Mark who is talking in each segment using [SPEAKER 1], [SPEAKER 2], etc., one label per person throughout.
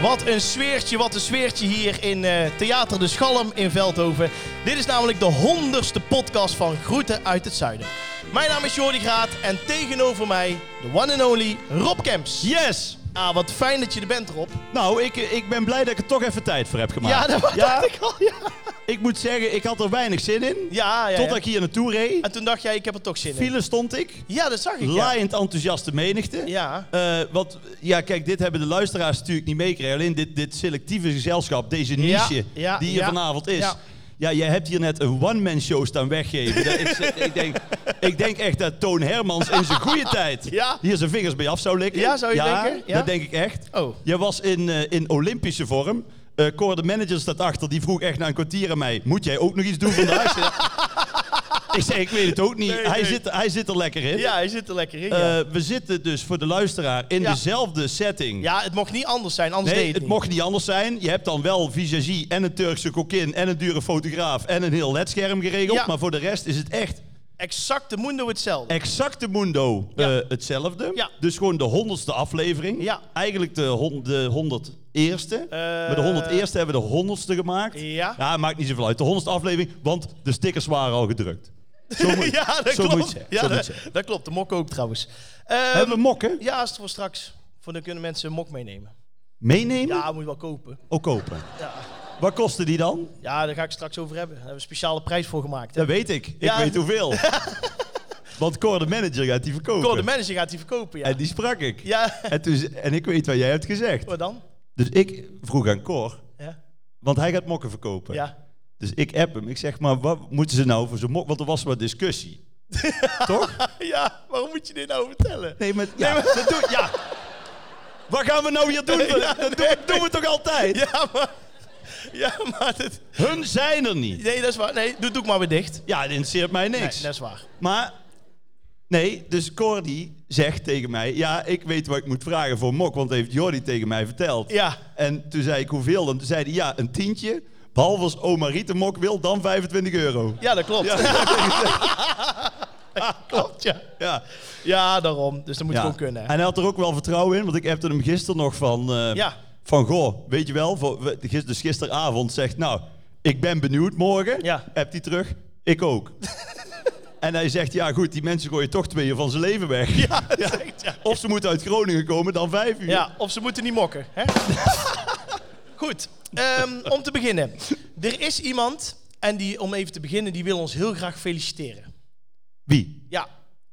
[SPEAKER 1] Wat een sfeertje, wat een sfeertje hier in eh, Theater de Schalm in Veldhoven. Dit is namelijk de honderdste podcast van Groeten uit het Zuiden. Mijn naam is Jordi Graat en tegenover mij de one and only Rob Kemps.
[SPEAKER 2] Yes!
[SPEAKER 1] Ah, wat fijn dat je er bent, Rob.
[SPEAKER 2] Nou, ik, ik ben blij dat ik er toch even tijd voor heb gemaakt.
[SPEAKER 1] ja, dat dacht ik al. Ja,
[SPEAKER 2] Ik moet zeggen, ik had er weinig zin in.
[SPEAKER 1] ja, ja. ja.
[SPEAKER 2] Totdat ik hier naartoe reed.
[SPEAKER 1] En toen dacht jij, ik heb er toch zin in.
[SPEAKER 2] File stond ik.
[SPEAKER 1] Ja, dat zag ik. Ja.
[SPEAKER 2] Laaiend enthousiaste menigte.
[SPEAKER 1] ja.
[SPEAKER 2] Eh, want, ja, kijk, dit hebben de luisteraars natuurlijk niet meegekregen. Alleen dit, dit selectieve gezelschap, deze
[SPEAKER 1] Ja,
[SPEAKER 2] niche
[SPEAKER 1] ja,
[SPEAKER 2] die hier
[SPEAKER 1] ja,
[SPEAKER 2] vanavond is.
[SPEAKER 1] ja.
[SPEAKER 2] Ja. jij hebt hier net een one-man show staan weggeven. Dat is, eh, ik, denk, ik denk echt dat Toon Hermans in zijn goede tijd
[SPEAKER 1] Ja.
[SPEAKER 2] hier zijn vingers bij af zou likken.
[SPEAKER 1] Ja, zou je denken? Ja.
[SPEAKER 2] dat denk ik echt.
[SPEAKER 1] Oh.
[SPEAKER 2] Jij was in, eh, in Olympische vorm. Eh Cor, de manager staat achter, die vroeg echt na een kwartier aan mij... Moet jij ook nog iets doen vandaag? ik zei, ik weet het ook niet.
[SPEAKER 1] Nee,
[SPEAKER 2] hij,
[SPEAKER 1] nee.
[SPEAKER 2] Zit, hij zit er lekker in.
[SPEAKER 1] ja, hij zit er lekker in. ja.
[SPEAKER 2] Eh, we zitten dus voor de luisteraar in
[SPEAKER 1] Ja.
[SPEAKER 2] dezelfde setting.
[SPEAKER 1] Ja, het mocht niet anders zijn, anders
[SPEAKER 2] nee,
[SPEAKER 1] deed
[SPEAKER 2] het
[SPEAKER 1] het, niet.
[SPEAKER 2] mocht niet anders zijn. Je hebt dan wel visagie en een Turkse kokin en een dure fotograaf en een heel ledscherm geregeld.
[SPEAKER 1] Ja.
[SPEAKER 2] Maar voor de rest is het echt
[SPEAKER 1] Exact de mundo hetzelfde.
[SPEAKER 2] exact de mundo
[SPEAKER 1] Ja.
[SPEAKER 2] eh, hetzelfde.
[SPEAKER 1] Ja.
[SPEAKER 2] Dus gewoon de honderdste aflevering.
[SPEAKER 1] Ja. Eh,
[SPEAKER 2] Eigenlijk de, hon de 101ste. maar de 101ste hebben we de honderdste gemaakt.
[SPEAKER 1] Ja.
[SPEAKER 2] maakt niet zoveel uit. De honderdste aflevering, want de stickers waren al gedrukt. Zo moet,
[SPEAKER 1] ja, dat
[SPEAKER 2] zo
[SPEAKER 1] klopt.
[SPEAKER 2] moet je.
[SPEAKER 1] ja,
[SPEAKER 2] zo
[SPEAKER 1] dat,
[SPEAKER 2] moet je.
[SPEAKER 1] dat klopt. De mok ook trouwens. Ehm,
[SPEAKER 2] Hebben we mokken?
[SPEAKER 1] Ja, is het voor straks. Voor dan kunnen mensen een mok meenemen.
[SPEAKER 2] Meenemen?
[SPEAKER 1] Ja, moet je wel kopen.
[SPEAKER 2] Ook kopen.
[SPEAKER 1] Ja,
[SPEAKER 2] Wat kostte die dan?
[SPEAKER 1] ja daar ga ik straks over hebben. Daar hebben we een speciale prijs voor gemaakt.
[SPEAKER 2] Dat weet ik. Ik
[SPEAKER 1] Ja.
[SPEAKER 2] weet hoeveel. Want Cor de manager gaat die verkopen.
[SPEAKER 1] Cor, de manager gaat die verkopen, ja.
[SPEAKER 2] En die sprak ik.
[SPEAKER 1] Ja,
[SPEAKER 2] En, toen, ze- en ik weet wat jij hebt gezegd.
[SPEAKER 1] wat dan?
[SPEAKER 2] Dus ik vroeg aan Cor,
[SPEAKER 1] Ja.
[SPEAKER 2] want hij gaat mokken verkopen.
[SPEAKER 1] ja.
[SPEAKER 2] Dus ik app hem. Ik zeg, maar wat moeten ze nou voor zo'n mok? Want er was wat discussie. Toch?
[SPEAKER 1] Ja, waarom moet je dit nou vertellen?
[SPEAKER 2] Nee, maar... Ja, dat doe, ja. Wat gaan we nou hier doen?
[SPEAKER 1] Ja,
[SPEAKER 2] dat doen, doen we toch altijd?
[SPEAKER 1] Ja, maar... Ja, maar... Dit,
[SPEAKER 2] Hun zijn er niet.
[SPEAKER 1] nee, dat is waar. Nee, doe, doe ik maar weer dicht.
[SPEAKER 2] Ja, dat interesseert mij niks.
[SPEAKER 1] Nee, dat is waar.
[SPEAKER 2] Maar, nee, dus Cordy zegt tegen mij... Ja, ik weet wat ik moet vragen voor mok, want dat heeft Jordi tegen mij verteld.
[SPEAKER 1] Ja.
[SPEAKER 2] En toen zei ik hoeveel, dan Toen zei hij ja, een tientje. Behalve als oma Riet een mok wil, dan 25 euro.
[SPEAKER 1] Ja, dat klopt.
[SPEAKER 2] Ja,
[SPEAKER 1] Klopt, ja.
[SPEAKER 2] ja.
[SPEAKER 1] Ja, daarom. Dus dat moet
[SPEAKER 2] ja.
[SPEAKER 1] gewoon kunnen.
[SPEAKER 2] En hij had er ook wel vertrouwen in, want ik appte hem gisteren nog van... eh,
[SPEAKER 1] Ja.
[SPEAKER 2] Van, goh, weet je wel, voor, we- gis- dus gisteravond zegt... Nou, ik ben benieuwd morgen.
[SPEAKER 1] Ja.
[SPEAKER 2] Appt hij terug, ik ook. en hij zegt, ja goed, die mensen gooien toch twee uur van zijn leven weg.
[SPEAKER 1] Ja, dat is echt, ja.
[SPEAKER 2] Of ze moeten uit Groningen komen dan vijf uur.
[SPEAKER 1] Ja, of ze moeten niet mokken. Hè? Goed, ehm, om te beginnen. Er is iemand, en die, om even te beginnen, die wil ons heel graag feliciteren.
[SPEAKER 2] Wie?
[SPEAKER 1] Ja,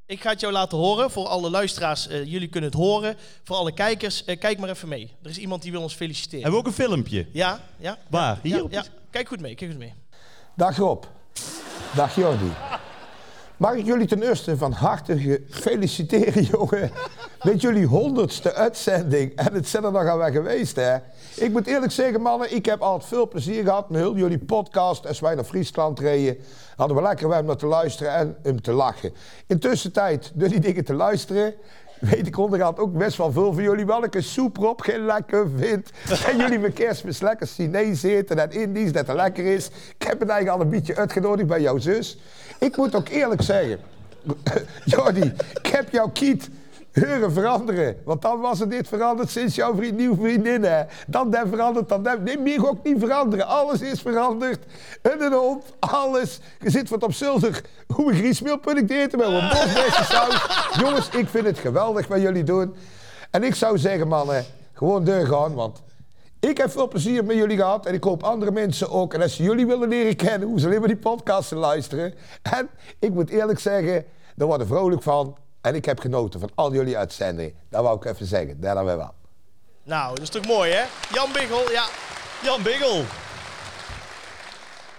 [SPEAKER 1] ik ga het jou laten horen. Voor alle luisteraars, eh, jullie kunnen het horen. Voor alle kijkers, eh, kijk maar even mee. Er is iemand die wil ons feliciteren.
[SPEAKER 2] Hebben we ook een filmpje?
[SPEAKER 1] Ja, ja.
[SPEAKER 2] Waar? Hier?
[SPEAKER 1] ja,
[SPEAKER 2] op
[SPEAKER 1] ja.
[SPEAKER 2] het-
[SPEAKER 1] Kijk goed mee, kijk goed mee.
[SPEAKER 3] Dag Rob. Dag Jordi. Mag ik jullie ten eerste van harte feliciteren, jongen. Met jullie honderdste uitzending. En het zijn er nogal weg geweest, hè. Ik moet eerlijk zeggen, mannen, ik heb altijd veel plezier gehad met heel jullie podcast. Als wij naar Friesland reden, hadden we lekker hem naar te luisteren en hem te lachen. Intussen tijd, door die dingen te luisteren, weet ik onderhand ook best wel veel van jullie welke soep Rob geen lekker vindt. En jullie met kerstmis lekker Chinees eten en Indisch, dat het lekker is. Ik heb het eigenlijk al een beetje uitgenodigd bij jouw zus. Ik moet ook eerlijk zeggen, Jordi, ik heb jouw kiet Heuren veranderen, want dan was het niet veranderd sinds jouw vriend, nieuwe vriendin. Hè. Dan dat verandert, dan dat. Nee, meer ook niet veranderen. Alles is veranderd. En een hond, alles. Je zit wat op zolder. Hoe een griesmeelpudding te eten met een bosbeste saus. Jongens, ik vind het geweldig wat jullie doen. En ik zou zeggen, mannen, gewoon deur gaan, want ik heb veel plezier met jullie gehad en ik hoop andere mensen ook. En als ze jullie willen leren kennen, hoe ze alleen maar die podcast te luisteren. En ik moet eerlijk zeggen, daar word ik vrolijk van. En ik heb genoten van al jullie uitzendingen. Dat wou ik even zeggen. Daar hebben we wel.
[SPEAKER 1] Nou, dat is toch mooi, hè? Jan Biggel, ja.
[SPEAKER 2] Jan Biggel.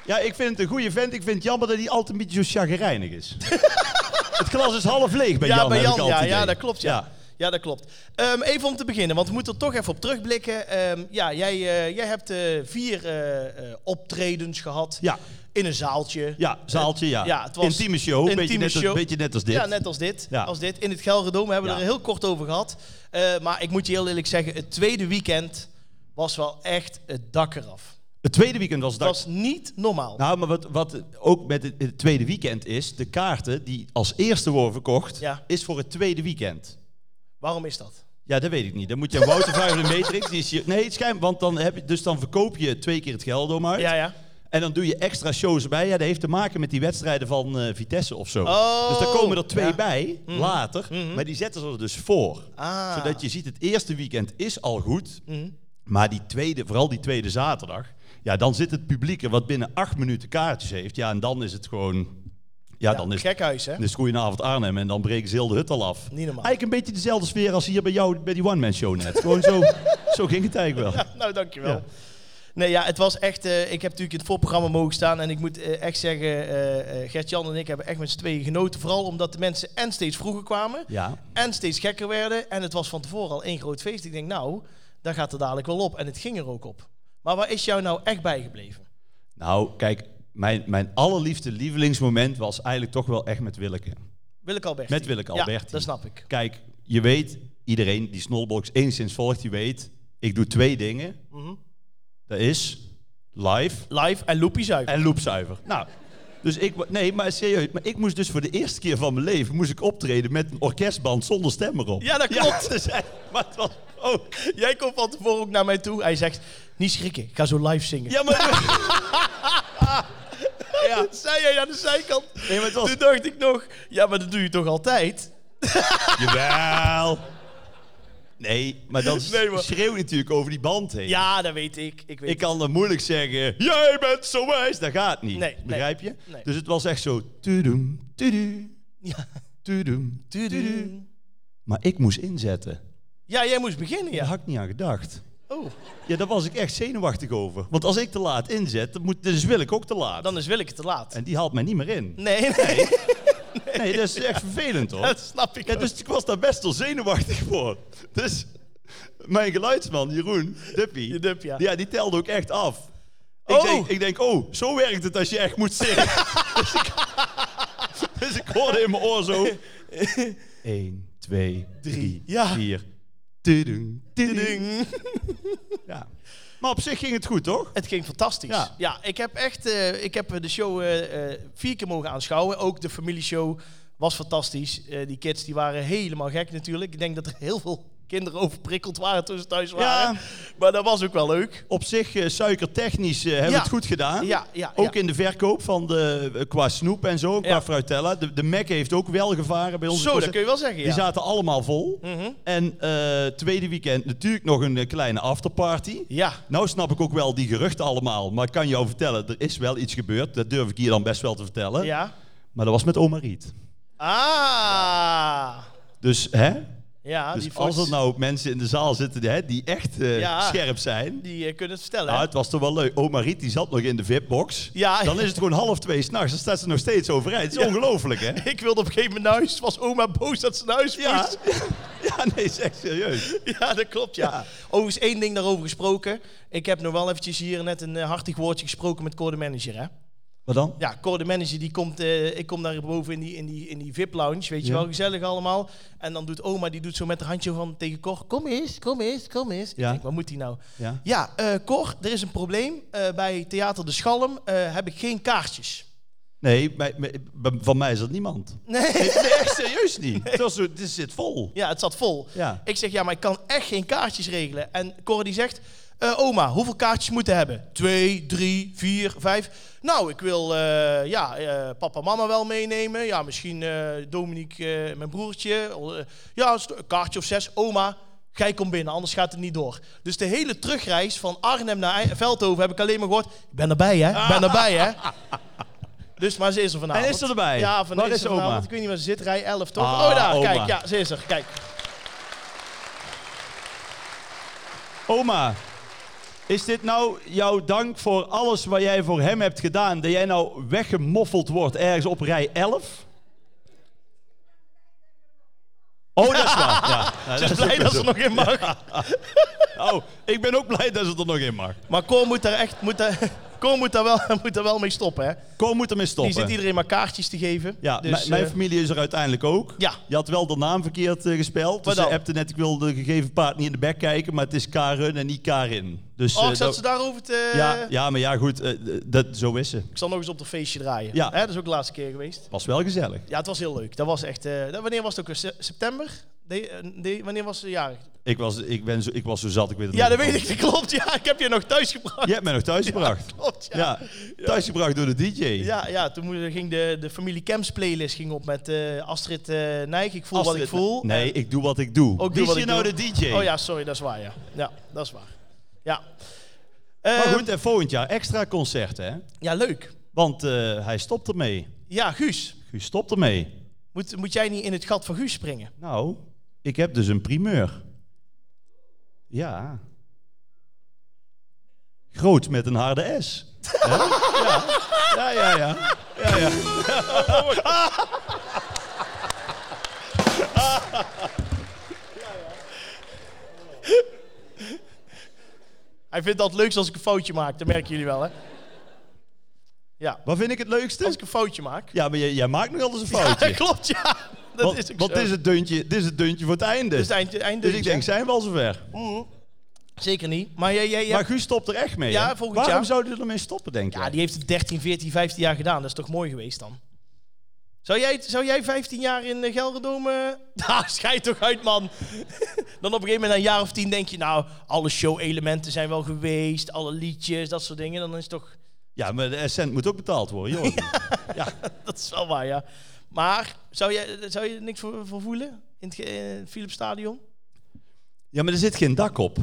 [SPEAKER 2] Ja, ik vind het een goede vent. Ik vind het jammer dat hij altijd een beetje zo chagrijnig is. het glas is half leeg bij
[SPEAKER 1] ja,
[SPEAKER 2] Jan.
[SPEAKER 1] bij
[SPEAKER 2] heb ik
[SPEAKER 1] Jan,
[SPEAKER 2] altijd
[SPEAKER 1] ja,
[SPEAKER 2] het
[SPEAKER 1] ja,
[SPEAKER 2] idee.
[SPEAKER 1] dat klopt. Ja, ja. dat klopt. Ehm, even om te beginnen, want we moeten er toch even op terugblikken. Ehm, ja, jij, eh, jij hebt eh, vier eh, eh, optredens gehad
[SPEAKER 2] Ja.
[SPEAKER 1] in een zaaltje. Eh,
[SPEAKER 2] Ja, zaaltje, ja.
[SPEAKER 1] Ja, het was
[SPEAKER 2] Intieme show,
[SPEAKER 1] een
[SPEAKER 2] beetje,
[SPEAKER 1] intieme
[SPEAKER 2] net als-
[SPEAKER 1] show.
[SPEAKER 2] beetje net als dit.
[SPEAKER 1] Ja, net als dit.
[SPEAKER 2] Ja.
[SPEAKER 1] Als dit. In het Gelredome hebben we
[SPEAKER 2] Ja.
[SPEAKER 1] er heel kort over gehad. Eh, maar ik moet je heel eerlijk zeggen, het tweede weekend was wel echt het dak eraf.
[SPEAKER 2] Het tweede weekend was
[SPEAKER 1] Dat
[SPEAKER 2] dat.
[SPEAKER 1] was niet normaal.
[SPEAKER 2] Nou, maar wat, wat ook met het, het tweede weekend is, de kaarten die als eerste worden verkocht,
[SPEAKER 1] Ja.
[SPEAKER 2] is voor het tweede weekend.
[SPEAKER 1] Waarom is dat?
[SPEAKER 2] Ja, dat weet ik niet. Dan moet je aan Wouter vragen van de Matrix. Die is hier... Nee, het schijnt, want dan, heb je, dus dan verkoop je twee keer het geld om uit.
[SPEAKER 1] Ja, ja.
[SPEAKER 2] En dan doe je extra shows bij. Ja, dat heeft te maken met die wedstrijden van eh, Vitesse of zo.
[SPEAKER 1] Oh.
[SPEAKER 2] dus daar komen er twee
[SPEAKER 1] Ja. Mhm.
[SPEAKER 2] bij later. Maar die zetten ze er dus voor.
[SPEAKER 1] Ah. Mhm.
[SPEAKER 2] Zodat je ziet, het eerste weekend is al goed. Maar die tweede, vooral die tweede zaterdag. Ja, dan zit het publiek er wat binnen acht minuten kaartjes heeft. Ja, en dan is het gewoon... Ja,
[SPEAKER 1] Ja,
[SPEAKER 2] dan is
[SPEAKER 1] gek huis, hè?
[SPEAKER 2] dus goedenavond Arnhem en dan breken ze heel de hut al af.
[SPEAKER 1] Niet normaal.
[SPEAKER 2] Eigenlijk een beetje dezelfde sfeer als hier bij jou bij die one-man show net. Gewoon zo, zo ging het eigenlijk wel.
[SPEAKER 1] Nou, dankjewel.
[SPEAKER 2] Ja.
[SPEAKER 1] Nee, ja, het was echt... eh, ik heb natuurlijk in het voorprogramma mogen staan. En ik moet eh, echt zeggen, eh, eh, Gert-Jan en ik hebben echt met z'n tweeën genoten. Vooral omdat de mensen en steeds vroeger kwamen.
[SPEAKER 2] Ja.
[SPEAKER 1] En steeds gekker werden. En het was van tevoren al één groot feest. Ik denk, nou, daar gaat er dadelijk wel op. En het ging er ook op. Maar waar is jou nou echt bijgebleven?
[SPEAKER 2] Nou, kijk, mijn, mijn allerliefste lievelingsmoment was eigenlijk toch wel echt met Willeke.
[SPEAKER 1] Willeke Alberti.
[SPEAKER 2] Met Willeke Alberti.
[SPEAKER 1] Ja, dat snap ik.
[SPEAKER 2] Kijk, je weet, iedereen die Snowbox enigszins volgt, die weet, ik doe twee dingen. Dat is live
[SPEAKER 1] Mhm. Live en Loepie Zuiver.
[SPEAKER 2] en loopzuiver. Nou, dus ik, wa- nee, maar serieus, maar ik moest dus voor de eerste keer van mijn leven moest ik optreden met een orkestband zonder stem erop.
[SPEAKER 1] Ja, dat klopt.
[SPEAKER 2] dus, hij- maar het was ook.
[SPEAKER 1] oh, Jij komt van tevoren ook naar mij toe. Hij zegt, niet schrikken, ik ga zo live zingen.
[SPEAKER 2] Ja, maar. ja.
[SPEAKER 1] Dat zei jij aan de zijkant.
[SPEAKER 2] Nee, maar het was-
[SPEAKER 1] Toen dacht ik nog, ja, maar dat doe je toch altijd?
[SPEAKER 2] Jawel. Nee, maar dan
[SPEAKER 1] Nee, maar-
[SPEAKER 2] schreeuw je natuurlijk over die band heen.
[SPEAKER 1] Ja, dat weet ik. Ik weet
[SPEAKER 2] Ik kan dan moeilijk zeggen, jij bent zo wijs. Dat gaat niet.
[SPEAKER 1] Nee, nee.
[SPEAKER 2] Begrijp je?
[SPEAKER 1] Nee.
[SPEAKER 2] Dus het was echt zo. Tudum, tudu,
[SPEAKER 1] Ja.
[SPEAKER 2] tudum, tudu. Maar ik moest inzetten.
[SPEAKER 1] ja, jij moest beginnen,
[SPEAKER 2] Daar
[SPEAKER 1] ja.
[SPEAKER 2] had ik niet aan gedacht.
[SPEAKER 1] Oh,
[SPEAKER 2] Ja, daar was ik echt zenuwachtig over. Want als ik te laat inzet, dan moet, dus wil ik ook te laat.
[SPEAKER 1] dan is Willeke te laat.
[SPEAKER 2] En die haalt mij niet meer in.
[SPEAKER 1] Nee, nee,
[SPEAKER 2] Nee, dat is echt vervelend hoor.
[SPEAKER 1] dat snap ik
[SPEAKER 2] Ja,
[SPEAKER 1] ook.
[SPEAKER 2] dus ik was daar best wel zenuwachtig voor. Dus mijn geluidsman, Jeroen, Duppie,
[SPEAKER 1] Je Dup, ja.
[SPEAKER 2] die telde ook echt af. Ik,
[SPEAKER 1] Oh.
[SPEAKER 2] denk, ik denk, oh, zo werkt het als je echt moet zingen. dus, ik, dus ik hoorde in mijn oor zo... 1, 2, 3,
[SPEAKER 1] Ja.
[SPEAKER 2] 4. Tudung, tudung.
[SPEAKER 1] Ding.
[SPEAKER 2] Ja. Maar op zich ging het goed, toch?
[SPEAKER 1] Het ging fantastisch. Ja,
[SPEAKER 2] Ja.
[SPEAKER 1] ik heb echt eh, ik heb de show eh, eh, vier keer mogen aanschouwen. Ook de familieshow was fantastisch. Eh, die kids die waren helemaal gek natuurlijk. Ik denk dat er heel veel kinderen overprikkeld waren toen ze thuis waren. Maar dat was ook wel leuk.
[SPEAKER 2] Op zich, eh, suikertechnisch eh, hebben we
[SPEAKER 1] Ja.
[SPEAKER 2] het goed gedaan.
[SPEAKER 1] Ja, ja,
[SPEAKER 2] Ook
[SPEAKER 1] ja.
[SPEAKER 2] in de verkoop van de, eh, qua snoep en zo, qua
[SPEAKER 1] Ja.
[SPEAKER 2] fruitella. De, de Mac heeft ook wel gevaren bij ons. Dus
[SPEAKER 1] Zo, dat kun je wel zeggen, ja. Mhm.
[SPEAKER 2] Die zaten allemaal vol. En eh, tweede weekend natuurlijk nog een eh, kleine afterparty.
[SPEAKER 1] Ja.
[SPEAKER 2] Nou snap ik ook wel die geruchten allemaal. Maar ik kan jou vertellen, er is wel iets gebeurd. Dat durf ik hier dan best wel te vertellen.
[SPEAKER 1] Ja.
[SPEAKER 2] Maar dat was met oma Riet.
[SPEAKER 1] Ah.
[SPEAKER 2] Dus, hè?
[SPEAKER 1] Ja, Ah,
[SPEAKER 2] dus
[SPEAKER 1] die
[SPEAKER 2] als
[SPEAKER 1] foto's,
[SPEAKER 2] er nou mensen in de zaal zitten hè, die echt eh,
[SPEAKER 1] Ja.
[SPEAKER 2] scherp zijn...
[SPEAKER 1] die eh, kunnen het vertellen.
[SPEAKER 2] Nou,
[SPEAKER 1] hè?
[SPEAKER 2] het was toch wel leuk. Oma Riet die zat nog in de VIP-box.
[SPEAKER 1] Ja.
[SPEAKER 2] Dan is het gewoon half twee s'nachts. Dan staat ze nog steeds overeind. Het is ongelooflijk, hè?
[SPEAKER 1] Ik wilde op een gegeven moment naar huis. Was oma boos dat ze naar huis
[SPEAKER 2] Ja.
[SPEAKER 1] moest?
[SPEAKER 2] ja, nee, is echt serieus.
[SPEAKER 1] Ja, dat klopt, ja.
[SPEAKER 2] Ja.
[SPEAKER 1] Overigens één ding daarover gesproken. Ik heb nog wel eventjes hier net een eh, hartig woordje gesproken met Cor de Manager, hè.
[SPEAKER 2] Wat dan?
[SPEAKER 1] Ja, Cor de Manager, die komt, eh, ik kom daar boven in die, in die, in die VIP-lounge, weet je
[SPEAKER 2] Ja.
[SPEAKER 1] wel, gezellig allemaal. En dan doet oma, die doet zo met haar handje van tegen Cor, kom eens, kom eens, kom eens. Ik
[SPEAKER 2] Ja.
[SPEAKER 1] denk, wat moet die nou?
[SPEAKER 2] Ja.
[SPEAKER 1] Ja, eh, Cor, er is een probleem. Eh, bij Theater de Schalm eh, heb ik geen kaartjes.
[SPEAKER 2] Nee, bij- bij- bij- van mij is dat niemand.
[SPEAKER 1] Nee.
[SPEAKER 2] Nee, echt serieus niet. Het, was zo, het zit vol.
[SPEAKER 1] Ja, het zat vol.
[SPEAKER 2] Ja.
[SPEAKER 1] Ik zeg, ja, maar ik kan echt geen kaartjes regelen. En Cor die zegt, eh, oma, hoeveel kaartjes moeten hebben? Twee, drie, vier, vijf. Nou, ik wil eh, ja, eh, papa en mama wel meenemen. Ja, misschien eh Dominique, eh, mijn broertje. Eh, ja, st- een kaartje of zes. Oma, gij komt binnen, anders gaat het niet door. Dus de hele terugreis van Arnhem naar Ei- Veldhoven heb ik alleen maar gehoord... Ik ben erbij, hè? Ik ben erbij, hè? Dus, maar ze is er vanavond.
[SPEAKER 2] En is ze erbij?
[SPEAKER 1] Ja, van,
[SPEAKER 2] Waar
[SPEAKER 1] is
[SPEAKER 2] is
[SPEAKER 1] ze vanavond.
[SPEAKER 2] oma?
[SPEAKER 1] Ik weet niet waar ze zit, rij 11, toch?
[SPEAKER 2] Ah,
[SPEAKER 1] oh, daar,
[SPEAKER 2] oma.
[SPEAKER 1] kijk. Ja, ze is er. Kijk.
[SPEAKER 2] Oma, is dit nou jouw dank voor alles wat jij voor hem hebt gedaan? Dat jij nou weggemoffeld wordt ergens op rij 11? Oh, dat is waar. Ja. Ja,
[SPEAKER 1] Ze is
[SPEAKER 2] dat
[SPEAKER 1] Dus blij
[SPEAKER 2] ook
[SPEAKER 1] dat
[SPEAKER 2] zo.
[SPEAKER 1] ze nog in mag.
[SPEAKER 2] Oh, ik ben ook blij dat ze er nog in mag.
[SPEAKER 1] Maar Cor moet daar echt moet daar, Cor moet daar wel, moet daar wel mee stoppen, hè?
[SPEAKER 2] Kom moet ermee stoppen.
[SPEAKER 1] Die zit iedereen maar kaartjes te geven.
[SPEAKER 2] ja,
[SPEAKER 1] dus,
[SPEAKER 2] mijn- mijn
[SPEAKER 1] eh,
[SPEAKER 2] familie is er uiteindelijk ook.
[SPEAKER 1] Ja.
[SPEAKER 2] Je had wel de naam verkeerd eh, gespeld.
[SPEAKER 1] Wat
[SPEAKER 2] Dus ze
[SPEAKER 1] dan?
[SPEAKER 2] appte net, ik wil de gegeven paard niet in de bek kijken, maar het is Karen en niet Karin. Dus,
[SPEAKER 1] oh,
[SPEAKER 2] eh,
[SPEAKER 1] zat
[SPEAKER 2] dat-
[SPEAKER 1] ze daarover te...
[SPEAKER 2] ja, ja, maar ja, goed, eh, dat, zo is ze.
[SPEAKER 1] Ik zal nog eens op dat feestje draaien.
[SPEAKER 2] Ja.
[SPEAKER 1] Hè, dat is ook de laatste keer geweest.
[SPEAKER 2] Was wel gezellig.
[SPEAKER 1] Ja, het was heel leuk. Dat was echt... eh, dat- wanneer was het ook? weer? Se- September? Nee, eh, nee, wanneer was ze jarig?
[SPEAKER 2] Ik was, ik, ben zo, ik was zo zat, ik weet het
[SPEAKER 1] Ja,
[SPEAKER 2] niet.
[SPEAKER 1] dat weet ik. Dat klopt. Ja, ik heb je nog thuis gebracht.
[SPEAKER 2] Je hebt mij nog thuis gebracht.
[SPEAKER 1] Klopt, ja.
[SPEAKER 2] Ja, thuisgebracht door de DJ.
[SPEAKER 1] Ja, ja, toen moe- ging de, de familie Camps playlist ging op met eh, Astrid eh Nijg. Ik voel wat
[SPEAKER 2] Astrid-
[SPEAKER 1] ik voel.
[SPEAKER 2] Nee,
[SPEAKER 1] En-
[SPEAKER 2] ik doe wat ik doe.
[SPEAKER 1] doe
[SPEAKER 2] Wie
[SPEAKER 1] wat
[SPEAKER 2] is je
[SPEAKER 1] ik
[SPEAKER 2] nou
[SPEAKER 1] doe.
[SPEAKER 2] de DJ?
[SPEAKER 1] Oh ja, sorry, dat is waar, ja. Ja, dat is waar. Ja.
[SPEAKER 2] Maar
[SPEAKER 1] Ehm,
[SPEAKER 2] goed, en volgend jaar extra concerten, hè?
[SPEAKER 1] Ja, leuk.
[SPEAKER 2] Want eh, hij stopt ermee.
[SPEAKER 1] Ja, Guus.
[SPEAKER 2] Guus stopt ermee.
[SPEAKER 1] Moet, moet jij niet in het gat van Guus springen?
[SPEAKER 2] Nou, ik heb dus een primeur. Ja. Groot met een harde S. Hè? ja, ja, ja. ja. ja, ja.
[SPEAKER 1] Hij vindt dat het leukst als ik een foutje maak. Dat merken jullie wel, hè? Ja.
[SPEAKER 2] Wat vind ik het leukste?
[SPEAKER 1] Als ik een foutje maak.
[SPEAKER 2] Ja, maar jij, jij maakt nog altijd een
[SPEAKER 1] Ja,
[SPEAKER 2] foutje.
[SPEAKER 1] dat klopt, ja. Dat
[SPEAKER 2] Want,
[SPEAKER 1] is ook
[SPEAKER 2] want
[SPEAKER 1] zo.
[SPEAKER 2] dit, is het deuntje, dit is het deuntje voor het einde.
[SPEAKER 1] Dus het eind, eind
[SPEAKER 2] dus ik denk, zijn we al zover.
[SPEAKER 1] Zeker niet. Maar jij... jij, jij-
[SPEAKER 2] Maar Guus stopt er echt mee.
[SPEAKER 1] Ja,
[SPEAKER 2] hè?
[SPEAKER 1] volgend
[SPEAKER 2] Waarom
[SPEAKER 1] jaar.
[SPEAKER 2] zouden ze ermee stoppen, denk je?
[SPEAKER 1] ja, die heeft het 13, 14, 15 jaar gedaan. Dat is toch mooi geweest dan? Zou jij, zou jij 15 jaar in eh, Gelredome... eh, Ah, schijt toch uit, man. dan op een gegeven moment, na een jaar of tien, denk je... Nou, alle show-elementen zijn wel geweest. Alle liedjes, dat soort dingen. Dan is het toch...
[SPEAKER 2] Ja, maar de cent moet ook betaald worden, joh. ja.
[SPEAKER 1] Dat is wel waar, ja. Maar zou je, zou je er niks voor, voor voelen in het, ge- eh, Philips Stadion?
[SPEAKER 2] ja, maar er zit geen dak op.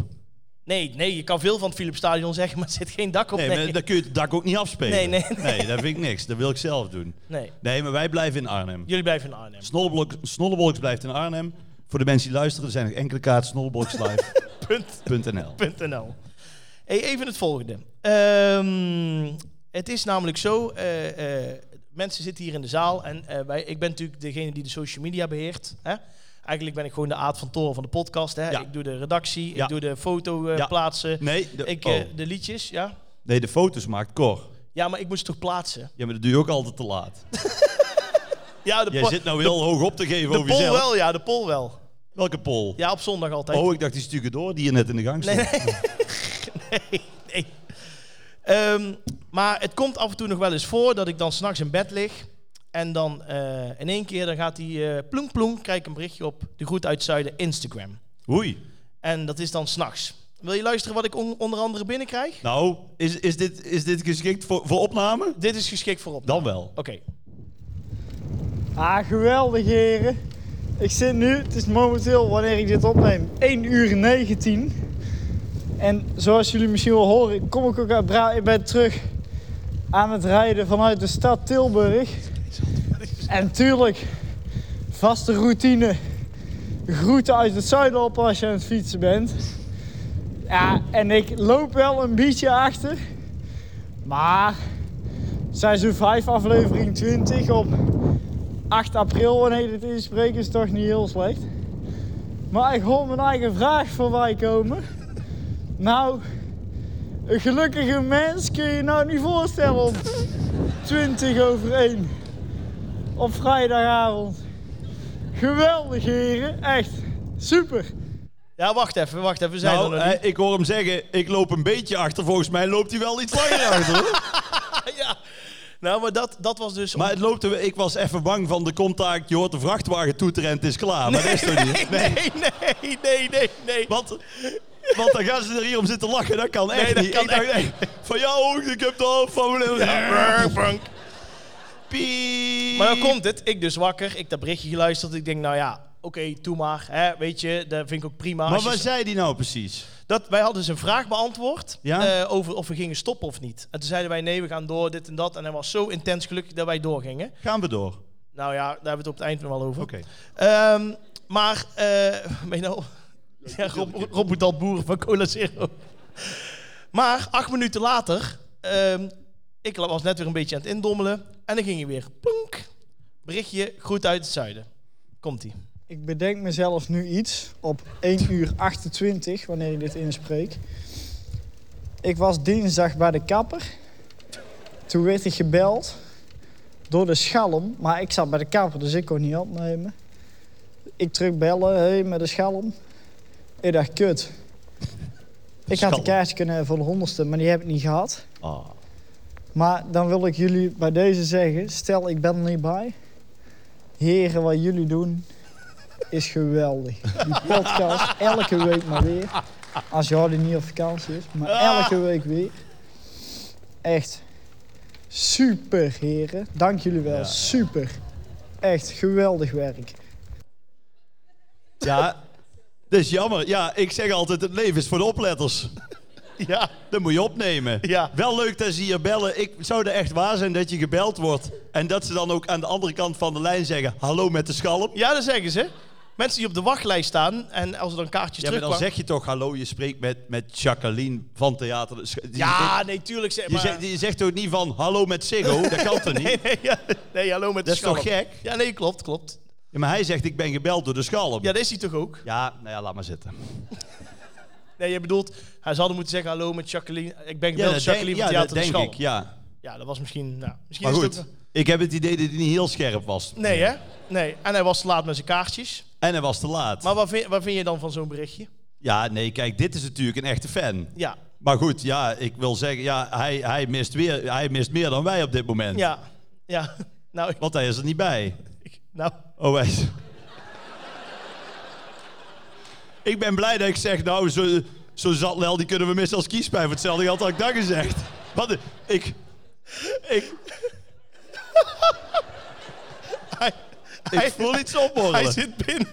[SPEAKER 1] Nee, nee, je kan veel van het Philips Stadion zeggen, maar er zit geen dak op.
[SPEAKER 2] Nee,
[SPEAKER 1] Nee,
[SPEAKER 2] maar dan kun je het dak ook niet afspelen.
[SPEAKER 1] Nee, nee, nee.
[SPEAKER 2] dat vind ik niks. Dat wil ik zelf doen.
[SPEAKER 1] nee.
[SPEAKER 2] Nee, maar wij blijven in Arnhem.
[SPEAKER 1] Jullie blijven in Arnhem.
[SPEAKER 2] Snollebol- Snollebollocks blijft in Arnhem. Voor de mensen die luisteren, er zijn nog enkele kaarten. Snollebollocks.live.nl
[SPEAKER 1] Punt. Punt NL. Hey, even het volgende. Ehm, het is namelijk zo, eh, eh, mensen zitten hier in de zaal en eh, wij, ik ben natuurlijk degene die de social media beheert. Hè? Eigenlijk ben ik gewoon de aard van toren van de podcast. Hè?
[SPEAKER 2] Ja.
[SPEAKER 1] Ik doe de redactie,
[SPEAKER 2] Ja.
[SPEAKER 1] ik doe de foto eh,
[SPEAKER 2] Ja.
[SPEAKER 1] plaatsen,
[SPEAKER 2] Nee de,
[SPEAKER 1] ik,
[SPEAKER 2] oh.
[SPEAKER 1] eh, de liedjes. Ja?
[SPEAKER 2] nee, de foto's maakt Cor.
[SPEAKER 1] ja, maar ik moest toch plaatsen?
[SPEAKER 2] Ja, maar dat doe je ook altijd te laat.
[SPEAKER 1] Ja, de,
[SPEAKER 2] Jij
[SPEAKER 1] po-
[SPEAKER 2] zit nou heel hoog op te geven
[SPEAKER 1] de
[SPEAKER 2] over
[SPEAKER 1] poll
[SPEAKER 2] jezelf.
[SPEAKER 1] wel, ja, de poll wel.
[SPEAKER 2] Welke pol?
[SPEAKER 1] Ja, op zondag altijd.
[SPEAKER 2] Oh, ik dacht die stukken door die je net in de gang stond.
[SPEAKER 1] Nee, nee. nee, nee. Ehm, maar het komt af en toe nog wel eens voor dat ik dan s'nachts in bed lig. En dan eh, in één keer dan gaat die eh ploeng ploeng, krijg ik een berichtje op de Groet uit Zuiden Instagram.
[SPEAKER 2] Oei.
[SPEAKER 1] En dat is dan s'nachts. Wil je luisteren wat ik on- onder andere binnenkrijg?
[SPEAKER 2] Nou, is, is, dit, is dit geschikt voor, voor opname?
[SPEAKER 1] Dit is geschikt voor op.
[SPEAKER 2] Dan wel.
[SPEAKER 1] Oké.
[SPEAKER 4] Ah, geweldig heren. Ik zit nu, het is momenteel wanneer ik dit opneem, 1 uur 19. En zoals jullie misschien wel horen, kom ik ook uit Bra. Ik ben terug aan het rijden vanuit de stad Tilburg. En tuurlijk, vaste routine. Groeten uit het zuiden op als je aan het fietsen bent. Ja, en ik loop wel een beetje achter. Maar seizoen 5 aflevering 20 op 8 april wanneer dit inspreekt is toch niet heel slecht. Maar ik hoor mijn eigen vraag voorbij komen. Nou, een gelukkige mens kun je je nou niet voorstellen om 20 over 1 op vrijdagavond. Geweldig heren, echt super.
[SPEAKER 1] Ja, wacht even, wacht even. We zijn
[SPEAKER 2] nou,
[SPEAKER 1] er nog niet.
[SPEAKER 2] eh, ik hoor hem zeggen, ik loop een beetje achter. Volgens mij loopt hij wel iets langer achter. hoor.
[SPEAKER 1] ja. Nou, maar dat, dat was dus... om-
[SPEAKER 2] eh, Maar het loopt, er- ik was even bang van de contact. Je hoort de vrachtwagen toeteren en het is klaar. Maar dat is toch niet?
[SPEAKER 1] nee, nee, nee, nee, nee.
[SPEAKER 2] Want, want dan gaan ze er hier om zitten lachen. Dat kan echt
[SPEAKER 1] Nee, dat
[SPEAKER 2] niet.
[SPEAKER 1] kan
[SPEAKER 2] ik dacht,
[SPEAKER 1] echt
[SPEAKER 2] nee, van jou ook, ik heb de hoofd van mijn...
[SPEAKER 1] Ja, Frank.
[SPEAKER 2] Piep.
[SPEAKER 1] Maar dan komt het. Ik dus wakker. Ik dat berichtje geluisterd. Ik denk, nou ja, oké, doe maar. Hè, weet je, dat vind ik ook prima.
[SPEAKER 2] Maar
[SPEAKER 1] Als je-
[SPEAKER 2] wat zei die nou precies?
[SPEAKER 1] dat, wij hadden dus een vraag beantwoord
[SPEAKER 2] Ja?
[SPEAKER 1] eh, over of we gingen stoppen of niet. En toen zeiden wij, nee, we gaan door, dit en dat. En hij was zo intens gelukkig dat wij doorgingen.
[SPEAKER 2] Gaan we door.
[SPEAKER 1] Nou ja, daar hebben we het op het eind nog wel over.
[SPEAKER 2] Oké.
[SPEAKER 1] Ehm, maar, eh ben je nou... Ja, Rob, Rob moet al boeren van Cola Zero. Maar acht minuten later, ehm, ik was net weer een beetje aan het indommelen. En dan ging hij weer, plonk, berichtje, groet uit het zuiden. Komt-ie.
[SPEAKER 4] Ik bedenk mezelf nu iets op 1 uur 28, wanneer ik dit inspreek. Ik was dinsdag bij de kapper. Toen werd ik gebeld door de schalm. Maar ik zat bij de kapper, dus ik kon niet opnemen. Ik terugbellen, hé, hey, met de schalm. Ik dacht, kut. Ik had
[SPEAKER 2] Schalm.
[SPEAKER 4] een kaartje kunnen hebben voor de honderdste, maar die heb ik niet gehad.
[SPEAKER 2] Ah.
[SPEAKER 4] Maar dan wil ik jullie bij deze zeggen, stel ik ben er niet bij. Heren, wat jullie doen, is geweldig. Die podcast, elke week maar weer. Als Jordi niet op vakantie is, maar elke week weer. Echt super, heren. Dank jullie wel, super. Echt geweldig werk.
[SPEAKER 2] Ja, dat is jammer. Ja, ik zeg altijd, het leven is voor de opletters.
[SPEAKER 1] Ja.
[SPEAKER 2] Dat moet je opnemen.
[SPEAKER 1] Ja.
[SPEAKER 2] Wel leuk dat ze hier bellen. Ik zou er echt waar zijn dat je gebeld wordt. En dat ze dan ook aan de andere kant van de lijn zeggen... Hallo met de schalm.
[SPEAKER 1] ja, dat zeggen ze. Mensen die op de wachtlijst staan en als er dan kaartjes
[SPEAKER 2] Ja, maar dan
[SPEAKER 1] terugkwamen...
[SPEAKER 2] zeg je toch hallo, je spreekt met, met Jacqueline van Theater. de Sch- die-
[SPEAKER 1] Ja, nee, tuurlijk zeg
[SPEAKER 2] Je
[SPEAKER 1] maar...
[SPEAKER 2] zegt, je zegt ook niet van hallo met Siggo, dat kan toch niet?
[SPEAKER 1] Nee, nee, ja, nee, hallo met
[SPEAKER 2] Dat
[SPEAKER 1] de
[SPEAKER 2] is toch
[SPEAKER 1] schalm.
[SPEAKER 2] gek?
[SPEAKER 1] Ja, nee, klopt, klopt.
[SPEAKER 2] Ja, maar hij zegt ik ben gebeld door de schalm.
[SPEAKER 1] Ja,
[SPEAKER 2] Ja,
[SPEAKER 1] dat is hij toch ook?
[SPEAKER 2] nou ja, laat maar zitten.
[SPEAKER 1] Nee, je bedoelt, hij zou moeten zeggen hallo met Jacqueline. Ik ben
[SPEAKER 2] Ja,
[SPEAKER 1] gebeld
[SPEAKER 2] dat
[SPEAKER 1] Jacqueline
[SPEAKER 2] denk,
[SPEAKER 1] van
[SPEAKER 2] ja, dat
[SPEAKER 1] Theater de
[SPEAKER 2] denk
[SPEAKER 1] Schalm.
[SPEAKER 2] ik, ja.
[SPEAKER 1] Ja, dat was misschien... Nou, misschien
[SPEAKER 2] Maar
[SPEAKER 1] is het
[SPEAKER 2] goed,
[SPEAKER 1] ook-
[SPEAKER 2] ik heb het idee dat hij niet heel scherp was.
[SPEAKER 1] Nee, hè? Nee. En hij was te laat met zijn kaartjes.
[SPEAKER 2] En hij was te laat.
[SPEAKER 1] Maar wat vind, wat vind je dan van zo'n berichtje?
[SPEAKER 2] Ja, nee, kijk, dit is natuurlijk een echte fan.
[SPEAKER 1] Ja.
[SPEAKER 2] Maar goed, ja, ik wil zeggen, ja, hij, hij, mist weer, hij mist meer dan wij op dit moment.
[SPEAKER 1] Ja. Ja. Nou, ik-
[SPEAKER 2] Want hij is er niet bij.
[SPEAKER 1] ik, nou
[SPEAKER 2] Oh, wij. ik ben blij dat ik zeg, nou, zo, zo zatlel, die kunnen we missen als kiespijn. Voor hetzelfde geld had ik dat gezegd. Wat, ik, ik,
[SPEAKER 1] hij,
[SPEAKER 2] ik voel iets opborrelen.
[SPEAKER 1] hij zit binnen.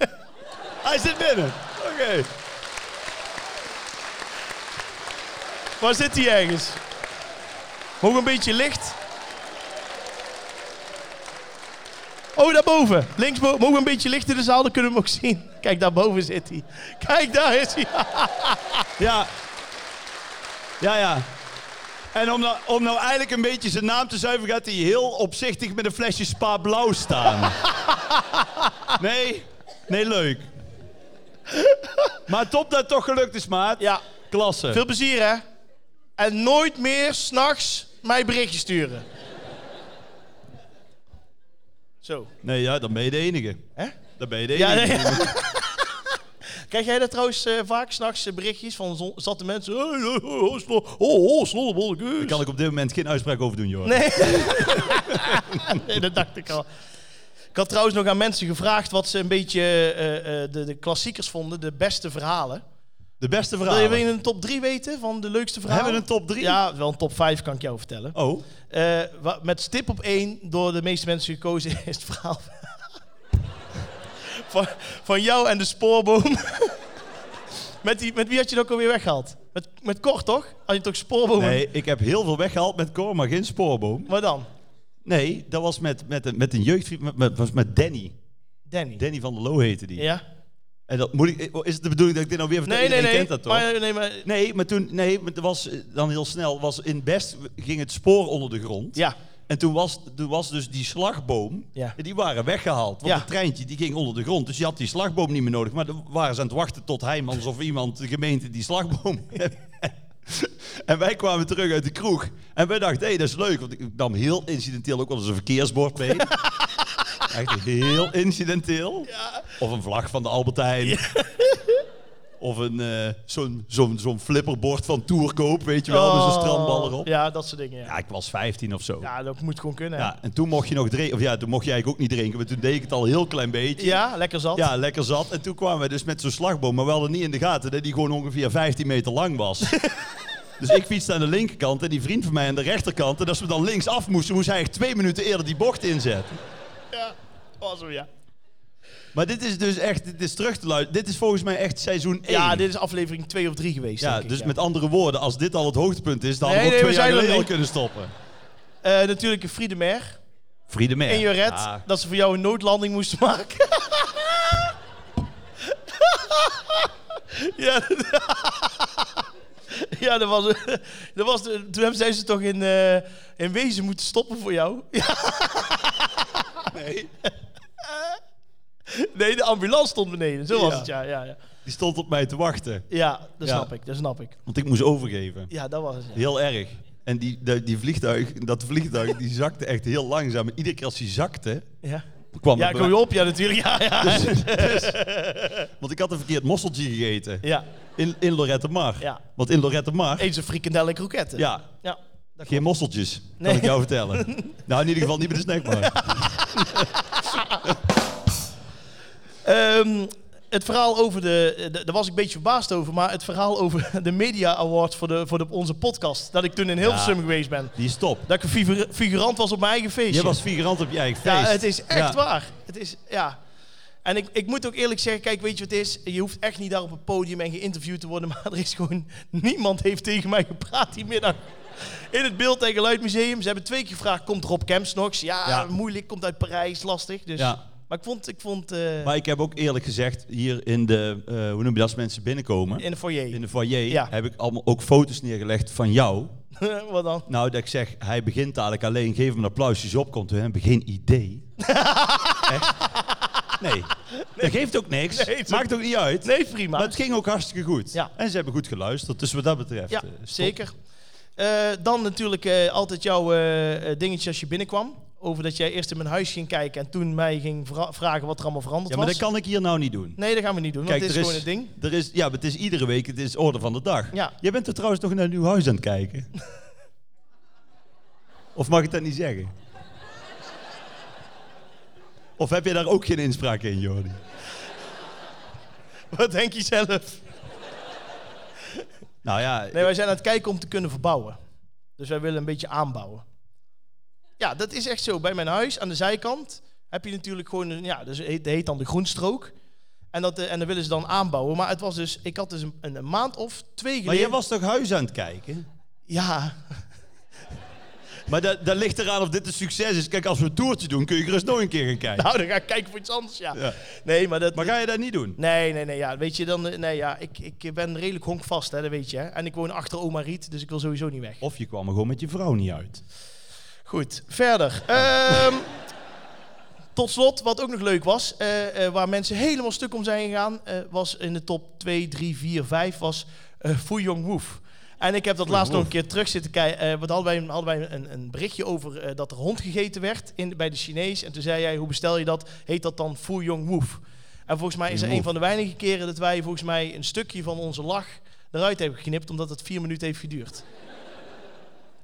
[SPEAKER 2] Hij zit binnen. Oké.
[SPEAKER 1] Waar zit hij ergens? Ook een beetje licht. Oh, daarboven. Linksboven. Mogen we een beetje licht in de zaal, dan kunnen we hem ook zien. Kijk, daarboven zit hij. Kijk, daar is hij.
[SPEAKER 2] Ja. Ja, ja. En om nou, om nou eigenlijk een beetje zijn naam te zuiveren, gaat hij heel opzichtig met een flesje Spa Blauw staan. Nee, nee, leuk. Maar top dat het toch gelukt is, maat.
[SPEAKER 1] Ja.
[SPEAKER 2] Klasse.
[SPEAKER 1] Veel plezier, hè? En nooit meer s'nachts mij berichtje sturen. Zo.
[SPEAKER 2] Nee, ja, dan ben je de enige.
[SPEAKER 1] Hè?
[SPEAKER 2] Dan ben je de enige.
[SPEAKER 1] Ja, nee. Krijg jij dat trouwens eh, vaak s'nachts berichtjes van zon- zatte mensen? Hey, eh, oh, oh, slo- oh, oh, snollebollekes.
[SPEAKER 2] Daar kan ik op dit moment geen uitspraak over doen, joh.
[SPEAKER 1] Nee. nee, dat dacht ik al. Ik had trouwens nog aan mensen gevraagd wat ze een beetje eh, eh, de, de klassiekers vonden, de beste verhalen.
[SPEAKER 2] De beste
[SPEAKER 1] Wil je,
[SPEAKER 2] verhaal.
[SPEAKER 1] wil je een top 3 weten van de leukste verhalen?
[SPEAKER 2] Hebben we een top 3?
[SPEAKER 1] Ja, wel een top 5 kan ik jou vertellen.
[SPEAKER 2] Oh,
[SPEAKER 1] Eh, wa- met stip op één door de meeste mensen gekozen is het verhaal van, van jou en de spoorboom. met, die, met wie had je het ook alweer weggehaald? Met, met Cor, toch? Had je toch spoorboom?
[SPEAKER 2] nee, ik heb heel veel weggehaald met Cor, maar geen spoorboom.
[SPEAKER 1] Maar dan?
[SPEAKER 2] Nee, dat was met, met, een- met een jeugdvriend, met, met, was met Danny.
[SPEAKER 1] Danny.
[SPEAKER 2] Danny van der Loo heette die.
[SPEAKER 1] Ja?
[SPEAKER 2] En dat moet ik, is het de bedoeling dat ik dit nou weer vertel?
[SPEAKER 1] Nee, nee,
[SPEAKER 2] Iedereen
[SPEAKER 1] nee.
[SPEAKER 2] kent dat toch?
[SPEAKER 1] Maar, eh, nee, maar...
[SPEAKER 2] Nee, maar toen, nee, maar er was eh, dan heel snel, was in Best ging het spoor onder de grond.
[SPEAKER 1] Ja.
[SPEAKER 2] En toen was, toen was dus die slagboom,
[SPEAKER 1] Ja.
[SPEAKER 2] en die waren weggehaald. Want
[SPEAKER 1] Ja.
[SPEAKER 2] het treintje die ging onder de grond, dus je had die slagboom niet meer nodig. Maar dan waren ze aan het wachten tot Heijmans of iemand, de gemeente, die slagboom... En wij kwamen terug uit de kroeg. En wij dachten, hé, dat is leuk. Want ik nam heel incidenteel ook wel eens een verkeersbord mee. Echt heel incidenteel. Of een vlag van de Albert Heijn. Of een, eh, zo'n, zo'n, zo'n flipperbord van Tourkoop, weet je wel, met zo'n strandbal erop. Ja.
[SPEAKER 1] Ja, dat soort dingen, ja. ja.
[SPEAKER 2] ik was 15 of zo. Ja.
[SPEAKER 1] dat moet gewoon kunnen. Ja,
[SPEAKER 2] en toen mocht je nog drinken. Of ja, toen mocht je eigenlijk ook niet drinken, maar toen deed ik het al een heel klein beetje.
[SPEAKER 1] lekker zat.
[SPEAKER 2] Ja, lekker zat. En toen kwamen we dus met zo'n slagboom, maar we hadden niet in de gaten dat die gewoon ongeveer 15 meter lang was. dus ik fietste aan de linkerkant en die vriend van mij aan de rechterkant. En als we dan links af moesten, moest hij echt twee minuten eerder die bocht inzetten.
[SPEAKER 1] Ja. Oh, zo, ja.
[SPEAKER 2] Maar dit is dus echt, dit is terug te luisteren. Dit is volgens mij echt seizoen 1.
[SPEAKER 1] Ja, dit is aflevering 2 of 3 geweest,
[SPEAKER 2] Ja,
[SPEAKER 1] denk ik,
[SPEAKER 2] dus met andere woorden, als dit al het hoogtepunt is, dan
[SPEAKER 1] Nee,
[SPEAKER 2] hadden we ook
[SPEAKER 1] nee, we
[SPEAKER 2] twee jaar
[SPEAKER 1] zijn er
[SPEAKER 2] geleden al
[SPEAKER 1] niet.
[SPEAKER 2] kunnen stoppen.
[SPEAKER 1] Eh, natuurlijk een Friedemer
[SPEAKER 2] Friede Meer.
[SPEAKER 1] en je red
[SPEAKER 2] Ja.
[SPEAKER 1] dat ze voor jou een noodlanding moesten maken. ja, dat- ja, dat was, dat was... Toen hebben- zijn ze toch in, eh, in wezen moeten stoppen voor jou.
[SPEAKER 2] Nee,
[SPEAKER 1] Nee, de ambulance stond beneden. Zo was
[SPEAKER 2] Ja.
[SPEAKER 1] het, ja. Ja, ja.
[SPEAKER 2] die stond op mij te wachten,
[SPEAKER 1] ja dat
[SPEAKER 2] Ja.
[SPEAKER 1] snap ik, dat snap ik.
[SPEAKER 2] want ik moest overgeven.
[SPEAKER 1] Ja, dat was het, ja.
[SPEAKER 2] Heel erg. En die, die, die vliegtuig, dat vliegtuig, die zakte echt heel langzaam. En Iedere keer als die zakte,
[SPEAKER 1] Ja,
[SPEAKER 2] kwam
[SPEAKER 1] ja
[SPEAKER 2] het
[SPEAKER 1] ik
[SPEAKER 2] bij
[SPEAKER 1] kom je
[SPEAKER 2] mij-
[SPEAKER 1] op, ja, natuurlijk. Ja, ja.
[SPEAKER 2] Want ik had een verkeerd mosseltje gegeten
[SPEAKER 1] ja.
[SPEAKER 2] in, in Lorette Mar.
[SPEAKER 1] Ja.
[SPEAKER 2] Want in Lorette Mar,
[SPEAKER 1] Eens een frikandel en kroketten.
[SPEAKER 2] ja,
[SPEAKER 1] ja.
[SPEAKER 2] geen mosseltjes, kan
[SPEAKER 1] Nee.
[SPEAKER 2] ik jou vertellen. nou, in ieder geval niet bij de snackbar.
[SPEAKER 1] Ehm, het verhaal over de, de. Daar was ik een beetje verbaasd over, maar het verhaal over de Media Award voor, de, voor de, onze podcast. Dat ik toen in Hilversum geweest ben.
[SPEAKER 2] Die is top.
[SPEAKER 1] Dat ik een figu- figurant was op mijn eigen feestje.
[SPEAKER 2] Je was figurant op je eigen feest.
[SPEAKER 1] Ja, het is echt
[SPEAKER 2] Ja.
[SPEAKER 1] waar. Het is, ja. En ik, ik moet ook eerlijk zeggen, kijk, weet je wat het is? Je hoeft echt niet daar op het podium en geïnterviewd te worden, maar er is gewoon... Niemand heeft tegen mij gepraat die middag. In het Beeld en Geluidmuseum. Ze hebben twee keer gevraagd, komt Rob Kemps nog? Ja,
[SPEAKER 2] Ja.
[SPEAKER 1] moeilijk, komt uit Parijs, lastig. Dus.
[SPEAKER 2] Ja.
[SPEAKER 1] Maar ik vond, ik vond eh,
[SPEAKER 2] Maar ik heb ook eerlijk gezegd, hier in de, eh, hoe noem je dat, als mensen binnenkomen,
[SPEAKER 1] in de foyer.
[SPEAKER 2] in de foyer,
[SPEAKER 1] Ja.
[SPEAKER 2] heb ik allemaal ook foto's neergelegd van jou.
[SPEAKER 1] wat dan?
[SPEAKER 2] Nou, dat ik zeg, hij begint dadelijk alleen, geef hem een applausjes op, komt we hebben geen idee. Echt? Nee. Dat geeft ook niks.
[SPEAKER 1] Nee, het-
[SPEAKER 2] Maakt ook niet uit.
[SPEAKER 1] Nee, prima.
[SPEAKER 2] Maar het ging ook hartstikke goed.
[SPEAKER 1] Ja.
[SPEAKER 2] En ze hebben goed geluisterd, dus wat dat betreft.
[SPEAKER 1] ja,
[SPEAKER 2] eh, stop.
[SPEAKER 1] zeker. Eh, dan natuurlijk eh, altijd jouw eh, eh, dingetje als je binnenkwam. Over dat jij eerst in mijn huis ging kijken en toen mij ging vra- vragen wat er allemaal veranderd
[SPEAKER 2] Ja, maar
[SPEAKER 1] was.
[SPEAKER 2] dat kan ik hier nou niet doen.
[SPEAKER 1] Nee, dat gaan we niet doen, want dit is, gewoon het ding.
[SPEAKER 2] Er is, ja, maar het is iedere week, het is orde van de dag.
[SPEAKER 1] Ja.
[SPEAKER 2] Jij bent er trouwens nog naar een nieuw huis aan het kijken. of mag ik dat niet zeggen? Of heb je daar ook geen inspraak in, Jordi?
[SPEAKER 1] Wat denk je zelf?
[SPEAKER 2] Nou ja,
[SPEAKER 1] Nee, wij zijn aan het kijken om te kunnen verbouwen. Dus wij willen een beetje aanbouwen. Ja, dat is echt zo. Bij mijn huis aan de zijkant heb je natuurlijk gewoon, een, ja, dus het heet, het heet dan de groenstrook. En dat, eh, en dat willen ze dan aanbouwen. Maar het was dus, ik had dus een, een, een maand of twee geleden.
[SPEAKER 2] maar jij was toch huis aan het kijken?
[SPEAKER 1] Ja,
[SPEAKER 2] Maar dat, dat ligt eraan of dit een succes is. Kijk, als we een toertje doen, kun je gerust nog een keer gaan kijken.
[SPEAKER 1] nou dan ga ik kijken voor iets anders, ja.
[SPEAKER 2] Ja.
[SPEAKER 1] Nee, maar dat...
[SPEAKER 2] Maar ga je dat niet doen?
[SPEAKER 1] Nee, nee, nee, ja. Weet je, dan, eh, nee, ja, ik, ik ben redelijk honkvast, hè, dat weet je. Hè. En ik woon achter oma Riet, dus ik wil sowieso niet weg.
[SPEAKER 2] Of je kwam er gewoon met je vrouw niet uit.
[SPEAKER 1] Goed, verder. Ehm, tot slot, wat ook nog leuk was, eh, eh, waar mensen helemaal stuk om zijn gegaan, eh, was in de top 2, 3, 4, 5, was eh Fu Jong Woef. En ik heb dat laatst nog een keer terug zitten kijken. eh want hadden wij, hadden wij een, een berichtje over eh, dat er hond gegeten werd in, bij de Chinees. En toen zei jij, hoe bestel je dat? Heet dat dan Fu Jong Woef? En volgens mij is er een van de weinige keren dat wij volgens mij een stukje van onze lach eruit hebben geknipt, omdat het vier minuten heeft geduurd.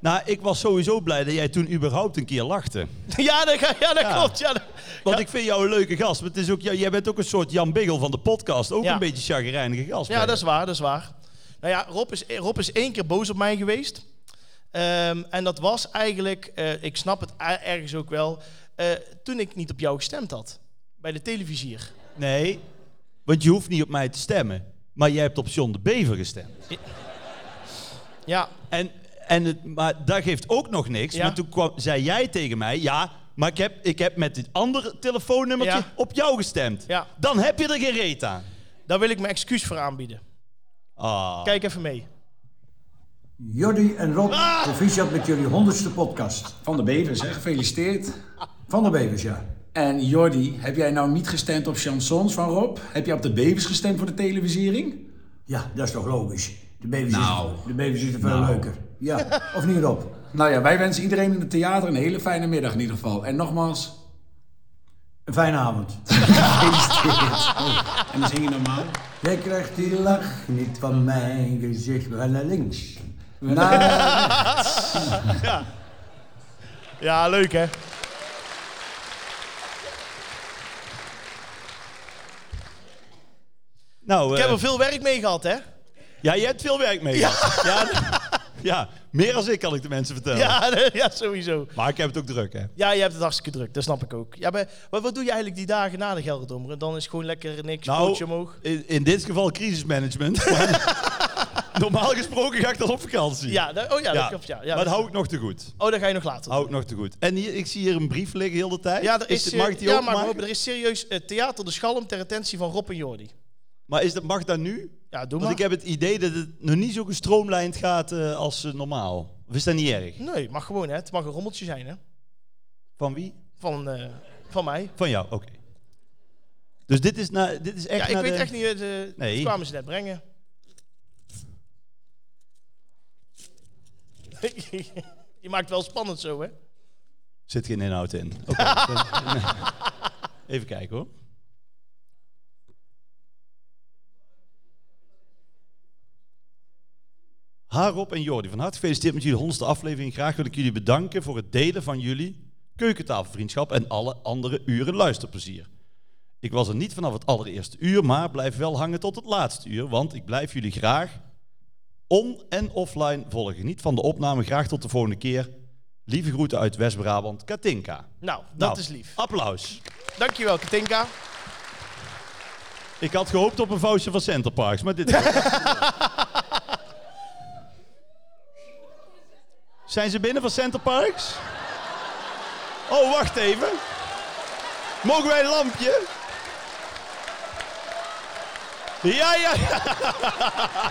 [SPEAKER 2] Nou, ik was sowieso blij dat jij toen überhaupt een keer lachte.
[SPEAKER 1] ja, dat, ga- ja, dat
[SPEAKER 2] Ja.
[SPEAKER 1] klopt. Ja, dat-
[SPEAKER 2] Want
[SPEAKER 1] Ja.
[SPEAKER 2] ik vind jou een leuke gast. Maar het is ook, ja, jij bent ook een soort Jan Biggel van de podcast. Ook
[SPEAKER 1] Ja.
[SPEAKER 2] een beetje chagrijnige gast.
[SPEAKER 1] Ja,
[SPEAKER 2] ben je.
[SPEAKER 1] dat is waar, dat is waar. Nou ja, Rob is, Rob is één keer boos op mij geweest. Ehm, en dat was eigenlijk, eh, ik snap het a- ergens ook wel, eh, toen ik niet op jou gestemd had. Bij de televisier.
[SPEAKER 2] Nee, want je hoeft niet op mij te stemmen. Maar jij hebt op John de Bever gestemd.
[SPEAKER 1] Ja,
[SPEAKER 2] En, en het, maar dat geeft ook nog niks.
[SPEAKER 1] Ja.
[SPEAKER 2] Maar toen kwam, zei jij tegen mij... Ja, maar ik heb, ik heb met dit andere telefoonnummertje
[SPEAKER 1] Ja.
[SPEAKER 2] op jou gestemd.
[SPEAKER 1] Ja.
[SPEAKER 2] Dan heb je er geen reet aan.
[SPEAKER 1] daar wil ik mijn excuus voor aanbieden.
[SPEAKER 2] Ah.
[SPEAKER 1] Kijk even mee.
[SPEAKER 5] Jordi en Rob, proficiat met jullie honderdste podcast.
[SPEAKER 6] Van de Bevers, hè? Gefeliciteerd.
[SPEAKER 5] Van de Bevers, ja.
[SPEAKER 6] En Jordi, heb jij nou niet gestemd op chansons van Rob? Heb jij op de Bevers gestemd voor de televisiering?
[SPEAKER 5] Ja, dat is toch logisch. De Bevers,
[SPEAKER 6] Nou.
[SPEAKER 5] is, de Bevers is er veel leuker. Ja, of niet Rob?
[SPEAKER 6] Nou ja, wij wensen iedereen in het theater een hele fijne middag in ieder geval. En nogmaals,
[SPEAKER 5] Een fijne avond.
[SPEAKER 6] en dan zing je normaal.
[SPEAKER 5] Jij krijgt die lach niet van mijn gezicht. We gaan naar links. Naar...
[SPEAKER 1] Ja, leuk hè?
[SPEAKER 2] Nou,
[SPEAKER 1] Ik heb
[SPEAKER 2] eh,
[SPEAKER 1] er veel werk mee gehad hè?
[SPEAKER 2] ja, je hebt veel werk mee gehad. Ja. d- ja, meer als ik kan ik de mensen vertellen.
[SPEAKER 1] Ja, ja, sowieso.
[SPEAKER 2] Maar ik heb het ook druk, hè.
[SPEAKER 1] Ja, je hebt het hartstikke druk, dat snap ik ook. Ja, maar wat, wat doe je eigenlijk die dagen na de Gelderdommer? Dan is gewoon lekker niks,
[SPEAKER 2] Nou,
[SPEAKER 1] broodje omhoog.
[SPEAKER 2] In, in dit geval crisismanagement. Maar normaal gesproken ga ik dan op vakantie.
[SPEAKER 1] Ja, dat- oh ja, dat klopt, ja. ja
[SPEAKER 2] maar
[SPEAKER 1] dat-
[SPEAKER 2] dat hou ik nog te goed.
[SPEAKER 1] Oh, dat ga je nog later. doen.
[SPEAKER 2] Hou ik nog te goed. En hier, ik zie hier een brief liggen heel de tijd.
[SPEAKER 1] Ja, er is,
[SPEAKER 2] dit-
[SPEAKER 1] eh,
[SPEAKER 2] mag ik die
[SPEAKER 1] ja, maar
[SPEAKER 2] openmaken?
[SPEAKER 1] er is serieus eh, theater De Schalm ter attentie van Rob en Jordi.
[SPEAKER 2] Maar is dat, mag dat nu?
[SPEAKER 1] Ja, doe maar.
[SPEAKER 2] Want ik heb het idee dat het nog niet zo gestroomlijnd gaat eh, als eh, normaal. Of is dat niet erg?
[SPEAKER 1] Nee, mag gewoon, hè. Het mag een rommeltje zijn, hè.
[SPEAKER 2] Van wie?
[SPEAKER 1] Van, eh, van mij.
[SPEAKER 2] Van jou, oké. Dus dit is, na, dit is echt
[SPEAKER 1] Ja, ik
[SPEAKER 2] naar
[SPEAKER 1] weet
[SPEAKER 2] Nou, de-
[SPEAKER 1] echt niet... eh, de-
[SPEAKER 2] Nee.
[SPEAKER 1] Dat kwamen ze net brengen. Je maakt het wel spannend zo, hè.
[SPEAKER 2] Zit geen inhoud in. Oké, dan- nee. Even kijken hoor. Harop en Jordi, van harte gefeliciteerd met jullie honderdste aflevering. Graag wil ik jullie bedanken voor het delen van jullie keukentafelvriendschap en alle andere uren luisterplezier. Ik was er niet vanaf het allereerste uur, maar blijf wel hangen tot het laatste uur, want ik blijf jullie graag on- en offline volgen. Niet van de opname, graag tot de volgende keer. Lieve groeten uit West-Brabant, Katinka.
[SPEAKER 1] Nou, dat
[SPEAKER 2] Nou,
[SPEAKER 1] is lief.
[SPEAKER 2] Applaus.
[SPEAKER 1] Dankjewel, Katinka.
[SPEAKER 2] Ik had gehoopt op een foutje van Centerparks, maar dit... Zijn ze binnen van Centerparks? Oh, wacht even. Mogen wij een lampje? Ja, ja, ja.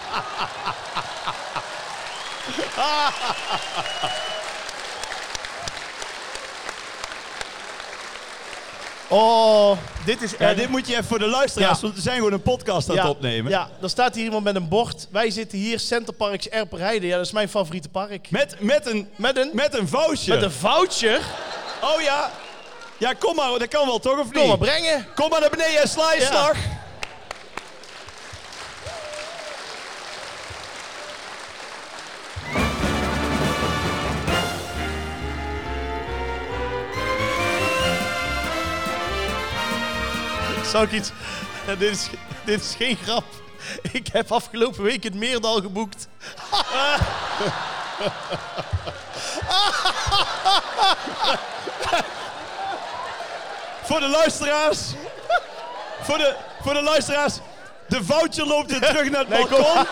[SPEAKER 1] Oh, dit is echt...
[SPEAKER 2] Ja, dit moet je even voor de luisteraars,
[SPEAKER 1] Ja.
[SPEAKER 2] want we zijn gewoon een podcast aan het opnemen.
[SPEAKER 1] Ja, dan staat hier iemand met een bord. Wij zitten hier, Centerparks Erperijden. Ja, dat is mijn favoriete park.
[SPEAKER 2] Met, met een...
[SPEAKER 1] Met een,
[SPEAKER 2] Met een voucher.
[SPEAKER 1] met een voucher.
[SPEAKER 2] Oh ja. Ja, kom maar, dat kan wel toch, of niet?
[SPEAKER 1] Kom maar brengen.
[SPEAKER 2] Kom maar naar beneden en sla je
[SPEAKER 1] Ja.
[SPEAKER 2] slag.
[SPEAKER 1] Zou ik iets... Ja, dit, is, dit is geen grap. Ik heb afgelopen week het Meerdal geboekt.
[SPEAKER 2] Voor de luisteraars. Voor de, voor de luisteraars. De voucher loopt weer terug naar het
[SPEAKER 1] Nee, kom.
[SPEAKER 2] balkon.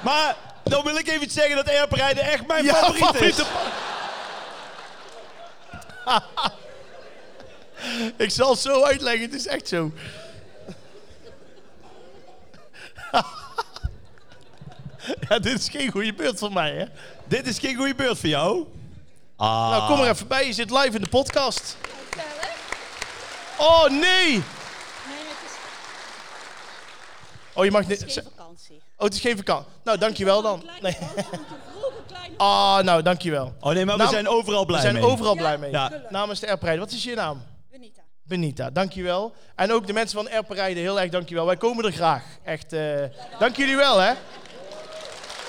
[SPEAKER 2] Maar dan wil ik even iets zeggen dat airrijden echt mijn
[SPEAKER 1] Ja,
[SPEAKER 2] favoriet
[SPEAKER 1] favoriete
[SPEAKER 2] is.
[SPEAKER 1] Ik zal het zo uitleggen, het is echt zo. ja, dit is geen goede beurt van mij, hè?
[SPEAKER 2] Dit is geen goede beurt voor jou.
[SPEAKER 1] Nou, kom er
[SPEAKER 2] Ah.
[SPEAKER 1] even bij, je zit live in de podcast. Oh, nee!
[SPEAKER 7] Nee, het is
[SPEAKER 1] Oh, je mag niet...
[SPEAKER 7] geen vakantie.
[SPEAKER 1] Oh, het is geen vakantie. Nou, dankjewel dan.
[SPEAKER 7] Een
[SPEAKER 1] Nee.
[SPEAKER 7] kleine foto, een gevroren kleine-
[SPEAKER 1] Ah, nou, dankjewel.
[SPEAKER 2] Oh nee, maar we
[SPEAKER 1] Nou,
[SPEAKER 2] zijn overal blij
[SPEAKER 1] We zijn
[SPEAKER 2] mee.
[SPEAKER 1] overal
[SPEAKER 7] Ja,
[SPEAKER 1] blij mee.
[SPEAKER 2] Ja.
[SPEAKER 7] gelukkig.
[SPEAKER 1] Namens de Erperijden. Wat is je naam?
[SPEAKER 7] Benita.
[SPEAKER 1] Benita, dankjewel. En ook de mensen van Erperijden, heel erg dankjewel. Wij komen er graag. Echt, eh dank jullie wel, hè.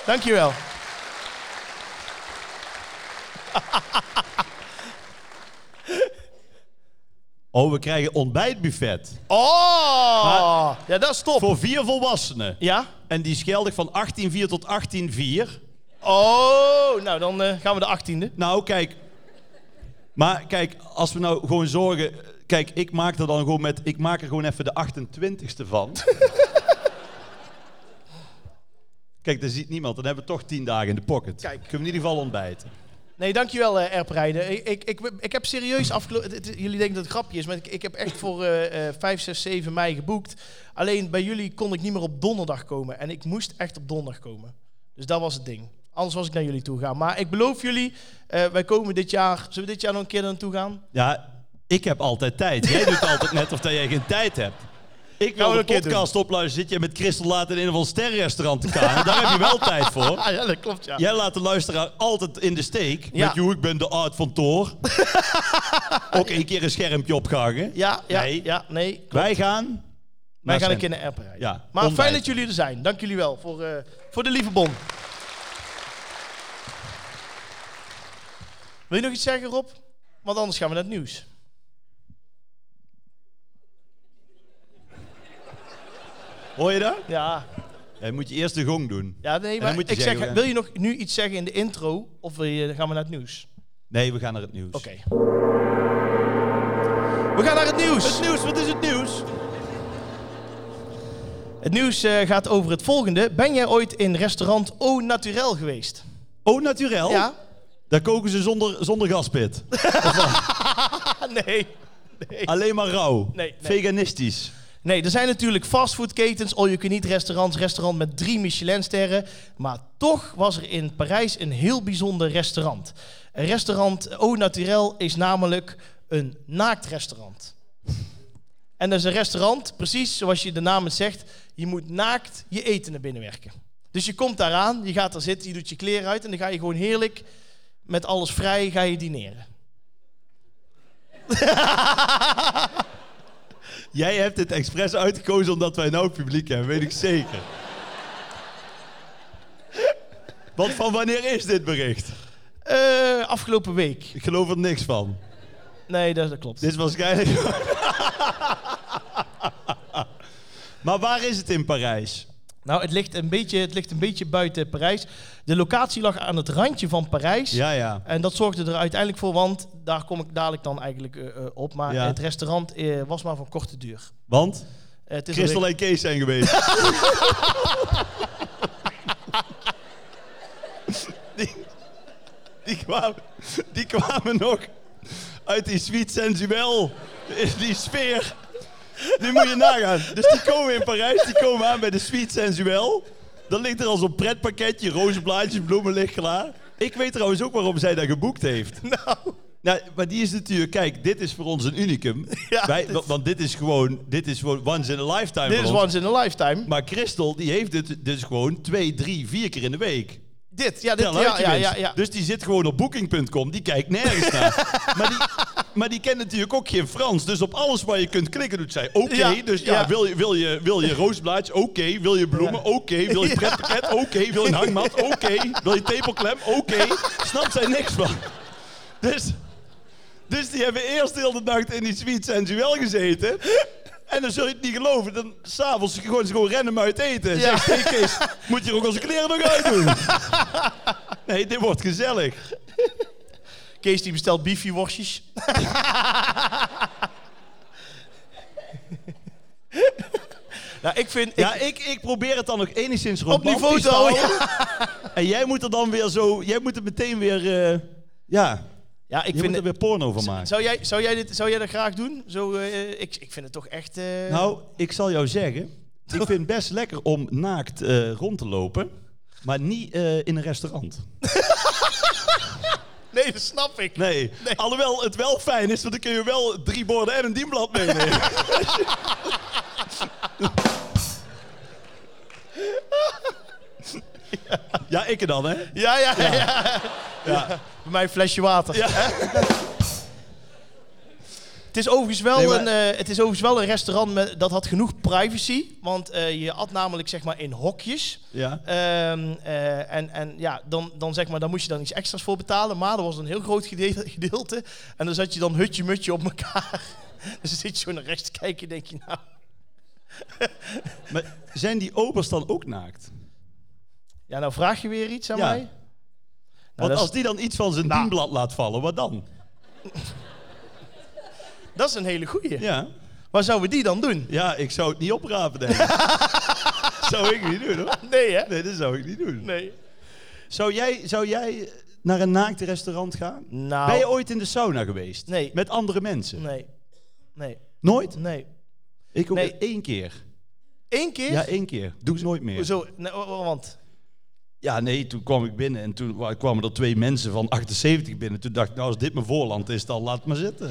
[SPEAKER 1] Dankjewel.
[SPEAKER 2] Oh, we krijgen ontbijtbuffet.
[SPEAKER 1] Oh! Ja, dat is top.
[SPEAKER 2] Voor vier volwassenen.
[SPEAKER 1] Ja?
[SPEAKER 2] En die is geldig van 18,4 tot 18,4.
[SPEAKER 1] Oh, nou dan eh, gaan we de achttiende.
[SPEAKER 2] Nou, kijk. Maar kijk, als we nou gewoon zorgen. Kijk, ik maak er dan gewoon met. Ik maak er gewoon even de 28ste van. kijk, daar ziet niemand. Dan hebben we toch 10 dagen in de pocket.
[SPEAKER 1] Kijk.
[SPEAKER 2] Kunnen we in ieder geval ontbijten.
[SPEAKER 1] Nee, dankjewel eh Erperijden. Ik, ik, ik, ik heb serieus afgelopen... Jullie denken dat het grapje is, maar ik, ik heb echt voor eh eh 5, 6, 7 mei geboekt. Alleen bij jullie kon ik niet meer op donderdag komen. En ik moest echt op donderdag komen. Dus dat was het ding. Anders was ik naar jullie toe gegaan. Maar ik beloof jullie, eh, wij komen dit jaar... Zullen we dit jaar nog een keer naartoe gaan?
[SPEAKER 2] Ja, ik heb altijd tijd. Jij doet altijd net of dat jij geen tijd hebt. Ik
[SPEAKER 1] Gaan
[SPEAKER 2] wil
[SPEAKER 1] we
[SPEAKER 2] de
[SPEAKER 1] een keer
[SPEAKER 2] podcast opluisteren. Zit je met Christel laat in een of ander sterrenrestaurant te gaan. Daar heb je wel tijd voor.
[SPEAKER 1] Ah ja, dat klopt, ja.
[SPEAKER 2] Jij laat de luisteraar altijd in de steek.
[SPEAKER 1] Ja.
[SPEAKER 2] Met joh, ik ben de Art van Toor. Ook één keer een schermpje opgehangen.
[SPEAKER 1] Ja, ja,
[SPEAKER 2] Nee.
[SPEAKER 1] ja, nee.
[SPEAKER 2] Wij gaan...
[SPEAKER 1] Wij gaan een keer
[SPEAKER 2] kinderen.
[SPEAKER 1] naar Erperijden.
[SPEAKER 2] Ja,
[SPEAKER 1] maar fijn
[SPEAKER 2] ontbijten.
[SPEAKER 1] dat jullie er zijn. Dank jullie wel voor, eh, voor de lieve bon. Wil je nog iets zeggen, Rob? Want anders gaan we naar het nieuws.
[SPEAKER 2] Hoor je dat?
[SPEAKER 1] Ja,
[SPEAKER 2] Jij moet je eerst de gong doen.
[SPEAKER 1] ja nee,
[SPEAKER 2] dan
[SPEAKER 1] maar
[SPEAKER 2] moet
[SPEAKER 1] ik
[SPEAKER 2] je zeggen,
[SPEAKER 1] zeg,
[SPEAKER 2] hè?
[SPEAKER 1] wil je nog nu iets zeggen in de intro of wil je, gaan we naar het nieuws?
[SPEAKER 2] Nee, we gaan naar het nieuws.
[SPEAKER 1] Oké. We gaan naar het nieuws.
[SPEAKER 2] Het nieuws, wat is het nieuws?
[SPEAKER 1] Het nieuws eh, gaat over het volgende. Ben jij ooit in restaurant Au Naturel geweest?
[SPEAKER 2] Oh, naturel?
[SPEAKER 1] Ja?
[SPEAKER 2] Daar koken ze zonder, zonder gaspit.
[SPEAKER 1] Ah, nee. nee.
[SPEAKER 2] Alleen maar rauw.
[SPEAKER 1] nee.
[SPEAKER 2] Veganistisch.
[SPEAKER 1] Nee, er zijn natuurlijk fastfoodketens, all-you-can-eat restaurants, restaurant met drie Michelinsterren. Maar toch was er in Parijs een heel bijzonder restaurant. Een restaurant Au Naturel is namelijk een naaktrestaurant. En dat is een restaurant, precies zoals je de naam het zegt, je moet naakt je eten naar binnen werken. Dus je komt daar aan, je gaat daar zitten, je doet je kleren uit en dan ga je gewoon heerlijk met alles vrij ga je dineren.
[SPEAKER 2] Jij hebt dit expres uitgekozen omdat wij nou publiek hebben, weet ik zeker. Want van wanneer is dit bericht?
[SPEAKER 1] Eh, afgelopen week.
[SPEAKER 2] Ik geloof er niks van.
[SPEAKER 1] Nee, dat, dat klopt.
[SPEAKER 2] Dit is waarschijnlijk. Maar waar is het in Parijs?
[SPEAKER 1] Nou, het ligt, een beetje, het ligt een beetje buiten Parijs. De locatie lag aan het randje van Parijs.
[SPEAKER 2] Ja, ja.
[SPEAKER 1] En dat zorgde er uiteindelijk voor, want daar kom ik dadelijk dan eigenlijk eh, eh, op. Maar
[SPEAKER 2] Ja.
[SPEAKER 1] het restaurant eh, was maar van korte duur.
[SPEAKER 2] Want
[SPEAKER 1] Eh, het is
[SPEAKER 2] Christel
[SPEAKER 1] alweer-
[SPEAKER 2] en Kees zijn geweest. die, die, kwamen, die kwamen nog uit die sweet sensuel, in die sfeer. Die moet je nagaan. Dus die komen in Parijs, die komen aan bij de sweet sensuel. Dan ligt er al zo'n pretpakketje, rozenblaadjes, bloemen ligt klaar. Ik weet trouwens ook waarom zij dat geboekt heeft. Nou, maar die is natuurlijk, kijk, dit is voor ons een unicum.
[SPEAKER 1] Ja,
[SPEAKER 2] Wij,
[SPEAKER 1] dit-
[SPEAKER 2] wa- Want dit is gewoon, dit is gewoon once in a lifetime.
[SPEAKER 1] Dit
[SPEAKER 2] voor
[SPEAKER 1] is
[SPEAKER 2] ons.
[SPEAKER 1] once in a lifetime.
[SPEAKER 2] Maar Christel, die heeft het dus gewoon twee, drie, vier keer in de week.
[SPEAKER 1] dit, ja, dit,
[SPEAKER 2] Ja,
[SPEAKER 1] ja,
[SPEAKER 2] luidje
[SPEAKER 1] ja,
[SPEAKER 2] wist.
[SPEAKER 1] ja, ja.
[SPEAKER 2] Dus die zit gewoon op booking.com, die kijkt nergens naar. Maar die, maar die kent natuurlijk ook geen Frans. Dus op alles waar je kunt klikken doet zij oké.
[SPEAKER 1] Ja,
[SPEAKER 2] dus ja,
[SPEAKER 1] ja.
[SPEAKER 2] Wil, je, wil, je, wil je roosblaadje? Oké. Wil je bloemen? Oké. Wil je pretpakket? Oké. Wil je een hangmat? Oké. Wil je tepelklem? Oké. Snapt zij niks van. Dus, dus die hebben eerst heel de nacht in die suite sensueel gezeten. En dan zul je het niet geloven. Dan s'avonds gewoon ze gewoon random uit eten. Zeg, hey Kees, moet je er ook onze kleren nog uit doen? Nee, dit wordt gezellig.
[SPEAKER 1] Kees die bestelt beefy worstjes. nou, ik vind...
[SPEAKER 2] Ja,
[SPEAKER 1] ik,
[SPEAKER 2] ik, ik probeer het dan nog enigszins
[SPEAKER 1] op
[SPEAKER 2] romantisch
[SPEAKER 1] niveau te houden. Ja,
[SPEAKER 2] En jij moet er dan weer zo... Jij moet er meteen weer... eh, ja,
[SPEAKER 1] ik
[SPEAKER 2] je
[SPEAKER 1] vind...
[SPEAKER 2] moet er weer porno van maken.
[SPEAKER 1] Zou jij, zou, jij dit, zou jij dat graag doen? Zo, eh, ik, ik vind het toch echt... eh,
[SPEAKER 2] Nou, ik zal jou zeggen. Ik vind het best lekker om naakt eh, rond te lopen. Maar niet eh, in een restaurant.
[SPEAKER 1] Nee, dat snap ik.
[SPEAKER 2] Nee. Alhoewel het wel fijn is, want dan kun je wel drie borden en een dienblad meenemen. ja, ik er dan, hè?
[SPEAKER 1] Ja, ja, ja. Bij mij een flesje water. Het is, overigens wel
[SPEAKER 2] Nee, maar-
[SPEAKER 1] een, eh, het is overigens wel een restaurant met, dat had genoeg privacy. Want eh, je at namelijk zeg maar in hokjes.
[SPEAKER 2] Ja.
[SPEAKER 1] Ehm, eh, en en ja, dan, dan, zeg maar, dan moest je dan iets extra's voor betalen. Maar er was een heel groot gede- gedeelte. En dan zat je dan hutje-mutje op elkaar. Dus dan zit je zo naar rechts te kijken denk je nou...
[SPEAKER 2] Maar zijn die obers dan ook naakt?
[SPEAKER 1] Nou, Ja, nou vraag je weer iets aan
[SPEAKER 2] Ja.
[SPEAKER 1] mij. Nou, dat,
[SPEAKER 2] Want
[SPEAKER 1] is-
[SPEAKER 2] als die dan iets van zijn
[SPEAKER 1] Nou.
[SPEAKER 2] dienblad laat vallen, wat dan?
[SPEAKER 1] dat is een hele goeie.
[SPEAKER 2] Ja,
[SPEAKER 1] Waar zouden we die dan doen?
[SPEAKER 2] ja ik zou het niet oprapen, denk ik. zou ik niet doen, hoor.
[SPEAKER 1] Nee, hè?
[SPEAKER 2] Nee, dat zou ik niet doen.
[SPEAKER 1] Nee.
[SPEAKER 2] Zou, jij, zou jij naar een naakt restaurant gaan?
[SPEAKER 1] Nou...
[SPEAKER 2] Ben je ooit in de sauna geweest?
[SPEAKER 1] Nee.
[SPEAKER 2] Met andere mensen?
[SPEAKER 1] Nee. Nee.
[SPEAKER 2] Nooit?
[SPEAKER 1] Nee.
[SPEAKER 2] Ik ook
[SPEAKER 1] Nee.
[SPEAKER 2] één keer.
[SPEAKER 1] Één keer?
[SPEAKER 2] Ja, één keer. Doe ze nooit meer.
[SPEAKER 1] Zo, nee, wa- wa- want...
[SPEAKER 2] Ja, nee, toen kwam ik binnen en toen wa- kwamen er twee mensen van 78 binnen. Toen dacht ik, nou, als dit mijn voorland is, dan laat maar zitten.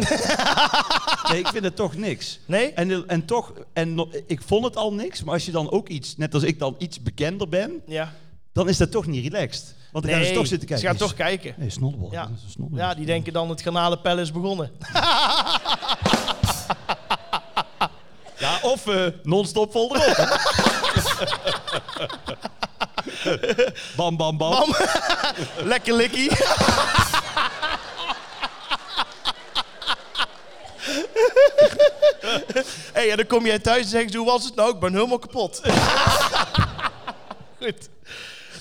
[SPEAKER 2] nee, ik vind het toch niks.
[SPEAKER 1] Nee?
[SPEAKER 2] En, en toch, en, no- ik vond het al niks, maar als je dan ook iets, net als ik dan iets bekender ben,
[SPEAKER 1] Ja.
[SPEAKER 2] dan is dat toch niet relaxed. Want dan gaan ze dus toch zitten kijken.
[SPEAKER 1] Ze gaan toch
[SPEAKER 2] Nee,
[SPEAKER 1] kijken.
[SPEAKER 2] Nee, snobbel.
[SPEAKER 1] Ja.
[SPEAKER 2] Dat is een snobbel.
[SPEAKER 1] Ja, die denken dan het garnalenpel is begonnen.
[SPEAKER 2] Ja, of eh, non-stop vol erop. hè. bam, bam, bam.
[SPEAKER 1] Lekker likkie. hey, en dan kom jij thuis en zeg je, hoe was het nou? Ik ben helemaal kapot. Goed.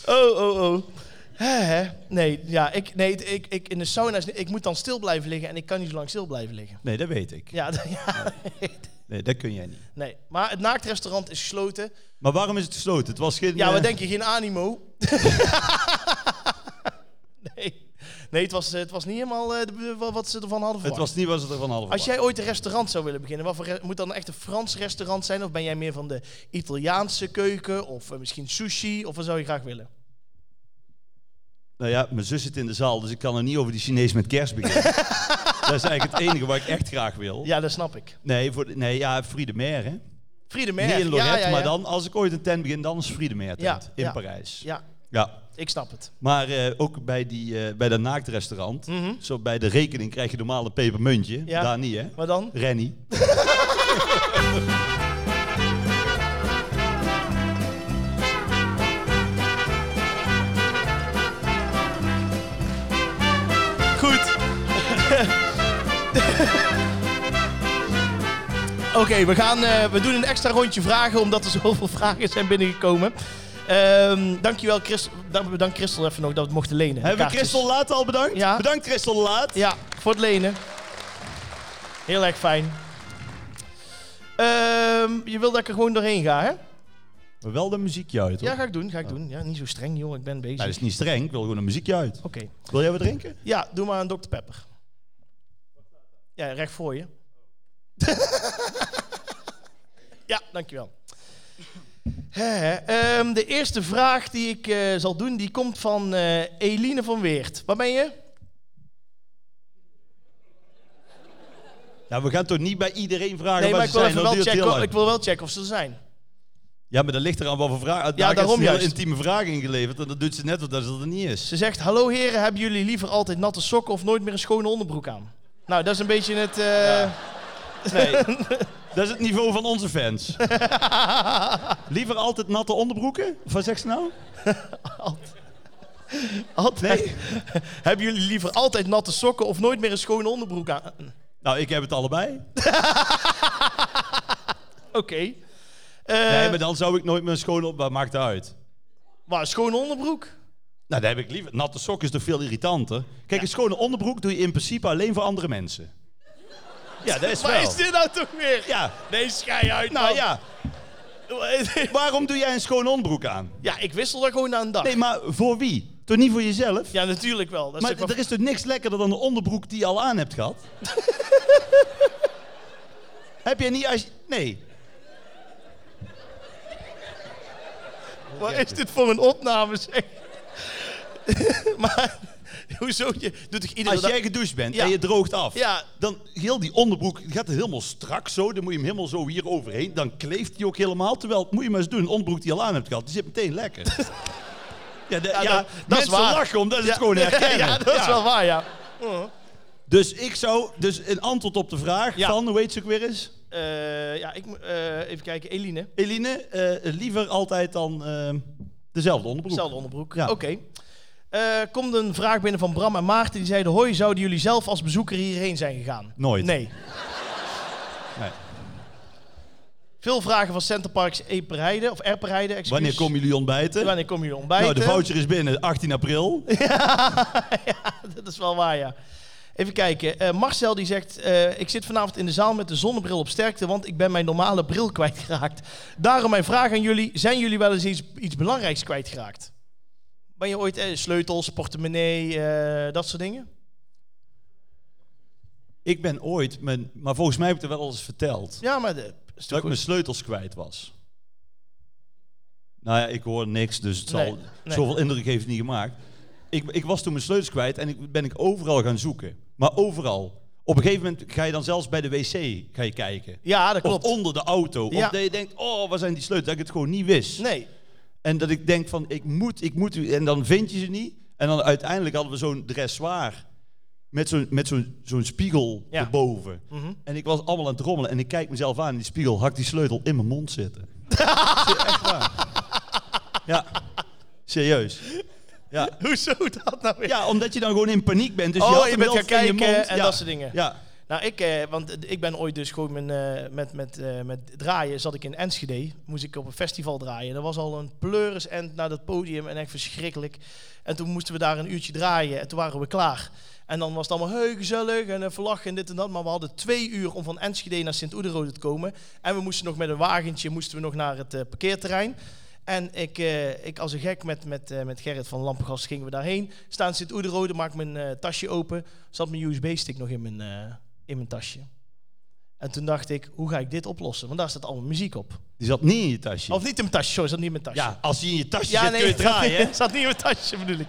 [SPEAKER 1] Oh, oh, oh. Hè, hè. Nee, ja, ik, nee ik, ik, in de sauna, is- ik moet dan stil blijven liggen en ik kan niet zo lang stil blijven liggen.
[SPEAKER 2] Nee, dat weet ik.
[SPEAKER 1] Ja, d- ja.
[SPEAKER 2] Nee, dat kun jij niet.
[SPEAKER 1] nee. Maar het naaktrestaurant is gesloten.
[SPEAKER 2] Maar waarom is het gesloten? Het was geen...
[SPEAKER 1] Ja,
[SPEAKER 2] eh,
[SPEAKER 1] wat denk je? Geen animo? nee, nee het, was, eh, het was niet helemaal eh, de be- wa- wat ze ervan hadden
[SPEAKER 2] Het
[SPEAKER 1] verwacht.
[SPEAKER 2] was niet wat ze ervan hadden
[SPEAKER 1] Als
[SPEAKER 2] verwacht.
[SPEAKER 1] jij ooit een restaurant zou willen beginnen, wat voor re- moet dan echt een Frans restaurant zijn? Of ben jij meer van de Italiaanse keuken? Of eh, misschien sushi? Of wat zou je graag willen?
[SPEAKER 2] Nou ja, mijn zus zit in de zaal, dus ik kan er niet over die Chinees met kerst beginnen. dat is eigenlijk het enige wat ik echt graag wil.
[SPEAKER 1] Ja, dat snap ik.
[SPEAKER 2] Nee, voor, de- nee, ja, Friedemer, hè. Niet
[SPEAKER 1] Friede Meer.
[SPEAKER 2] in Lorette,
[SPEAKER 1] ja, ja, ja.
[SPEAKER 2] maar dan, als ik ooit een tent begin, dan is Friedemer tent.
[SPEAKER 1] Ja,
[SPEAKER 2] in
[SPEAKER 1] ja.
[SPEAKER 2] Parijs. Ja.
[SPEAKER 1] Ja, ik snap het.
[SPEAKER 2] Maar eh, ook bij, die, eh, bij dat naaktrestaurant. Zo bij de rekening krijg je normaal een pepermuntje.
[SPEAKER 1] Mhm. Ja.
[SPEAKER 2] Daar niet, hè.
[SPEAKER 1] Maar dan?
[SPEAKER 2] Rennie.
[SPEAKER 1] Goed. Oké, we, gaan, eh, we doen een extra rondje vragen, omdat er zoveel vragen zijn binnengekomen. Ehm dankjewel, Christel. Dank, bedankt Christel even nog dat we het mochten lenen.
[SPEAKER 2] Hebben we
[SPEAKER 1] Kaartjes.
[SPEAKER 2] Christel Laat al bedankt?
[SPEAKER 1] Ja.
[SPEAKER 2] Bedankt Christel Laat.
[SPEAKER 1] Ja, voor het lenen. Heel erg fijn. Ehm, je wil dat ik er gewoon doorheen ga, hè?
[SPEAKER 2] Maar wel de muziekje uit, hoor.
[SPEAKER 1] Ja, ga ik doen, ga ik doen. Ja, niet zo streng, joh. Ik ben bezig.
[SPEAKER 2] Nou, dat is niet streng. Ik wil gewoon een muziekje uit.
[SPEAKER 1] Oké.
[SPEAKER 2] Wil jij wat drinken?
[SPEAKER 1] Ja, doe maar een Dr. Pepper. Ja, recht voor je. ja, dankjewel. Hè, ehm, de eerste vraag die ik eh, zal doen, die komt van eh, Eline van Weert. Waar ben je?
[SPEAKER 2] Ja, we gaan toch niet bij iedereen vragen
[SPEAKER 1] Nee,
[SPEAKER 2] waar
[SPEAKER 1] maar
[SPEAKER 2] ze
[SPEAKER 1] ik wil,
[SPEAKER 2] zijn.
[SPEAKER 1] even
[SPEAKER 2] Dat
[SPEAKER 1] wel
[SPEAKER 2] duurt heel
[SPEAKER 1] checken,
[SPEAKER 2] lang.
[SPEAKER 1] ik wil wel checken of ze er zijn.
[SPEAKER 2] Ja, maar dat ligt eraan wat voor vragen. Daar
[SPEAKER 1] daarom
[SPEAKER 2] heeft ze een hele
[SPEAKER 1] juist.
[SPEAKER 2] intieme vraag ingeleverd. En dat doet ze net of dat ze er niet is.
[SPEAKER 1] Ze zegt, hallo heren, hebben jullie liever altijd natte sokken of nooit meer een schone onderbroek aan? Nou, dat is een beetje het... eh,
[SPEAKER 2] Nee. dat is het niveau van onze fans. Liever altijd natte onderbroeken? Wat zegt ze nou?
[SPEAKER 1] altijd. hebben jullie liever altijd natte sokken of nooit meer een schone onderbroek aan?
[SPEAKER 2] Nou, ik heb het allebei.
[SPEAKER 1] Oké. Eh,
[SPEAKER 2] Nee, maar dan zou ik nooit mijn schoon op... Maar maakt het uit.
[SPEAKER 1] Maar een schone onderbroek?
[SPEAKER 2] Nou, dat heb ik liever. Natte sok is toch veel irritanter? Kijk, een schone onderbroek doe je in principe alleen voor andere mensen. Ja, dat is
[SPEAKER 1] Waar
[SPEAKER 2] wel.
[SPEAKER 1] is dit nou toch weer?
[SPEAKER 2] Ja,
[SPEAKER 1] Nee, schei uit.
[SPEAKER 2] nou
[SPEAKER 1] man.
[SPEAKER 2] ja. Waarom doe jij een schone onderbroek aan?
[SPEAKER 1] ja, ik wissel dat gewoon aan een dag.
[SPEAKER 2] Nee, maar voor wie? Toch niet voor jezelf?
[SPEAKER 1] Ja, natuurlijk wel. Dat is
[SPEAKER 2] maar
[SPEAKER 1] toch wel-
[SPEAKER 2] er is toch niks lekkerder dan de onderbroek die je al aan hebt gehad? heb jij niet als... je- Nee.
[SPEAKER 1] Wat is dit voor een opname, zeg? maar, hoezo? Je doet toch iedere
[SPEAKER 2] Als
[SPEAKER 1] dag-
[SPEAKER 2] jij gedoucht bent
[SPEAKER 1] Ja.
[SPEAKER 2] en je droogt af,
[SPEAKER 1] Ja.
[SPEAKER 2] dan heel die onderbroek gaat helemaal strak zo. Dan moet je hem helemaal zo hier overheen. Dan kleeft die ook helemaal. Terwijl, moet je maar eens doen, een onderbroek die je al aan hebt gehad, die zit meteen lekker. ja, de- ja,
[SPEAKER 1] dat- dat is
[SPEAKER 2] mensen
[SPEAKER 1] waar.
[SPEAKER 2] lachen omdat ze
[SPEAKER 1] Ja.
[SPEAKER 2] het gewoon herkennen.
[SPEAKER 1] Ja, dat is
[SPEAKER 2] Ja.
[SPEAKER 1] wel waar, ja.
[SPEAKER 2] Dus ik zou, dus een antwoord op de vraag
[SPEAKER 1] Ja.
[SPEAKER 2] van, hoe heet ze ook weer eens?
[SPEAKER 1] Eh, ja, ik, moet, eh, even kijken. Eline,
[SPEAKER 2] Eline, eh, liever altijd dan eh, dezelfde onderbroek.
[SPEAKER 1] zelfde onderbroek.
[SPEAKER 2] Ja.
[SPEAKER 1] Oké. Eh, komt een vraag binnen van Bram en Maarten. Die zeiden, hoi, zouden jullie zelf als bezoeker hierheen zijn gegaan?
[SPEAKER 2] Nooit.
[SPEAKER 1] Nee.
[SPEAKER 2] Nee.
[SPEAKER 1] Veel vragen van Centerparks Eperheide, of Erperheide, excuus.
[SPEAKER 2] Wanneer komen jullie ontbijten?
[SPEAKER 1] Wanneer kom je ontbijten?
[SPEAKER 2] Nou, de voucher is binnen, 18 april.
[SPEAKER 1] Dat is wel waar, ja. Even kijken. Eh, Marcel die zegt, eh, ik zit vanavond in de zaal met de zonnebril op sterkte, want ik ben mijn normale bril kwijtgeraakt. Daarom mijn vraag aan jullie, zijn jullie wel eens iets, iets belangrijks kwijtgeraakt? Ben je ooit eh, sleutels, portemonnee, eh, dat soort dingen?
[SPEAKER 2] Ik ben ooit, mijn, maar volgens mij heb ik het er wel eens verteld.
[SPEAKER 1] Ja, maar de, is
[SPEAKER 2] dat
[SPEAKER 1] toch
[SPEAKER 2] ik mijn
[SPEAKER 1] goed.
[SPEAKER 2] sleutels kwijt was. Nou ja, ik hoor niks, dus het
[SPEAKER 1] Nee,
[SPEAKER 2] zal,
[SPEAKER 1] nee.
[SPEAKER 2] zoveel indruk heeft het niet gemaakt. Ik, ik was toen mijn sleutels kwijt en ik ben ik overal gaan zoeken. Maar overal. Op een gegeven moment ga je dan zelfs bij de wc ga je kijken.
[SPEAKER 1] Ja, dat klopt.
[SPEAKER 2] Of onder de auto.
[SPEAKER 1] Ja.
[SPEAKER 2] Of dat je denkt, oh, waar zijn die sleutels? Dat ik het gewoon niet wist.
[SPEAKER 1] Nee,
[SPEAKER 2] En dat ik denk van, ik moet, ik moet. En dan vind je ze niet. En dan uiteindelijk hadden we zo'n dressoir. Met zo'n, met zo'n, zo'n spiegel
[SPEAKER 1] Ja. Mhm.
[SPEAKER 2] erboven. En ik was allemaal aan het rommelen. En ik kijk mezelf aan in die spiegel. Hak die sleutel in mijn mond zitten. Echt waar. Ja, serieus. Ja.
[SPEAKER 1] hoezo dat nou weer?
[SPEAKER 2] ja, omdat je dan gewoon in paniek bent. Dus
[SPEAKER 1] Oh,
[SPEAKER 2] je, had
[SPEAKER 1] je
[SPEAKER 2] hem
[SPEAKER 1] bent
[SPEAKER 2] wel
[SPEAKER 1] gaan
[SPEAKER 2] in je
[SPEAKER 1] kijken
[SPEAKER 2] mond.
[SPEAKER 1] en
[SPEAKER 2] ja.
[SPEAKER 1] dat soort dingen.
[SPEAKER 2] Ja.
[SPEAKER 1] Nou, ik, eh, want ik ben ooit dus gewoon mijn, eh, met, met, eh, met draaien, zat ik in Enschede, moest ik op een festival draaien. Er was al een pleuris end naar dat podium en echt verschrikkelijk. En toen moesten we daar een uurtje draaien en toen waren we klaar. En dan was het allemaal heel gezellig en even lachen en dit en dat. Maar we hadden twee uur om van Enschede naar Sint-Oederode te komen. En we moesten nog met een wagentje moesten we nog naar het eh, parkeerterrein. En ik, eh, ik als een gek met, met, eh, met Gerrit van Lampengast gingen we daarheen. Staan Sint-Oederode, maak mijn eh, tasje open. Zat mijn USB-stick nog in mijn, eh, in mijn tasje. En toen dacht ik, hoe ga ik dit oplossen? Want daar staat allemaal muziek op.
[SPEAKER 2] Die zat niet in je tasje.
[SPEAKER 1] Of niet in mijn tasje, sorry, zat niet in mijn tasje.
[SPEAKER 2] ja, als die in je tasje zit kun je
[SPEAKER 1] het zat,
[SPEAKER 2] draaien. hè?
[SPEAKER 1] niet- zat niet in mijn tasje bedoel ik.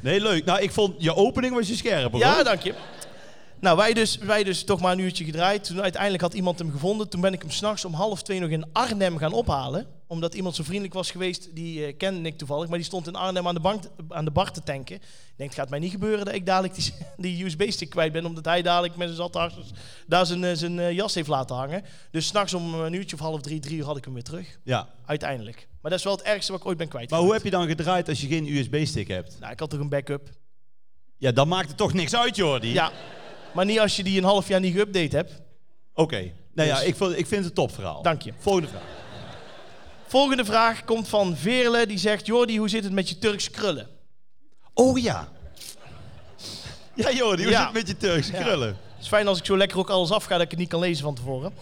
[SPEAKER 2] Nee, leuk. Nou, ik vond je opening was je scherp. hoor.
[SPEAKER 1] Ja, dank je. Nou, wij dus, wij dus toch maar een uurtje gedraaid. Toen uiteindelijk had iemand hem gevonden. Toen ben ik hem s'nachts om half twee nog in Arnhem gaan ophalen. Omdat iemand zo vriendelijk was geweest, die eh kende ik toevallig. Maar die stond in Arnhem aan de, bank, aan de bar te tanken. Ik denk, het gaat mij niet gebeuren dat ik dadelijk die, die USB-stick kwijt ben. Omdat hij dadelijk met zijn zattarsers daar zijn, eh, zijn eh, jas heeft laten hangen. Dus s'nachts om een uurtje of half drie, drie uur had ik hem weer terug.
[SPEAKER 2] ja.
[SPEAKER 1] Uiteindelijk. Maar dat is wel het ergste wat ik ooit ben kwijt.
[SPEAKER 2] Maar hoe heb je dan gedraaid als je geen USB-stick hebt?
[SPEAKER 1] Nou, ik had toch een backup.
[SPEAKER 2] Ja, dan maakt het toch niks uit, Jordi?
[SPEAKER 1] Ja. Maar niet als je die een half jaar niet geüpdate hebt.
[SPEAKER 2] Oké. Nou ja,
[SPEAKER 1] Dus-
[SPEAKER 2] ik, vond- ik vind het een topverhaal.
[SPEAKER 1] Dank je.
[SPEAKER 2] Volgende vraag.
[SPEAKER 1] Volgende vraag komt van Veerle. Die zegt, Jordi, hoe zit het met je Turks krullen?
[SPEAKER 2] Oh ja. Ja, joh, die
[SPEAKER 1] Ja.
[SPEAKER 2] zit met je Turkse krullen.
[SPEAKER 1] Het is fijn als ik zo lekker ook alles afga dat ik het niet kan lezen van tevoren.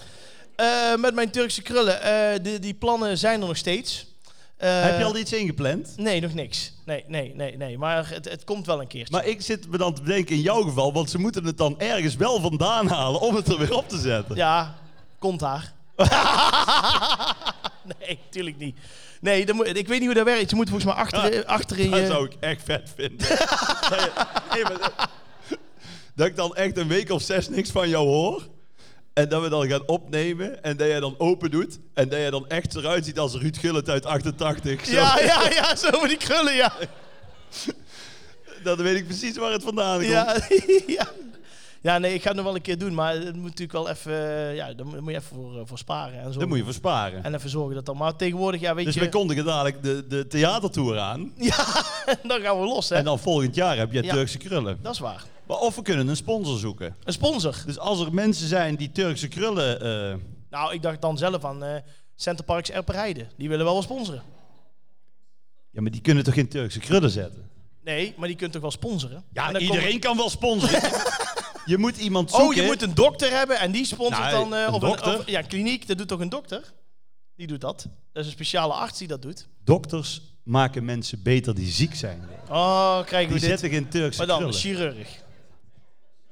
[SPEAKER 1] Eh, met mijn Turkse krullen. eh, de- die plannen zijn er nog steeds. Eh,
[SPEAKER 2] Heb je al iets ingepland?
[SPEAKER 1] Nee, nog niks. Nee, nee, nee, nee. Maar het, het komt wel een keertje.
[SPEAKER 2] Maar ik zit me dan te bedenken in jouw geval, want ze moeten het dan ergens wel vandaan halen om het er weer op te zetten.
[SPEAKER 1] Ja, komt daar. nee, tuurlijk niet. Nee, dan moet- ik weet niet hoe dat werkt. Je moet volgens mij achter, achter in
[SPEAKER 2] Dat
[SPEAKER 1] je...
[SPEAKER 2] zou ik echt vet vinden. Dat je- nee, maar dat- dat ik dan echt een week of zes niks van jou hoor. En dat we dan gaan opnemen en dat jij dan open doet. En dat jij dan echt eruit ziet als Ruud Gullit uit 88. Zo,
[SPEAKER 1] Ja, ja, ja, zo met die krullen, ja.
[SPEAKER 2] Dan weet ik precies waar het vandaan komt.
[SPEAKER 1] Ja, ja. ja, nee, ik ga het nog wel een keer doen. Maar het moet natuurlijk wel even... eh, Ja, daar moet je even voor, eh, voor sparen. En zo.
[SPEAKER 2] Dat moet je versparen.
[SPEAKER 1] En even zorgen dat dan... Maar tegenwoordig, ja, weet
[SPEAKER 2] Dus
[SPEAKER 1] je...
[SPEAKER 2] we kondigen dadelijk de, de theatertour aan.
[SPEAKER 1] dan gaan we los, hè.
[SPEAKER 2] En dan volgend jaar heb jij
[SPEAKER 1] Ja.
[SPEAKER 2] Turkse krullen.
[SPEAKER 1] Dat is waar.
[SPEAKER 2] Maar of we kunnen een sponsor zoeken.
[SPEAKER 1] Een sponsor.
[SPEAKER 2] Dus als er mensen zijn die Turkse krullen... eh,
[SPEAKER 1] Nou, ik dacht dan zelf aan eh Centerparks Erperijden. Die willen wel wel sponsoren.
[SPEAKER 2] ja, maar die kunnen toch geen Turkse krullen zetten?
[SPEAKER 1] Nee, maar die kunt toch wel sponsoren? En
[SPEAKER 2] Ja,
[SPEAKER 1] dan
[SPEAKER 2] iedereen
[SPEAKER 1] komt-
[SPEAKER 2] kan wel sponsoren. je moet iemand zoeken.
[SPEAKER 1] Oh, je moet een dokter hebben en die sponsort
[SPEAKER 2] Nou,
[SPEAKER 1] dan... eh,
[SPEAKER 2] een
[SPEAKER 1] of een-
[SPEAKER 2] dokter?
[SPEAKER 1] of- ja, kliniek, dat doet toch een dokter? Die doet dat. Dat is een speciale arts die dat doet.
[SPEAKER 2] Dokters maken mensen beter die ziek zijn.
[SPEAKER 1] Oh, krijgen
[SPEAKER 2] Die
[SPEAKER 1] we dit.
[SPEAKER 2] zetten geen Turkse
[SPEAKER 1] Maar dan, een
[SPEAKER 2] krullen.
[SPEAKER 1] chirurg.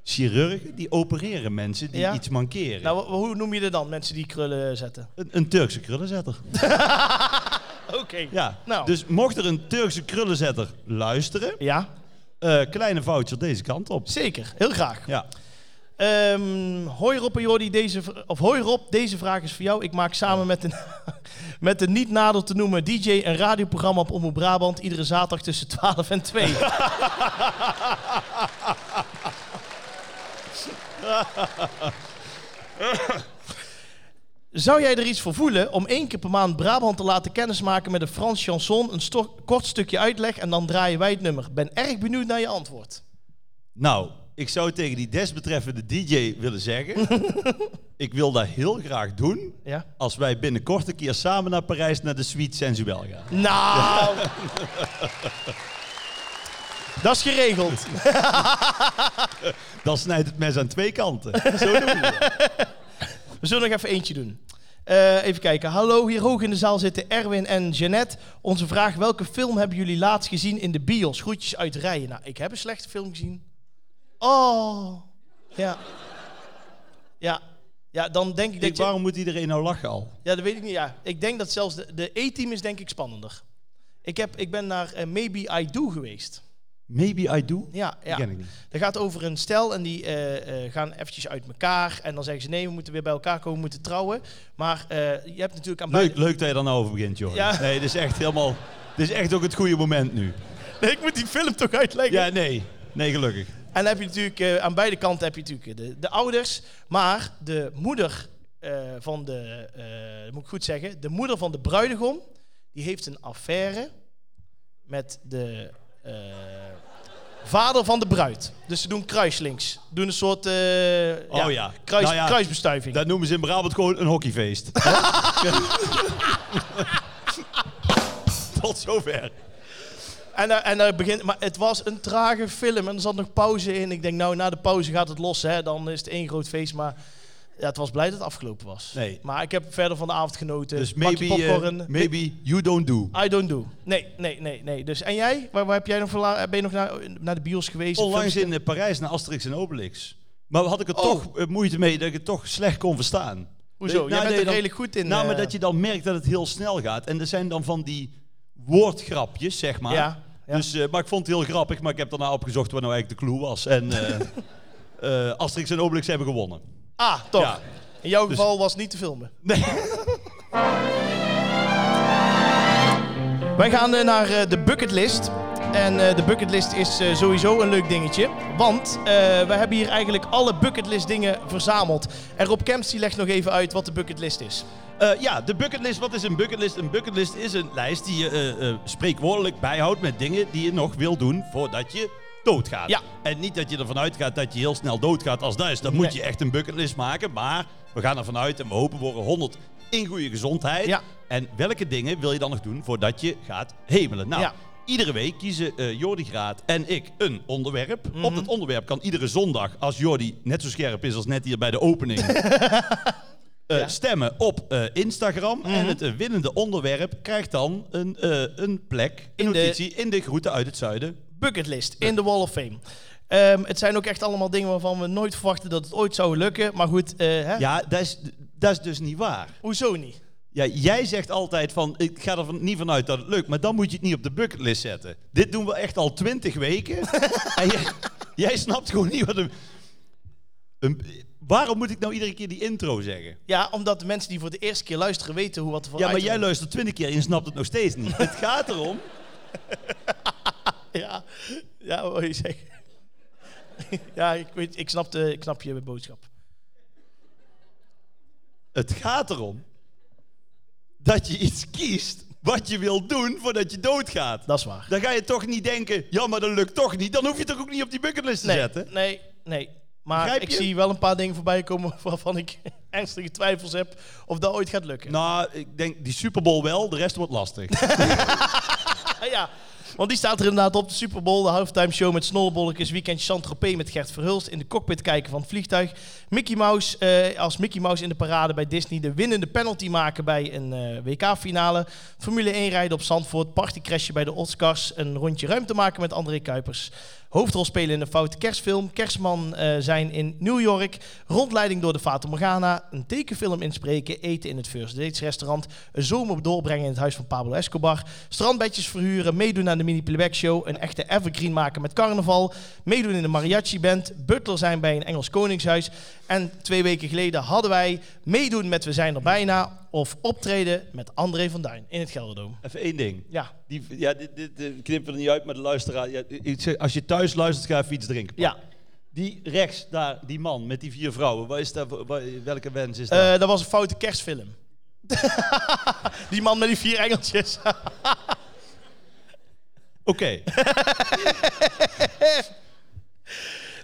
[SPEAKER 2] Chirurgen die opereren mensen die
[SPEAKER 1] Ja?
[SPEAKER 2] iets mankeren.
[SPEAKER 1] Nou, wa- hoe noem je dat dan, mensen die krullen zetten?
[SPEAKER 2] een, een Turkse krullenzetter.
[SPEAKER 1] Oké.
[SPEAKER 2] Ja.
[SPEAKER 1] Nou.
[SPEAKER 2] Dus mocht er een Turkse krullenzetter luisteren,
[SPEAKER 1] Ja,
[SPEAKER 2] eh, kleine voucher deze kant op.
[SPEAKER 1] zeker. Heel graag.
[SPEAKER 2] Ja.
[SPEAKER 1] Ehm, hoi Rob en Jordi, deze, v- of hoi Rob, deze vraag is voor jou. Ik maak samen met een, met een niet nader te noemen DJ een radioprogramma op Omroep Brabant. Iedere zaterdag tussen 12 en 2. Zou jij er iets voor voelen om één keer per maand Brabant te laten kennismaken met een Frans chanson, een sto- kort stukje uitleg en dan draaien wij het nummer? Ben erg benieuwd naar je antwoord.
[SPEAKER 2] Nou, ik zou tegen die desbetreffende DJ willen zeggen: ik wil dat heel graag doen.
[SPEAKER 1] Ja?
[SPEAKER 2] Als wij binnenkort een keer samen naar Parijs naar de Suite Sensuel gaan.
[SPEAKER 1] Nou. Dat is geregeld.
[SPEAKER 2] Dan snijdt het mes aan twee kanten. Zo doen we dat.
[SPEAKER 1] We zullen nog even eentje doen. Eh, even kijken. Hallo, hier hoog in de zaal zitten Erwin en Jeannette. Onze vraag, welke film hebben jullie laatst gezien in de bios? Groetjes uit Rijen. Nou, ik heb een slechte film gezien. Oh. Ja. Ja. Ja, dan denk ik...
[SPEAKER 2] Ik denk,
[SPEAKER 1] dat je-
[SPEAKER 2] waarom moet iedereen nou lachen al?
[SPEAKER 1] Ja, dat weet ik niet. Ja. Ik denk dat zelfs de, de E-team is denk ik spannender. Ik, heb, ik ben naar eh, Maybe I Do geweest.
[SPEAKER 2] Maybe I do?
[SPEAKER 1] Ja, ja.
[SPEAKER 2] ken ik niet.
[SPEAKER 1] Dat gaat over een stel en die eh, eh, gaan eventjes uit elkaar. En dan zeggen ze nee, we moeten weer bij elkaar komen, we moeten trouwen. Maar eh, je hebt natuurlijk aan
[SPEAKER 2] Leuk,
[SPEAKER 1] beide-
[SPEAKER 2] leuk dat je daar nou over begint, joh.
[SPEAKER 1] Ja.
[SPEAKER 2] Nee, dit is echt helemaal... Dit is echt ook het goede moment nu.
[SPEAKER 1] Nee, ik moet die film toch uitleggen.
[SPEAKER 2] Ja, nee. Nee, gelukkig.
[SPEAKER 1] En dan heb je natuurlijk, eh, aan beide kanten heb je natuurlijk eh, de, de ouders. Maar de moeder eh, van de, eh, moet ik goed zeggen, de moeder van de bruidegom, die heeft een affaire met de eh, vader van de bruid. Dus ze doen kruislinks. Doen een soort eh,
[SPEAKER 2] Oh ja.
[SPEAKER 1] Kruis,
[SPEAKER 2] Nou ja,
[SPEAKER 1] kruisbestuiving.
[SPEAKER 2] Dat noemen ze in Brabant gewoon een hockeyfeest. Tot zover.
[SPEAKER 1] En, daar- en daar begint, maar het was een trage film en er zat nog pauze in. Ik denk, nou, na de pauze gaat het los, hè? dan is het één groot feest. Maar ja, het was blij dat het afgelopen was.
[SPEAKER 2] Nee.
[SPEAKER 1] Maar ik heb verder van de avond genoten.
[SPEAKER 2] Dus
[SPEAKER 1] Bakje
[SPEAKER 2] maybe, eh,
[SPEAKER 1] popcorn.
[SPEAKER 2] maybe you don't do.
[SPEAKER 1] I don't do. Nee, nee, nee, nee. Dus, en jij? Waar, waar heb jij nog voor la- ben je nog naar, naar de bios geweest?
[SPEAKER 2] Onlangs
[SPEAKER 1] Films-
[SPEAKER 2] in eh, Parijs naar Asterix en Obelix. Maar had ik er toch eh, moeite mee dat ik het toch slecht kon verstaan.
[SPEAKER 1] Oh. Hoezo?
[SPEAKER 2] Nou,
[SPEAKER 1] jij
[SPEAKER 2] dat
[SPEAKER 1] bent
[SPEAKER 2] je
[SPEAKER 1] er
[SPEAKER 2] dan-
[SPEAKER 1] redelijk goed in.
[SPEAKER 2] Nou, maar
[SPEAKER 1] eh,
[SPEAKER 2] dat je dan merkt dat het heel snel gaat. En er zijn dan van die woordgrapjes, zeg maar.
[SPEAKER 1] Ja, ja.
[SPEAKER 2] Dus, eh, maar ik vond het heel grappig, maar ik heb daarna opgezocht wat nou eigenlijk de clue was. En eh, eh, Asterix en Obelix hebben gewonnen.
[SPEAKER 1] Ah, toch.
[SPEAKER 2] Ja.
[SPEAKER 1] In jouw geval was het niet te filmen.
[SPEAKER 2] Nee.
[SPEAKER 1] Wij gaan eh, naar eh, de bucketlist. En eh, de bucketlist is eh, sowieso een leuk dingetje. Want eh, we hebben hier eigenlijk alle bucketlist dingen verzameld. En Rob Kemps die legt nog even uit wat de bucketlist is.
[SPEAKER 2] Eh, ja, de bucketlist. Wat is een bucketlist? Een bucketlist is een lijst die je eh, eh, spreekwoordelijk bijhoudt met dingen die je nog wil doen voordat je doodgaat.
[SPEAKER 1] Ja.
[SPEAKER 2] En niet dat je ervan uitgaat dat je heel snel doodgaat als dat is. Dan moet
[SPEAKER 1] Nee.
[SPEAKER 2] je echt een bucketlist maken. Maar we gaan ervan uit en we hopen voor 100 in goede gezondheid.
[SPEAKER 1] Ja.
[SPEAKER 2] En welke dingen wil je dan nog doen voordat je gaat hemelen? Nou,
[SPEAKER 1] Ja.
[SPEAKER 2] iedere week kiezen eh Jordi Graat en ik een onderwerp.
[SPEAKER 1] Mhm.
[SPEAKER 2] Op dat onderwerp kan iedere zondag, als Jordi net zo scherp is als net hier bij de opening... eh, Stemmen op eh, Instagram. En het eh, winnende onderwerp krijgt dan een, eh, een plek, een
[SPEAKER 1] In de-
[SPEAKER 2] notitie, in de groeten uit het zuiden.
[SPEAKER 1] bucketlist in de Wall of Fame. Ehm, het zijn ook echt allemaal dingen waarvan we nooit verwachten dat het ooit zou lukken. Maar goed, eh, hè?
[SPEAKER 2] Ja, dat is, dat is dus niet waar.
[SPEAKER 1] hoezo niet?
[SPEAKER 2] Ja, jij zegt altijd van, ik ga er van- niet vanuit dat het lukt, maar dan moet je het niet op de bucketlist zetten. Dit doen we echt al twintig weken. en jij, jij snapt gewoon niet wat een, een- Waarom moet ik nou iedere keer die intro zeggen?
[SPEAKER 1] Ja, omdat de mensen die voor de eerste keer luisteren weten hoe wat er van
[SPEAKER 2] Ja, maar jij
[SPEAKER 1] uitkomt.
[SPEAKER 2] luistert twintig keer en je snapt het nog steeds niet. het gaat erom...
[SPEAKER 1] Ja, ja wat wil je zeggen? ja, ik, weet, ik, snap de, ik snap je boodschap.
[SPEAKER 2] Het gaat erom dat je iets kiest wat je wil doen voordat je doodgaat.
[SPEAKER 1] Dat is waar.
[SPEAKER 2] Dan ga je toch niet denken, ja, maar dat lukt toch niet. Dan hoef je het toch ook niet op die bucketlist te
[SPEAKER 1] Nee,
[SPEAKER 2] zetten.
[SPEAKER 1] nee, nee. Maar
[SPEAKER 2] Begrijp
[SPEAKER 1] ik
[SPEAKER 2] je?
[SPEAKER 1] zie wel een paar dingen voorbij komen waarvan ik ernstige twijfels heb of dat ooit gaat lukken.
[SPEAKER 2] Nou, ik denk die Super Bowl wel, de rest wordt lastig.
[SPEAKER 1] Ah, ja, want die staat er inderdaad op. De Super Bowl, de halftime show met snollebolletjes, weekend Saint-Tropez met Gert Verhulst, in de cockpit kijken van het vliegtuig, Mickey Mouse eh, als Mickey Mouse in de parade bij Disney, de winnende penalty maken bij een WK-finale, Formule 1 rijden op Zandvoort, partycrashje bij de Oscars, een rondje ruimte maken met André Kuipers, hoofdrol spelen in een foute kerstfilm, kerstman eh, zijn in New York, rondleiding door de Fata Morgana, een tekenfilm inspreken, eten in het First Dates restaurant, een zomer doorbrengen in het huis van Pablo Escobar, strandbedjes verhuren, meedoen aan de mini playback show, een echte evergreen maken met carnaval, meedoen in de mariachi band, butler zijn bij een Engels koningshuis en twee weken geleden hadden wij meedoen met We zijn er bijna of optreden met André van Duin in het Gelderdoom.
[SPEAKER 2] Even één ding.
[SPEAKER 1] Ja,
[SPEAKER 2] Die, ja, dit, dit, eh, knippen er niet uit, maar de luisteraar... Ja, ik zeg, als je thuis luistert, ga even iets drinken.
[SPEAKER 1] ja.
[SPEAKER 2] Die rechts, daar, die man met die vier vrouwen. Wat is dat, voor- wat- welke wens is dat?
[SPEAKER 1] Eh, dat was een foute kerstfilm. die man met die vier engeltjes.
[SPEAKER 2] Oké.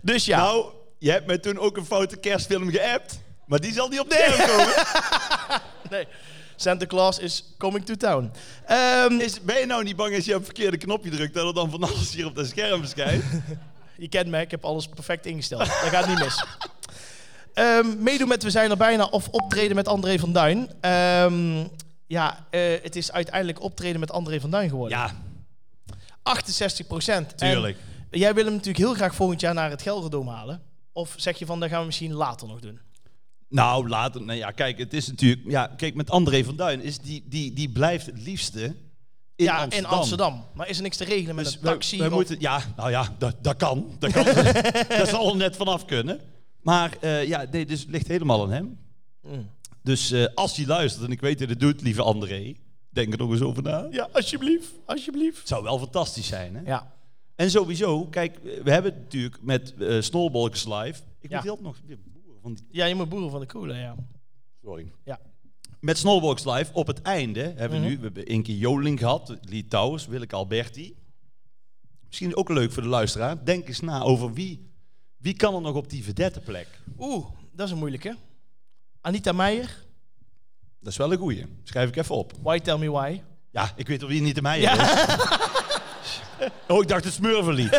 [SPEAKER 1] dus ja.
[SPEAKER 2] Nou, je hebt mij toen ook een foute kerstfilm geappt. Maar die zal niet op de scherm komen.
[SPEAKER 1] Nee. Santa Claus is coming to town. Ehm,
[SPEAKER 2] Is, ben je nou niet bang als je op het verkeerde knopje drukt... dat er dan van alles hier op dat scherm verschijnt?
[SPEAKER 1] je kent me, ik heb alles perfect ingesteld. Dat gaat niet mis. Ehm, meedoen met We Zijn Er Bijna of optreden met André van Duin. Ehm, ja, eh, het is uiteindelijk optreden met André van Duin geworden.
[SPEAKER 2] Ja,
[SPEAKER 1] 68 procent.
[SPEAKER 2] tuurlijk.
[SPEAKER 1] jij wil hem natuurlijk heel graag volgend jaar naar het Gelderdoom halen. Of zeg je van, dat gaan we misschien later nog doen.
[SPEAKER 2] Nou, later. Nou ja, kijk, het is natuurlijk. Ja, kijk, met André van Duin is die, die, die blijft het liefste in
[SPEAKER 1] ja,
[SPEAKER 2] Amsterdam.
[SPEAKER 1] in Amsterdam. Maar is er niks te regelen met
[SPEAKER 2] Dus
[SPEAKER 1] een
[SPEAKER 2] we,
[SPEAKER 1] taxi?
[SPEAKER 2] we
[SPEAKER 1] of-
[SPEAKER 2] moeten, ja, nou ja, dat, dat kan. Dat, kan. dat zal er net vanaf kunnen. Maar eh, ja, nee, dus het ligt helemaal aan hem.
[SPEAKER 1] Mm.
[SPEAKER 2] Dus eh, als hij luistert, en ik weet dat hij het doet, lieve André, denk er nog eens over na.
[SPEAKER 1] Ja, alsjeblieft, alsjeblieft.
[SPEAKER 2] Het zou wel fantastisch zijn, hè?
[SPEAKER 1] Ja,
[SPEAKER 2] En sowieso, kijk, eh, we hebben het natuurlijk met eh Snowballs Live. Ik
[SPEAKER 1] Ja.
[SPEAKER 2] moet heel nog weer boeren van die
[SPEAKER 1] ja je moet boeren van de koelen, ja.
[SPEAKER 2] Sorry.
[SPEAKER 1] Ja.
[SPEAKER 2] Met Snowbox Live op het einde hebben
[SPEAKER 1] Mhm.
[SPEAKER 2] we nu we hebben één keer Joling gehad, Lee Towers, Willeke Alberti. Misschien ook leuk voor de luisteraar. Denk eens na over wie, wie kan er nog op die verdette plek.
[SPEAKER 1] Oeh, dat is een moeilijke. Anita Meijer,
[SPEAKER 2] Dat is wel een goeie. Schrijf ik even op.
[SPEAKER 1] Why Tell Me Why.
[SPEAKER 2] Ja, ik weet of die niet te mij is. Oh, ik dacht het smurverlied.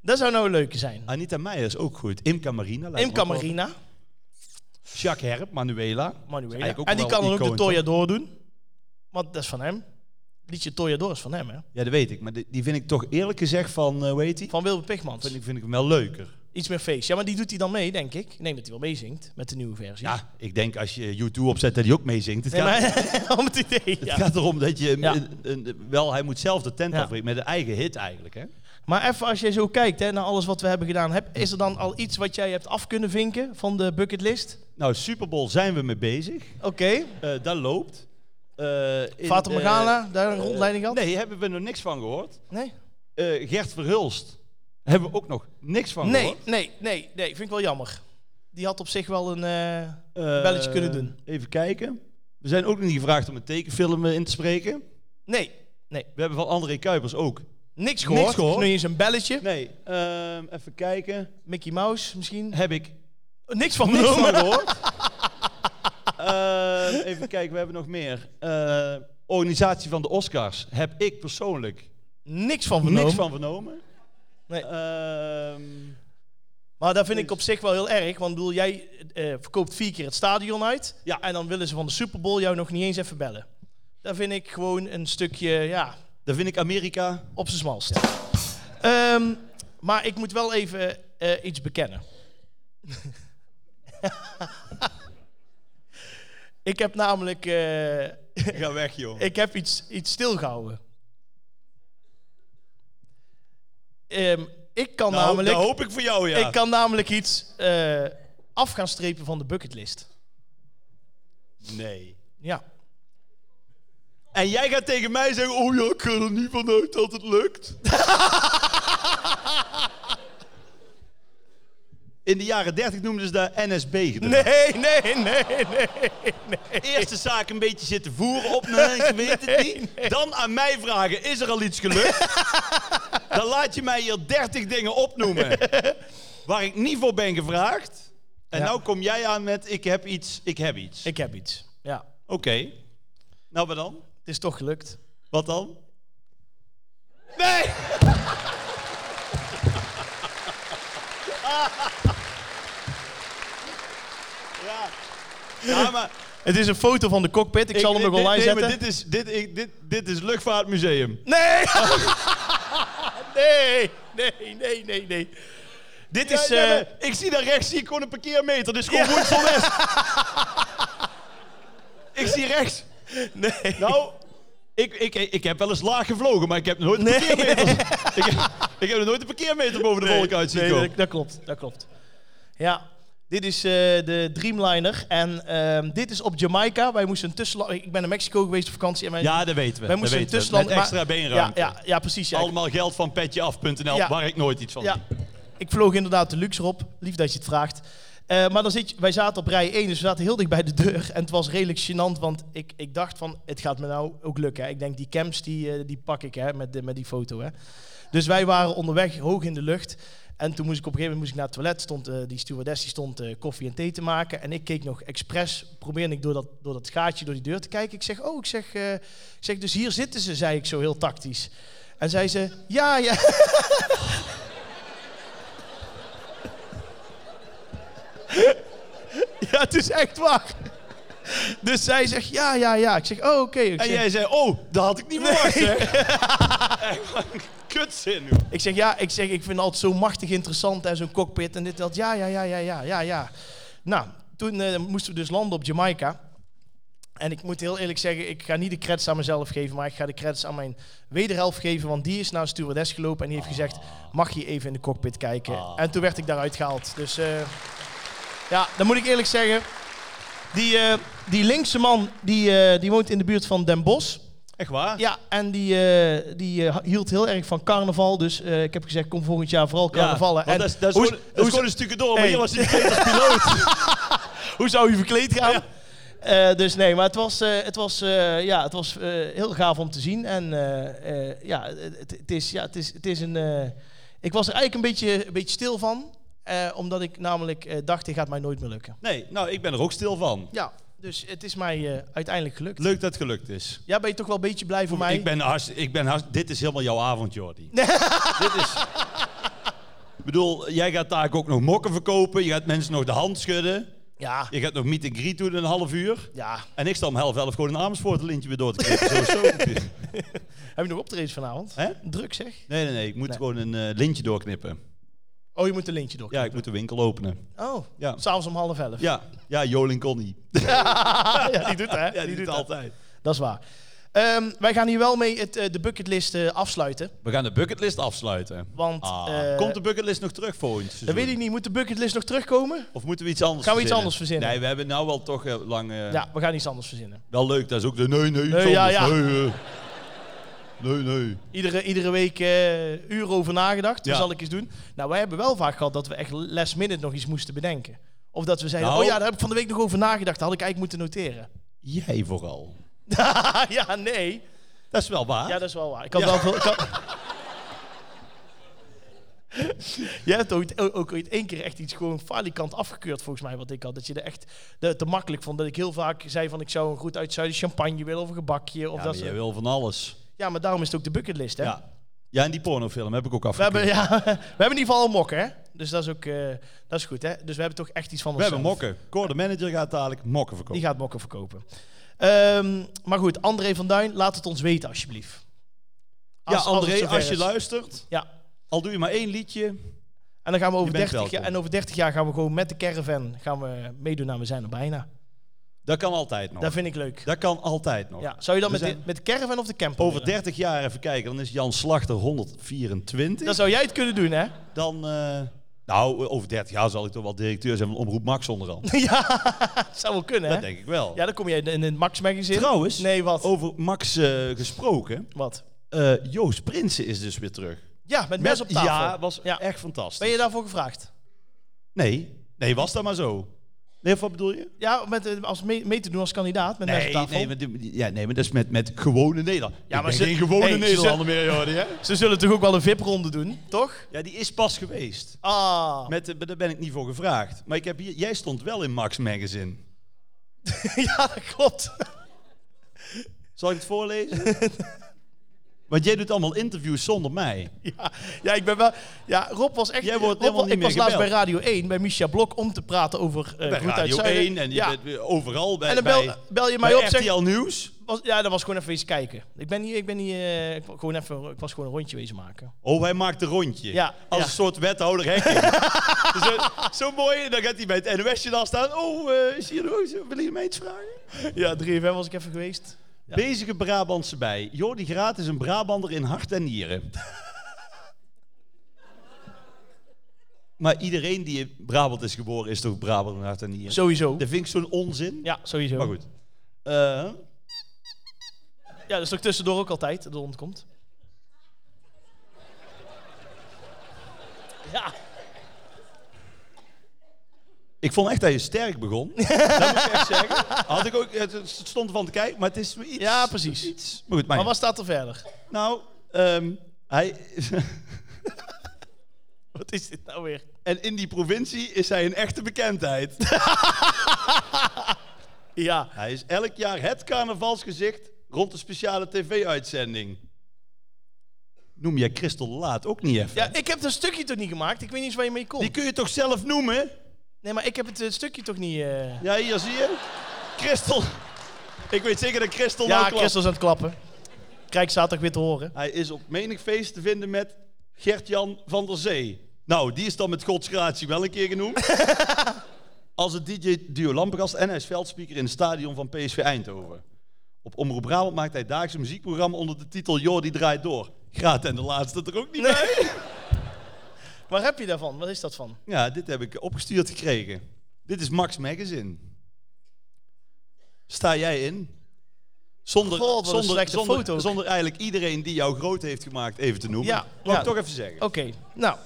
[SPEAKER 1] Dat zou nou een leuke zijn.
[SPEAKER 2] Anita Meijer is ook goed. Imca Marina. Ah, lijkt me
[SPEAKER 1] Imca
[SPEAKER 2] ook wel.
[SPEAKER 1] Marina,
[SPEAKER 2] Jacques Herp, Manuela.
[SPEAKER 1] Manuela.
[SPEAKER 2] eigenlijk ook
[SPEAKER 1] En die
[SPEAKER 2] wel
[SPEAKER 1] kan dan ook de
[SPEAKER 2] icoon, toch?
[SPEAKER 1] Toya Door doen. Want dat is van hem. Liedje Toya Door is van hem, hè.
[SPEAKER 2] Ja, dat weet ik. Maar die die vind ik toch eerlijk gezegd van, eh hoe heet die?
[SPEAKER 1] Van Wilbert Pigmans.
[SPEAKER 2] Vind ik, vind ik hem wel leuker.
[SPEAKER 1] Iets meer feest. Ja, maar die doet hij dan mee, denk ik. Ik denk dat hij wel meezingt met de nieuwe versie.
[SPEAKER 2] Ja, ik denk als je U2 opzet dat hij ook meezingt. Het
[SPEAKER 1] Nee,
[SPEAKER 2] gaat-
[SPEAKER 1] maar, om het idee,
[SPEAKER 2] Het
[SPEAKER 1] ja.
[SPEAKER 2] gaat erom dat je hem
[SPEAKER 1] Ja.
[SPEAKER 2] een- een- wel, hij moet zelf de tent
[SPEAKER 1] Ja.
[SPEAKER 2] afbreken met een eigen hit eigenlijk. Hè?
[SPEAKER 1] Maar even als jij zo kijkt hè, naar alles wat we hebben gedaan, heb, is er dan al iets wat jij hebt af kunnen vinken van de bucketlist?
[SPEAKER 2] Nou, Super Bowl zijn we mee bezig.
[SPEAKER 1] Oké.
[SPEAKER 2] Eh dat loopt. Eh in,
[SPEAKER 1] Fata
[SPEAKER 2] eh,
[SPEAKER 1] Morgana, daar een rondleiding gehad?
[SPEAKER 2] Nee, hebben we nog niks van gehoord.
[SPEAKER 1] Nee?
[SPEAKER 2] Eh, Gert Verhulst hebben we ook nog niks van
[SPEAKER 1] Nee,
[SPEAKER 2] gehoord.
[SPEAKER 1] nee, nee, nee. Vind ik wel jammer. Die had op zich wel een... eh,
[SPEAKER 2] Eh,
[SPEAKER 1] belletje kunnen doen.
[SPEAKER 2] Even kijken. We zijn ook nog niet gevraagd om een tekenfilm eh, in te spreken.
[SPEAKER 1] Nee, Nee.
[SPEAKER 2] We hebben van André Kuipers ook.
[SPEAKER 1] Niks gehoord.
[SPEAKER 2] Niks gehoord.
[SPEAKER 1] Nu eens een belletje.
[SPEAKER 2] Nee, ehm, even kijken.
[SPEAKER 1] Mickey Mouse misschien.
[SPEAKER 2] Heb ik
[SPEAKER 1] Niks van
[SPEAKER 2] niks
[SPEAKER 1] genomen.
[SPEAKER 2] van gehoord. Ehm, even kijken, we hebben nog meer. Eh, organisatie van de Oscars heb ik persoonlijk
[SPEAKER 1] Niks van
[SPEAKER 2] niks
[SPEAKER 1] vernomen.
[SPEAKER 2] van vernomen.
[SPEAKER 1] Nee.
[SPEAKER 2] Ehm,
[SPEAKER 1] Maar dat vind ik op zich wel heel erg. Want ik bedoel, jij eh, verkoopt vier keer het stadion uit.
[SPEAKER 2] Ja.
[SPEAKER 1] En dan willen ze van de Super Bowl jou nog niet eens even bellen. Dat vind ik gewoon een stukje, ja,
[SPEAKER 2] dan vind ik Amerika.
[SPEAKER 1] op zijn smalst. Ehm, maar ik moet wel even eh, iets bekennen. ik heb namelijk eh,
[SPEAKER 2] Ga weg, joh.
[SPEAKER 1] ik heb iets, iets stilgehouden. Ehm, ik kan
[SPEAKER 2] Nou,
[SPEAKER 1] namelijk...
[SPEAKER 2] dat hoop ik voor jou, ja.
[SPEAKER 1] Ik kan namelijk iets eh, af gaan strepen van de bucketlist.
[SPEAKER 2] Nee.
[SPEAKER 1] Ja.
[SPEAKER 2] En jij gaat tegen mij zeggen, oh ja, ik ga er niet vanuit dat het lukt. In de jaren 30 noemden ze dat NSB gedrag.
[SPEAKER 1] Nee, nee, nee, nee.
[SPEAKER 2] Eerste zaak een beetje zitten voeren op mijn ik weet het niet. Dan aan mij vragen, is er al iets gelukt? Dan laat je mij hier 30 dingen opnoemen waar ik niet voor ben gevraagd. En
[SPEAKER 1] Ja.
[SPEAKER 2] nou kom jij aan met, ik heb iets, ik heb iets.
[SPEAKER 1] Ik heb iets. Ja.
[SPEAKER 2] Oké. Nou, wat dan?
[SPEAKER 1] Het is toch gelukt.
[SPEAKER 2] Wat dan? Nee! ja. ja, maar...
[SPEAKER 1] Het is een foto van de cockpit. Ik, zal hem
[SPEAKER 2] dit-
[SPEAKER 1] nog online
[SPEAKER 2] dit, nee,
[SPEAKER 1] zetten.
[SPEAKER 2] maar dit, is, dit, ik- dit, dit is Luchtvaartmuseum.
[SPEAKER 1] Nee! nee! Nee, nee, nee, nee. Dit is...
[SPEAKER 2] Ja, ja,
[SPEAKER 1] eh,
[SPEAKER 2] maar ik zie daar rechts zie ik gewoon een parkeermeter. Dit is gewoon Woensel West. ik zie rechts.
[SPEAKER 1] nee.
[SPEAKER 2] Nou, ik, ik, ik heb wel eens laag gevlogen, maar ik heb nooit een
[SPEAKER 1] Nee.
[SPEAKER 2] parkeermeter. ik, heb, ik heb nog nooit een parkeermeter boven de wolk uit zien
[SPEAKER 1] nee,
[SPEAKER 2] komen.
[SPEAKER 1] dat, dat klopt, dat klopt. Ja, dit is eh, de Dreamliner. En ehm, dit is op Jamaica. Wij moesten een tussenland... Ik ben naar Mexico geweest op vakantie. En wij,
[SPEAKER 2] Ja, dat weten we.
[SPEAKER 1] wij
[SPEAKER 2] dat
[SPEAKER 1] moesten een
[SPEAKER 2] weten we.
[SPEAKER 1] tussenland...
[SPEAKER 2] Met
[SPEAKER 1] maar-
[SPEAKER 2] extra
[SPEAKER 1] ja,
[SPEAKER 2] beenruimte.
[SPEAKER 1] ja, ja, precies. Ja.
[SPEAKER 2] Allemaal geld van petjeaf.nl,
[SPEAKER 1] Ja.
[SPEAKER 2] waar ik nooit iets van
[SPEAKER 1] Ja,
[SPEAKER 2] zie.
[SPEAKER 1] ik vloog inderdaad de luxe op. Lief dat je het vraagt. Eh, maar dan zit je, wij zaten op rij 1, dus we zaten heel dicht bij de deur. En het was redelijk gênant, want ik, ik dacht van, het gaat me nou ook lukken. Hè. Ik denk, die camps, die, eh, die pak ik hè, met, de- met die foto. Hè. Dus wij waren onderweg, hoog in de lucht. En toen moest ik op een gegeven moment moest ik naar het toilet. Stond, eh, die stewardess die stond eh, koffie en thee te maken. En ik keek nog expres, probeerde ik door dat, door dat gaatje, door die deur te kijken. Ik zeg, oh, ik zeg, eh, ik zeg, dus hier zitten ze, zei ik zo heel tactisch. En zei ze, ja, ja. Ja, het is echt waar. Dus zij zegt ja, ja, ja. Ik zeg, oh, oké. Ik,
[SPEAKER 2] En
[SPEAKER 1] zeg-
[SPEAKER 2] jij zei, oh, dat had ik niet verwacht, hè? Echt waar, een Kutzin, joh.
[SPEAKER 1] ik zeg, ja, ik zeg, ik vind het altijd zo machtig interessant en zo'n cockpit en dit dat. Ja, ja, ja, ja, ja, ja, ja. Nou, toen eh, moesten we dus landen op Jamaica. En ik moet heel eerlijk zeggen, ik ga niet de credits aan mezelf geven, maar ik ga de credits aan mijn wederhelft geven, want die is naar een stewardess gelopen en die heeft gezegd, mag je even in de cockpit kijken? En toen werd ik daaruit gehaald. Dus eh, ja, dan moet ik eerlijk zeggen, die, eh, die linkse man, die, eh, die woont in de buurt van Den Bosch.
[SPEAKER 2] Echt waar?
[SPEAKER 1] Ja, en die, eh, die eh, hield heel erg van carnaval. Dus eh, ik heb gezegd, kom volgend jaar vooral carnavallen.
[SPEAKER 2] want
[SPEAKER 1] en
[SPEAKER 2] dat is, dat is
[SPEAKER 1] hoe,
[SPEAKER 2] gewoon, dat is
[SPEAKER 1] hoe-
[SPEAKER 2] gewoon een stukje door, maar
[SPEAKER 1] Hey.
[SPEAKER 2] hier was hij als piloot.
[SPEAKER 1] hoe zou je verkleed gaan? Eh, dus nee, maar het was, eh, het was, eh, ja, het was eh, heel gaaf om te zien. En eh, eh, ja, het, het is, ja, het is, het is een... eh, ik was er eigenlijk een beetje, een beetje stil van. eh, omdat ik namelijk eh, dacht, dit gaat mij nooit meer lukken.
[SPEAKER 2] Nee, nou, ik ben er ook stil van.
[SPEAKER 1] Ja, dus het is mij eh, uiteindelijk gelukt.
[SPEAKER 2] Leuk dat het gelukt is.
[SPEAKER 1] Ja, ben je toch wel een beetje blij voor mij?
[SPEAKER 2] Ik ben hartst- ik ben hartst- dit is helemaal jouw avond, Jordi. dit is... Ik bedoel, jij gaat daar ook nog mokken verkopen. Je gaat mensen nog de hand schudden.
[SPEAKER 1] Ja,
[SPEAKER 2] Je gaat nog meet and greet doen in een half uur.
[SPEAKER 1] ja.
[SPEAKER 2] En ik sta om half elf gewoon in Amersfoort een lintje weer door te knippen. Zo is het ook natuurlijk.
[SPEAKER 1] Heb je nog optredens vanavond?
[SPEAKER 2] Hè?
[SPEAKER 1] Druk zeg.
[SPEAKER 2] Nee, nee, nee. Ik moet gewoon een eh, lintje doorknippen.
[SPEAKER 1] Oh, je moet een lintje door.
[SPEAKER 2] Ja, ik moet de winkel openen.
[SPEAKER 1] Oh,
[SPEAKER 2] Ja.
[SPEAKER 1] s'avonds om half elf.
[SPEAKER 2] Ja, ja Jolink Connie.
[SPEAKER 1] Ja, die doet het, hè?
[SPEAKER 2] Ja, die doet
[SPEAKER 1] dat.
[SPEAKER 2] altijd.
[SPEAKER 1] Dat is waar. Ehm, wij gaan hier wel mee het, eh, de bucketlist eh, afsluiten.
[SPEAKER 2] We gaan de bucketlist afsluiten.
[SPEAKER 1] Want,
[SPEAKER 2] Ah,
[SPEAKER 1] eh,
[SPEAKER 2] komt de bucketlist nog terug volgend seizoen?
[SPEAKER 1] Dat weet ik niet. Moet de bucketlist nog terugkomen?
[SPEAKER 2] Of moeten we iets anders
[SPEAKER 1] Gaan we iets anders verzinnen?
[SPEAKER 2] Nee, we hebben nou wel toch eh, lang... eh,
[SPEAKER 1] Ja, we gaan iets anders verzinnen.
[SPEAKER 2] Wel leuk, dat is ook de nee, nee, iets
[SPEAKER 1] Nee, ja,
[SPEAKER 2] anders.
[SPEAKER 1] ja.
[SPEAKER 2] Nee, eh. nee, nee.
[SPEAKER 1] Iedere, iedere week eh uren over nagedacht.
[SPEAKER 2] Ja.
[SPEAKER 1] Dat zal ik eens doen. Nou, wij hebben wel vaak gehad dat we echt last minute nog iets moesten bedenken. Of dat we zeiden,
[SPEAKER 2] Nou.
[SPEAKER 1] oh ja, daar heb ik van de week nog over nagedacht. Dat had ik eigenlijk moeten noteren.
[SPEAKER 2] Ah, Jij vooral.
[SPEAKER 1] ja, nee.
[SPEAKER 2] Dat is wel waar.
[SPEAKER 1] Ja, dat is wel waar. Ik had wel veel... Ik had... Jij hebt ooit, o- ook ooit één keer echt iets gewoon falikant afgekeurd, volgens mij, wat ik had. Dat je er echt de, te makkelijk vond. Dat ik heel vaak zei van, ik zou een goed uitzuiden champagne willen of een gebakje. Of
[SPEAKER 2] Ja,
[SPEAKER 1] dat
[SPEAKER 2] maar
[SPEAKER 1] soort-
[SPEAKER 2] jij wil van alles.
[SPEAKER 1] ja, maar daarom is het ook de bucketlist, hè?
[SPEAKER 2] Ja. ja, en die pornofilm heb ik ook
[SPEAKER 1] We
[SPEAKER 2] afgekeurd.
[SPEAKER 1] hebben, ja, we hebben in ieder geval een mok, hè? Dus dat is ook eh, dat is goed, hè? Dus we hebben toch echt iets van
[SPEAKER 2] We
[SPEAKER 1] onszelf.
[SPEAKER 2] hebben mokken. Cor, de manager, gaat dadelijk mokken verkopen.
[SPEAKER 1] Die gaat mokken verkopen. Ehm, maar goed, André van Duin, laat het ons weten, alsjeblieft. Als-
[SPEAKER 2] Ja,
[SPEAKER 1] als het
[SPEAKER 2] André, als,
[SPEAKER 1] zover
[SPEAKER 2] je
[SPEAKER 1] is.
[SPEAKER 2] luistert,
[SPEAKER 1] Ja.
[SPEAKER 2] al doe je maar één liedje.
[SPEAKER 1] En dan gaan we over
[SPEAKER 2] bent
[SPEAKER 1] 30 jaar,
[SPEAKER 2] welkom.
[SPEAKER 1] en over 30 jaar gaan we gewoon met de caravan gaan we meedoen aan We zijn er bijna.
[SPEAKER 2] Dat kan altijd nog.
[SPEAKER 1] Dat vind ik leuk.
[SPEAKER 2] Dat kan altijd nog.
[SPEAKER 1] Ja, zou je dan
[SPEAKER 2] We
[SPEAKER 1] met, de,
[SPEAKER 2] zijn-
[SPEAKER 1] met de caravan of de camper?
[SPEAKER 2] Over
[SPEAKER 1] willen?
[SPEAKER 2] 30 jaar even kijken, dan is Jan Slachter 124.
[SPEAKER 1] Dan zou jij het kunnen doen, hè?
[SPEAKER 2] Dan, eh, nou, over 30 jaar zal ik toch wel directeur zijn van Omroep Max onderhand.
[SPEAKER 1] ja, dat zou wel kunnen, hè?
[SPEAKER 2] Dat denk ik wel.
[SPEAKER 1] Ja, dan kom je in, in het Max magazine.
[SPEAKER 2] Trouwens, oh,
[SPEAKER 1] Nee, wat?
[SPEAKER 2] over Max eh, gesproken.
[SPEAKER 1] Wat?
[SPEAKER 2] eh, Joost Prinsen is dus weer terug.
[SPEAKER 1] Ja, met mes op tafel.
[SPEAKER 2] Ja, was
[SPEAKER 1] Ja.
[SPEAKER 2] echt fantastisch.
[SPEAKER 1] Ben je daarvoor gevraagd?
[SPEAKER 2] Nee, nee, was dat maar zo. Nee, of wat bedoel je?
[SPEAKER 1] Ja, met, eh, als mee, mee te doen als kandidaat met mes op
[SPEAKER 2] Nee,
[SPEAKER 1] tafel.
[SPEAKER 2] nee, maar, die- ja, nee, maar dat is met, met gewone Nederland. Ja,
[SPEAKER 1] maar
[SPEAKER 2] maar
[SPEAKER 1] ze-
[SPEAKER 2] geen gewone
[SPEAKER 1] hey, ze-
[SPEAKER 2] Nederlander meer, Jordi, hè?
[SPEAKER 1] Ze zullen toch ook wel een VIP-ronde doen, toch?
[SPEAKER 2] Ja, die is pas geweest.
[SPEAKER 1] Ah,
[SPEAKER 2] Met, eh, daar ben ik niet voor gevraagd. Maar ik heb hier, jij stond wel in Max Magazine.
[SPEAKER 1] ja, dat klopt.
[SPEAKER 2] Zal ik het voorlezen? Want jij doet allemaal interviews zonder mij.
[SPEAKER 1] Ja, ja, ik ben wel... Ja, Rob was echt...
[SPEAKER 2] Jij wordt
[SPEAKER 1] Rob,
[SPEAKER 2] helemaal
[SPEAKER 1] wa-
[SPEAKER 2] niet
[SPEAKER 1] Ik
[SPEAKER 2] meer
[SPEAKER 1] was laatst bij
[SPEAKER 2] gebeld.
[SPEAKER 1] Radio 1, bij Micha Blok, om te praten over eh
[SPEAKER 2] Bij
[SPEAKER 1] Groet uit
[SPEAKER 2] Radio
[SPEAKER 1] Zuiden.
[SPEAKER 2] 1 en je
[SPEAKER 1] ja.
[SPEAKER 2] bent weer overal bij,
[SPEAKER 1] En dan bel,
[SPEAKER 2] bij,
[SPEAKER 1] bel je mij
[SPEAKER 2] bij
[SPEAKER 1] op, zeg...
[SPEAKER 2] RTL Nieuws.
[SPEAKER 1] Was, ja, dat was gewoon even eens kijken. Ik ben niet... Ik, ben niet eh, ik, wou gewoon even, ik was gewoon een rondje wezen maken.
[SPEAKER 2] Oh, hij maakt een rondje.
[SPEAKER 1] Ja,
[SPEAKER 2] Als
[SPEAKER 1] ja.
[SPEAKER 2] een soort wethouder hekking. zo, zo mooi. En dan gaat hij bij het NOS-journaal staan. Oh, eh, is hier Roos? Wil je mij iets vragen?
[SPEAKER 1] Ja, 3FM was ik even geweest.
[SPEAKER 2] Bezige Brabantse bij. Jordi Graat is een Brabander in hart en nieren. maar iedereen die in Brabant is geboren is toch Brabant in hart en nieren?
[SPEAKER 1] Sowieso.
[SPEAKER 2] Dat vind ik zo'n onzin.
[SPEAKER 1] Ja, sowieso.
[SPEAKER 2] Maar goed. Eh,
[SPEAKER 1] ehm. Ja, dat is toch tussendoor ook altijd, dat ontkomt. Ja,
[SPEAKER 2] ik vond echt dat je sterk begon. dat moet ik echt zeggen. Had ik ook, het stond ervan te kijken, maar het is me iets.
[SPEAKER 1] ja precies.
[SPEAKER 2] iets. Maar goed, maar,
[SPEAKER 1] Maar wat staat er verder?
[SPEAKER 2] Nou, ehm, hij...
[SPEAKER 1] Wat is dit nou weer?
[SPEAKER 2] en in die provincie is hij een echte bekendheid.
[SPEAKER 1] Ja,
[SPEAKER 2] Hij is elk jaar het carnavalsgezicht rond de speciale tv-uitzending. Noem jij Christel de Laat ook niet even?
[SPEAKER 1] ja ik heb dat stukje toch niet gemaakt? Ik weet niet eens waar je mee komt.
[SPEAKER 2] Die kun je toch zelf noemen?
[SPEAKER 1] Nee, maar ik heb het eh, stukje toch niet... eh
[SPEAKER 2] Ja, hier zie je. Christel. Ik weet zeker dat Christel nou
[SPEAKER 1] Ja,
[SPEAKER 2] klapt.
[SPEAKER 1] Christel is aan het klappen. Krijg zaterdag weer te horen.
[SPEAKER 2] Hij is op menig feest te vinden met Gert-Jan van der Zee. Nou, die is dan met godsgratie wel een keer genoemd. Als het DJ duo Lampengast en hij is veldspeaker in het stadion van PSV Eindhoven. Op Omroep Brabant maakt hij dagelijks een muziekprogramma onder de titel Jordi draait door. Graat en de laatste er ook niet bij.
[SPEAKER 1] Waar heb je daarvan? Wat is dat van?
[SPEAKER 2] Ja, dit heb ik opgestuurd gekregen. Dit is Max Magazine. Sta jij in? Zonder,
[SPEAKER 1] God, wat een
[SPEAKER 2] zonder,
[SPEAKER 1] slechte
[SPEAKER 2] zonder,
[SPEAKER 1] foto ook.
[SPEAKER 2] zonder eigenlijk iedereen die jou groot heeft gemaakt even te noemen.
[SPEAKER 1] Ja,
[SPEAKER 2] Laat
[SPEAKER 1] ja.
[SPEAKER 2] ik toch even zeggen.
[SPEAKER 1] Oké, nou.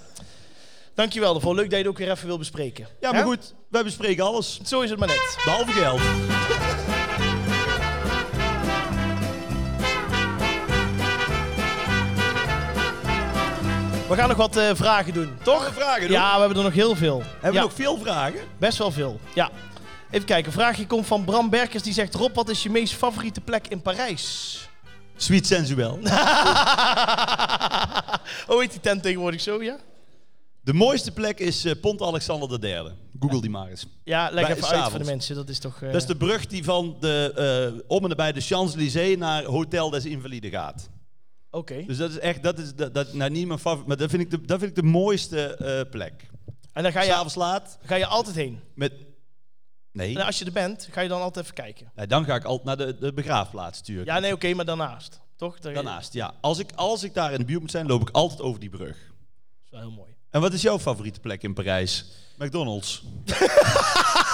[SPEAKER 1] Dankjewel daarvoor. Leuk dat je het ook weer even wil bespreken.
[SPEAKER 2] Ja, maar
[SPEAKER 1] Hè?
[SPEAKER 2] goed, wij bespreken alles.
[SPEAKER 1] Zo is het maar net.
[SPEAKER 2] Behalve geld.
[SPEAKER 1] We gaan nog wat eh, vragen doen, toch?
[SPEAKER 2] Gaan we vragen doen?
[SPEAKER 1] Ja, we hebben er nog heel veel.
[SPEAKER 2] Hebben
[SPEAKER 1] ja,
[SPEAKER 2] we nog veel vragen?
[SPEAKER 1] Best wel veel, ja. Even kijken, een vraagje komt van Bram Berkers. Die zegt, Rob, wat is je meest favoriete plek in Parijs?
[SPEAKER 2] Sweet sensueel. Oh,
[SPEAKER 1] Hoe heet die tent tegenwoordig zo, ja?
[SPEAKER 2] De mooiste plek is eh, Pont Alexander III. Google die maar eens.
[SPEAKER 1] Ja, leg
[SPEAKER 2] Bij-
[SPEAKER 1] even uit
[SPEAKER 2] s'avonds.
[SPEAKER 1] voor de mensen. Dat is toch... eh,
[SPEAKER 2] Dat is de brug die van de, eh, om en nabij de Champs-Élysées naar Hotel des Invalides gaat.
[SPEAKER 1] Oké.
[SPEAKER 2] Dus dat is echt, dat is dat, dat, nou, niet mijn favoriet, maar dat vind ik de, dat vind ik de mooiste eh, plek.
[SPEAKER 1] En dan ga je,
[SPEAKER 2] S'avonds laat
[SPEAKER 1] ga je altijd heen.
[SPEAKER 2] met. Nee,
[SPEAKER 1] En als je er bent, ga je dan altijd even kijken.
[SPEAKER 2] Nee, dan ga ik altijd naar de, de begraafplaats natuurlijk.
[SPEAKER 1] Ja, nee, oké, maar daarnaast. Toch? Dat
[SPEAKER 2] Daarnaast, ja. Als ik, als ik daar in de buurt moet zijn, loop ik altijd over die brug.
[SPEAKER 1] is wel heel mooi.
[SPEAKER 2] En wat is jouw favoriete plek in Parijs? McDonald's.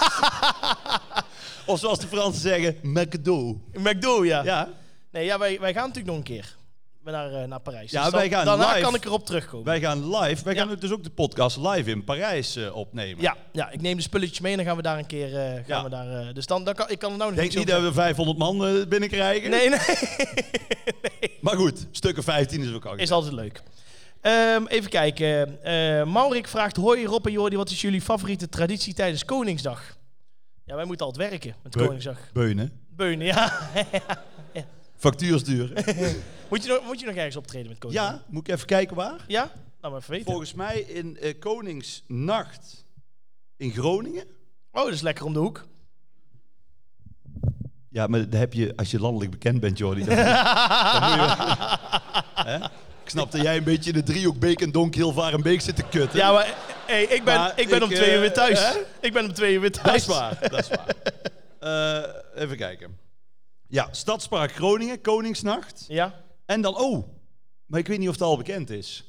[SPEAKER 2] of zoals de Fransen zeggen, McDo.
[SPEAKER 1] McDo, ja.
[SPEAKER 2] Ja,
[SPEAKER 1] Nee, ja, wij, wij gaan natuurlijk nog een keer naar, eh, naar Parijs.
[SPEAKER 2] Ja,
[SPEAKER 1] Dus dan-
[SPEAKER 2] wij gaan
[SPEAKER 1] Daarna
[SPEAKER 2] live.
[SPEAKER 1] kan ik erop terugkomen.
[SPEAKER 2] wij gaan live. Wij
[SPEAKER 1] Ja.
[SPEAKER 2] gaan dus ook de podcast live in Parijs eh, opnemen.
[SPEAKER 1] Ja, ja, ik neem de spulletjes mee en dan gaan we daar een keer... eh, gaan
[SPEAKER 2] Ja.
[SPEAKER 1] we daar, eh, dus dan, dan kan, ik kan er nou nog
[SPEAKER 2] Denk
[SPEAKER 1] niks
[SPEAKER 2] niet
[SPEAKER 1] over
[SPEAKER 2] dat we 500 man eh, binnenkrijgen.
[SPEAKER 1] Nee, nee. nee.
[SPEAKER 2] Maar goed, stukken 15 is ook al.
[SPEAKER 1] Is altijd leuk. Ehm, even kijken. Eh, Maurik vraagt: Hoi Rob en Jordi, wat is jullie favoriete traditie tijdens Koningsdag? Ja, wij moeten altijd werken met Koningsdag.
[SPEAKER 2] Beunen.
[SPEAKER 1] Beunen, ja.
[SPEAKER 2] Factuur sturen.
[SPEAKER 1] moet, je nog, moet je nog ergens optreden met Koningsdag?
[SPEAKER 2] ja, moet ik even kijken waar?
[SPEAKER 1] Ja? Laat maar even weten.
[SPEAKER 2] Volgens mij in eh, Koningsnacht in Groningen.
[SPEAKER 1] Oh, dat is lekker om de hoek.
[SPEAKER 2] Ja, maar dat heb je als je landelijk bekend bent, Jordi. Dan, dan moet je, hè? Ik snap dat jij een beetje in de driehoek Beek en Donk heel vaar en Beek zit te kutten.
[SPEAKER 1] Ja, maar hey, ik ben,
[SPEAKER 2] Maar
[SPEAKER 1] ik ben om
[SPEAKER 2] ik,
[SPEAKER 1] twee uur weer
[SPEAKER 2] eh,
[SPEAKER 1] thuis.
[SPEAKER 2] hè?
[SPEAKER 1] Ik ben om twee uur weer
[SPEAKER 2] dat
[SPEAKER 1] thuis.
[SPEAKER 2] is waar. Dat is waar. Eh, even kijken. Ja, Stadspark Groningen, Koningsnacht.
[SPEAKER 1] Ja?
[SPEAKER 2] En dan, oh, maar ik weet niet of het al bekend is.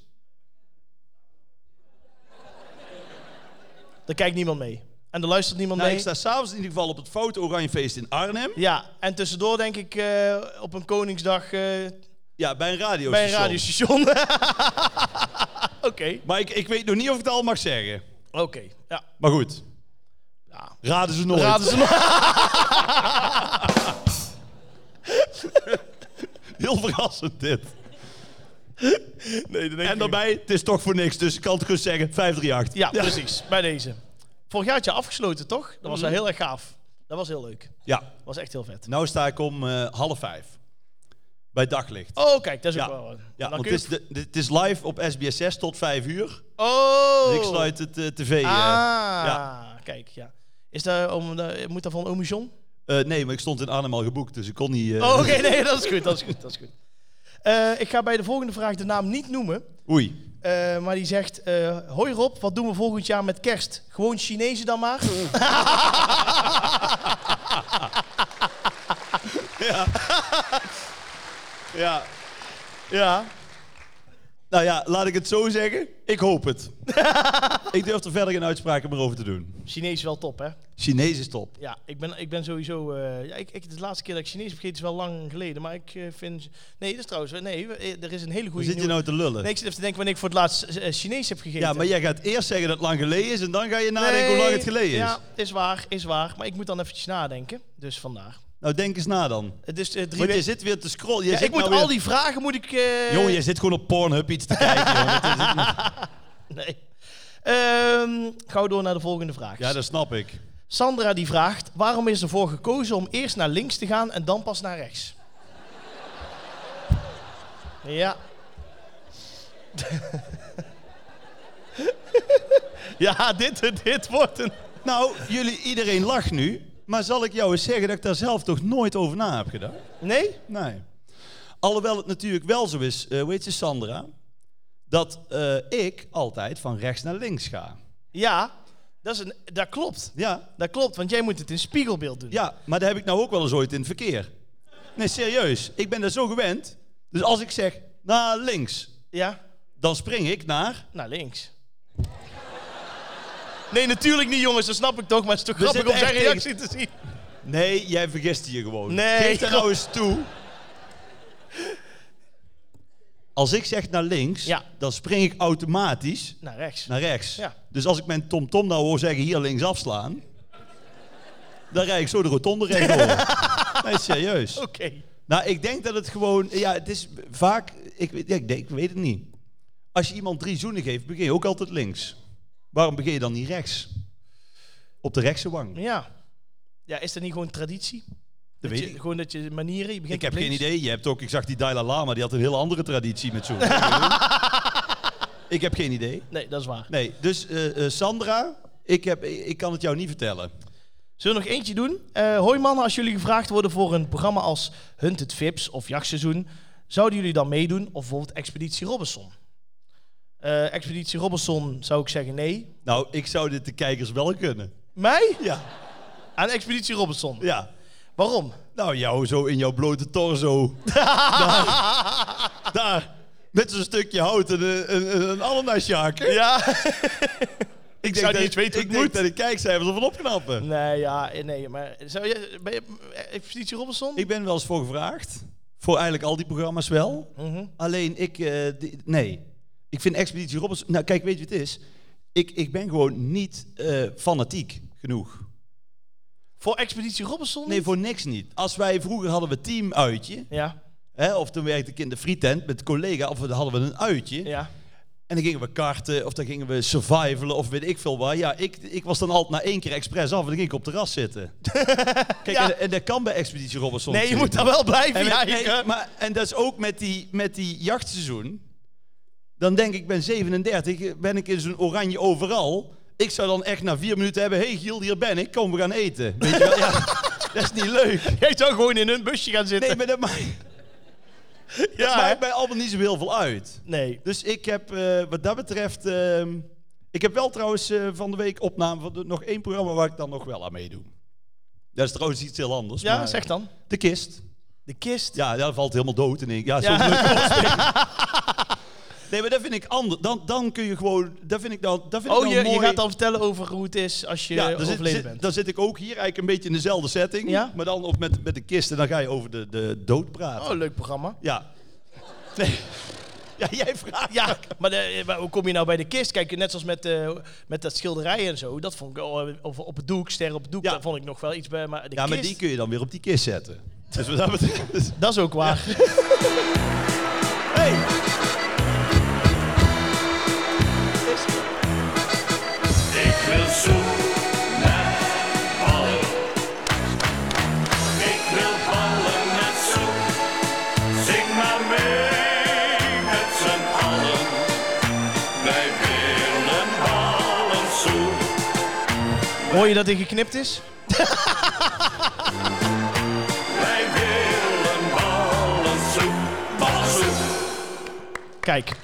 [SPEAKER 1] Daar kijkt niemand mee. En er luistert niemand
[SPEAKER 2] Nou,
[SPEAKER 1] mee.
[SPEAKER 2] ik sta s'avonds in ieder geval op het Fout Oranjefeest in Arnhem.
[SPEAKER 1] Ja, en tussendoor denk ik eh, op een Koningsdag eh,
[SPEAKER 2] Ja, bij een radiostation.
[SPEAKER 1] bij een radiostation. Oké,
[SPEAKER 2] Maar ik, ik weet nog niet of ik het al mag zeggen.
[SPEAKER 1] oké. Ja.
[SPEAKER 2] Maar goed.
[SPEAKER 1] Ja.
[SPEAKER 2] Raden ze nooit.
[SPEAKER 1] Raden ze nog?
[SPEAKER 2] Heel verrassend dit.
[SPEAKER 1] Nee, dat denk
[SPEAKER 2] En daarbij, het is toch voor niks, dus ik kan het gerust zeggen, 538.
[SPEAKER 1] Ja, precies. Bij deze. Vorig jaar had je afgesloten, toch? Dat was wel
[SPEAKER 2] Mm.
[SPEAKER 1] heel erg gaaf. Dat was heel leuk.
[SPEAKER 2] Ja,
[SPEAKER 1] Dat was echt heel vet.
[SPEAKER 2] nou sta ik om eh, half vijf. Bij daglicht.
[SPEAKER 1] Oh, kijk, dat is
[SPEAKER 2] ja,
[SPEAKER 1] ook wel...
[SPEAKER 2] ja
[SPEAKER 1] Dan
[SPEAKER 2] want
[SPEAKER 1] kun
[SPEAKER 2] het
[SPEAKER 1] je-
[SPEAKER 2] is, de, de- het is live op SBS6 tot vijf uur.
[SPEAKER 1] Oh!
[SPEAKER 2] Dus ik sluit het eh, tv. eh,
[SPEAKER 1] Ah,
[SPEAKER 2] ja.
[SPEAKER 1] kijk, ja. Is daar om, eh, moet dat van Ome John?
[SPEAKER 2] Eh, nee, maar ik stond in Arnhem al geboekt, dus ik kon niet... eh,
[SPEAKER 1] Oh, oké, nee, dat is goed, dat is goed, dat is goed. Eh, ik ga bij de volgende vraag de naam niet noemen,
[SPEAKER 2] Oei.
[SPEAKER 1] eh, maar die zegt... eh, Hoi Rob, wat doen we volgend jaar met kerst? Gewoon Chinezen dan maar?
[SPEAKER 2] Ja.
[SPEAKER 1] ja.
[SPEAKER 2] Nou ja, laat ik het zo zeggen. Ik hoop het. ik durf er verder geen uitspraken meer over te doen.
[SPEAKER 1] Chinees is wel top, hè?
[SPEAKER 2] Chinees is top.
[SPEAKER 1] Ja, ik ben, ik ben sowieso. eh, ja, ik, ik, de laatste keer dat ik Chinees vergeet is wel lang geleden. Maar ik eh, vind. Nee, dat is trouwens. Nee, we- eh, er is een hele
[SPEAKER 2] Hoe
[SPEAKER 1] goede.
[SPEAKER 2] zit je
[SPEAKER 1] nieuwe-
[SPEAKER 2] nou te lullen?
[SPEAKER 1] Nee, ik zit even te denken wanneer ik voor het laatst eh, Chinees heb gegeten.
[SPEAKER 2] ja, maar jij gaat eerst zeggen dat het lang geleden is en dan ga je nadenken
[SPEAKER 1] Nee,
[SPEAKER 2] hoe lang het geleden is.
[SPEAKER 1] Ja, is waar, is waar. Maar ik moet dan eventjes nadenken. Dus vandaar.
[SPEAKER 2] Nou, denk eens na dan.
[SPEAKER 1] Het is eh, drie
[SPEAKER 2] Want je
[SPEAKER 1] weken.
[SPEAKER 2] zit weer te scrollen. Je
[SPEAKER 1] Ja,
[SPEAKER 2] zit
[SPEAKER 1] ik moet
[SPEAKER 2] nou
[SPEAKER 1] al
[SPEAKER 2] weer-
[SPEAKER 1] die vragen moet ik. eh,
[SPEAKER 2] Jongen, je zit gewoon op Pornhub iets te kijken. jongen. Dat is-
[SPEAKER 1] Nee. Ehm, gauw door naar de volgende vraag.
[SPEAKER 2] Ja, dat snap ik.
[SPEAKER 1] Sandra die vraagt: waarom is ervoor gekozen om eerst naar links te gaan en dan pas naar rechts? Ja. ja, dit, dit wordt een.
[SPEAKER 2] Nou, jullie, iedereen lacht nu. Maar zal ik jou eens zeggen dat ik daar zelf toch nooit over na heb gedacht?
[SPEAKER 1] Nee?
[SPEAKER 2] Nee. Alhoewel het natuurlijk wel zo is, eh, hoe weet je Sandra, dat eh, ik altijd van rechts naar links ga.
[SPEAKER 1] Ja, dat, is een, dat klopt.
[SPEAKER 2] Ja,
[SPEAKER 1] Dat klopt, want jij moet het in spiegelbeeld doen.
[SPEAKER 2] ja, maar dat heb ik nou ook wel eens ooit in het verkeer. Nee, serieus. Ik ben daar zo gewend. Dus als ik zeg naar links,
[SPEAKER 1] Ja?
[SPEAKER 2] dan spring ik naar...
[SPEAKER 1] Naar links. Nee, natuurlijk niet, jongens, dat snap ik toch, maar het is toch grappig
[SPEAKER 2] zitten
[SPEAKER 1] om zijn
[SPEAKER 2] echt
[SPEAKER 1] reactie te zien.
[SPEAKER 2] Nee, jij vergist je gewoon.
[SPEAKER 1] Nee.
[SPEAKER 2] Geef daar nou eens toe. Als ik zeg naar links,
[SPEAKER 1] Ja.
[SPEAKER 2] dan spring ik automatisch
[SPEAKER 1] Naar rechts.
[SPEAKER 2] naar rechts.
[SPEAKER 1] Ja.
[SPEAKER 2] Dus als ik mijn tomtom nou hoor zeggen hier links afslaan, dan rijd ik zo de rotonde recht door. Nee, serieus.
[SPEAKER 1] Oké.
[SPEAKER 2] Nou, ik denk dat het gewoon, ja, het is vaak, ik, weet- ja, ik, denk- ik weet het niet. Als je iemand drie zoenen geeft, begin je ook altijd links. Waarom begin je dan niet rechts? Op de rechtse wang.
[SPEAKER 1] Ja. Ja, is dat niet gewoon traditie?
[SPEAKER 2] Dat
[SPEAKER 1] Dat
[SPEAKER 2] weet
[SPEAKER 1] je-
[SPEAKER 2] ik.
[SPEAKER 1] Gewoon dat je manieren, je begint
[SPEAKER 2] Ik heb
[SPEAKER 1] op
[SPEAKER 2] geen
[SPEAKER 1] links.
[SPEAKER 2] idee. Je hebt ook, ik zag die Dalai Lama, die had een heel andere traditie met zoenen. ik heb geen idee.
[SPEAKER 1] Nee, dat is waar.
[SPEAKER 2] Nee, dus eh, eh, Sandra, ik, heb, ik kan het jou niet vertellen.
[SPEAKER 1] Zullen we nog eentje doen? Eh hoi mannen, als jullie gevraagd worden voor een programma als Hunted Vips of Jachtseizoen, zouden jullie dan meedoen? Of bijvoorbeeld Expeditie Robinson? Eh, Expeditie Robinson zou ik zeggen nee.
[SPEAKER 2] Nou, ik zou dit de kijkers wel kunnen.
[SPEAKER 1] Mij?
[SPEAKER 2] Ja,
[SPEAKER 1] Aan Expeditie Robinson.
[SPEAKER 2] ja.
[SPEAKER 1] Waarom?
[SPEAKER 2] Nou, jou zo in jouw blote torso. daar, daar. Met zo'n stukje hout en een, een, een ananasjaak.
[SPEAKER 1] Ja.
[SPEAKER 2] ik denk
[SPEAKER 1] zou
[SPEAKER 2] dat
[SPEAKER 1] niet eens weten hoe het
[SPEAKER 2] ik denk
[SPEAKER 1] moet.
[SPEAKER 2] dat de kijkcijfers ervan opknappen.
[SPEAKER 1] nee, ja, eh, nee, maar zou je, ben je Expeditie Robinson?
[SPEAKER 2] Ik ben wel eens voor gevraagd. Voor eigenlijk al die programma's wel.
[SPEAKER 1] Mhm.
[SPEAKER 2] Alleen ik... eh, die- nee. Ik vind Expeditie Robinson... Nou, kijk, weet je wat het is? Ik, ik ben gewoon niet eh, fanatiek genoeg.
[SPEAKER 1] Voor Expeditie Robinson?
[SPEAKER 2] Nee, voor niks niet. Als wij vroeger hadden we teamuitje...
[SPEAKER 1] Ja.
[SPEAKER 2] Hè, of toen werkte ik in de frietent met collega, of we- dan hadden we een uitje.
[SPEAKER 1] Ja.
[SPEAKER 2] En dan gingen we karten, of dan gingen we survivalen, of weet ik veel waar. Ja, ik, ik was dan altijd na één keer expres af en dan ging ik op het terras zitten. Kijk,
[SPEAKER 1] Ja.
[SPEAKER 2] en, en dat kan bij Expeditie Robinson.
[SPEAKER 1] Nee, je
[SPEAKER 2] natuurlijk
[SPEAKER 1] moet daar wel blijven
[SPEAKER 2] en, met-
[SPEAKER 1] jagen.
[SPEAKER 2] nee, maar, en dat is ook met die, met die jachtseizoen. Dan denk ik, ben 37, ben ik in zo'n oranje overal. Ik zou dan echt na vier minuten hebben... hey Giel, hier ben ik, kom, we gaan eten. Weet je wel? Ja, dat is niet leuk.
[SPEAKER 1] Jij zou gewoon in een busje gaan zitten.
[SPEAKER 2] Nee, maar dat maakt,
[SPEAKER 1] ja, hè?
[SPEAKER 2] maakt mij allemaal niet zo heel veel uit.
[SPEAKER 1] nee.
[SPEAKER 2] Dus ik heb eh, wat dat betreft... ehm, ik heb wel trouwens eh, van de week opname van de- nog één programma... waar ik dan nog wel aan meedoe. Dat is trouwens iets heel anders.
[SPEAKER 1] Ja,
[SPEAKER 2] maar-
[SPEAKER 1] zeg dan.
[SPEAKER 2] De kist.
[SPEAKER 1] De kist.
[SPEAKER 2] Ja, dat valt helemaal dood. En ik, ja, zo
[SPEAKER 1] Ja.
[SPEAKER 2] leuk opspelen. Nee, maar dat vind ik anders. Dan, dan kun je gewoon... Dat vind ik dan, dat vind
[SPEAKER 1] Oh,
[SPEAKER 2] ik
[SPEAKER 1] je,
[SPEAKER 2] dan
[SPEAKER 1] je
[SPEAKER 2] mooi.
[SPEAKER 1] gaat dan vertellen over hoe het is als je
[SPEAKER 2] Ja, dan zit,
[SPEAKER 1] overleden
[SPEAKER 2] zit-
[SPEAKER 1] bent.
[SPEAKER 2] dan zit ik ook hier eigenlijk een beetje in dezelfde setting.
[SPEAKER 1] Ja?
[SPEAKER 2] Maar dan ook met, met de kist. En dan ga je over de, de dood praten.
[SPEAKER 1] Oh, leuk programma.
[SPEAKER 2] Ja. Nee. Ja, jij vraagt.
[SPEAKER 1] Ja, maar, de- maar hoe kom je nou bij de kist? Kijk, net zoals met, eh, met dat schilderij en zo. Dat vond ik al, eh, of op het doek, sterren op het doek.
[SPEAKER 2] Ja.
[SPEAKER 1] Daar vond ik nog wel iets bij. Maar de
[SPEAKER 2] Ja, maar
[SPEAKER 1] kist,
[SPEAKER 2] die kun je dan weer op die kist zetten. Dus wat dat betreft...
[SPEAKER 1] dat is ook waar.
[SPEAKER 2] Hey.
[SPEAKER 1] Hoor je dat hij geknipt is? Kijk,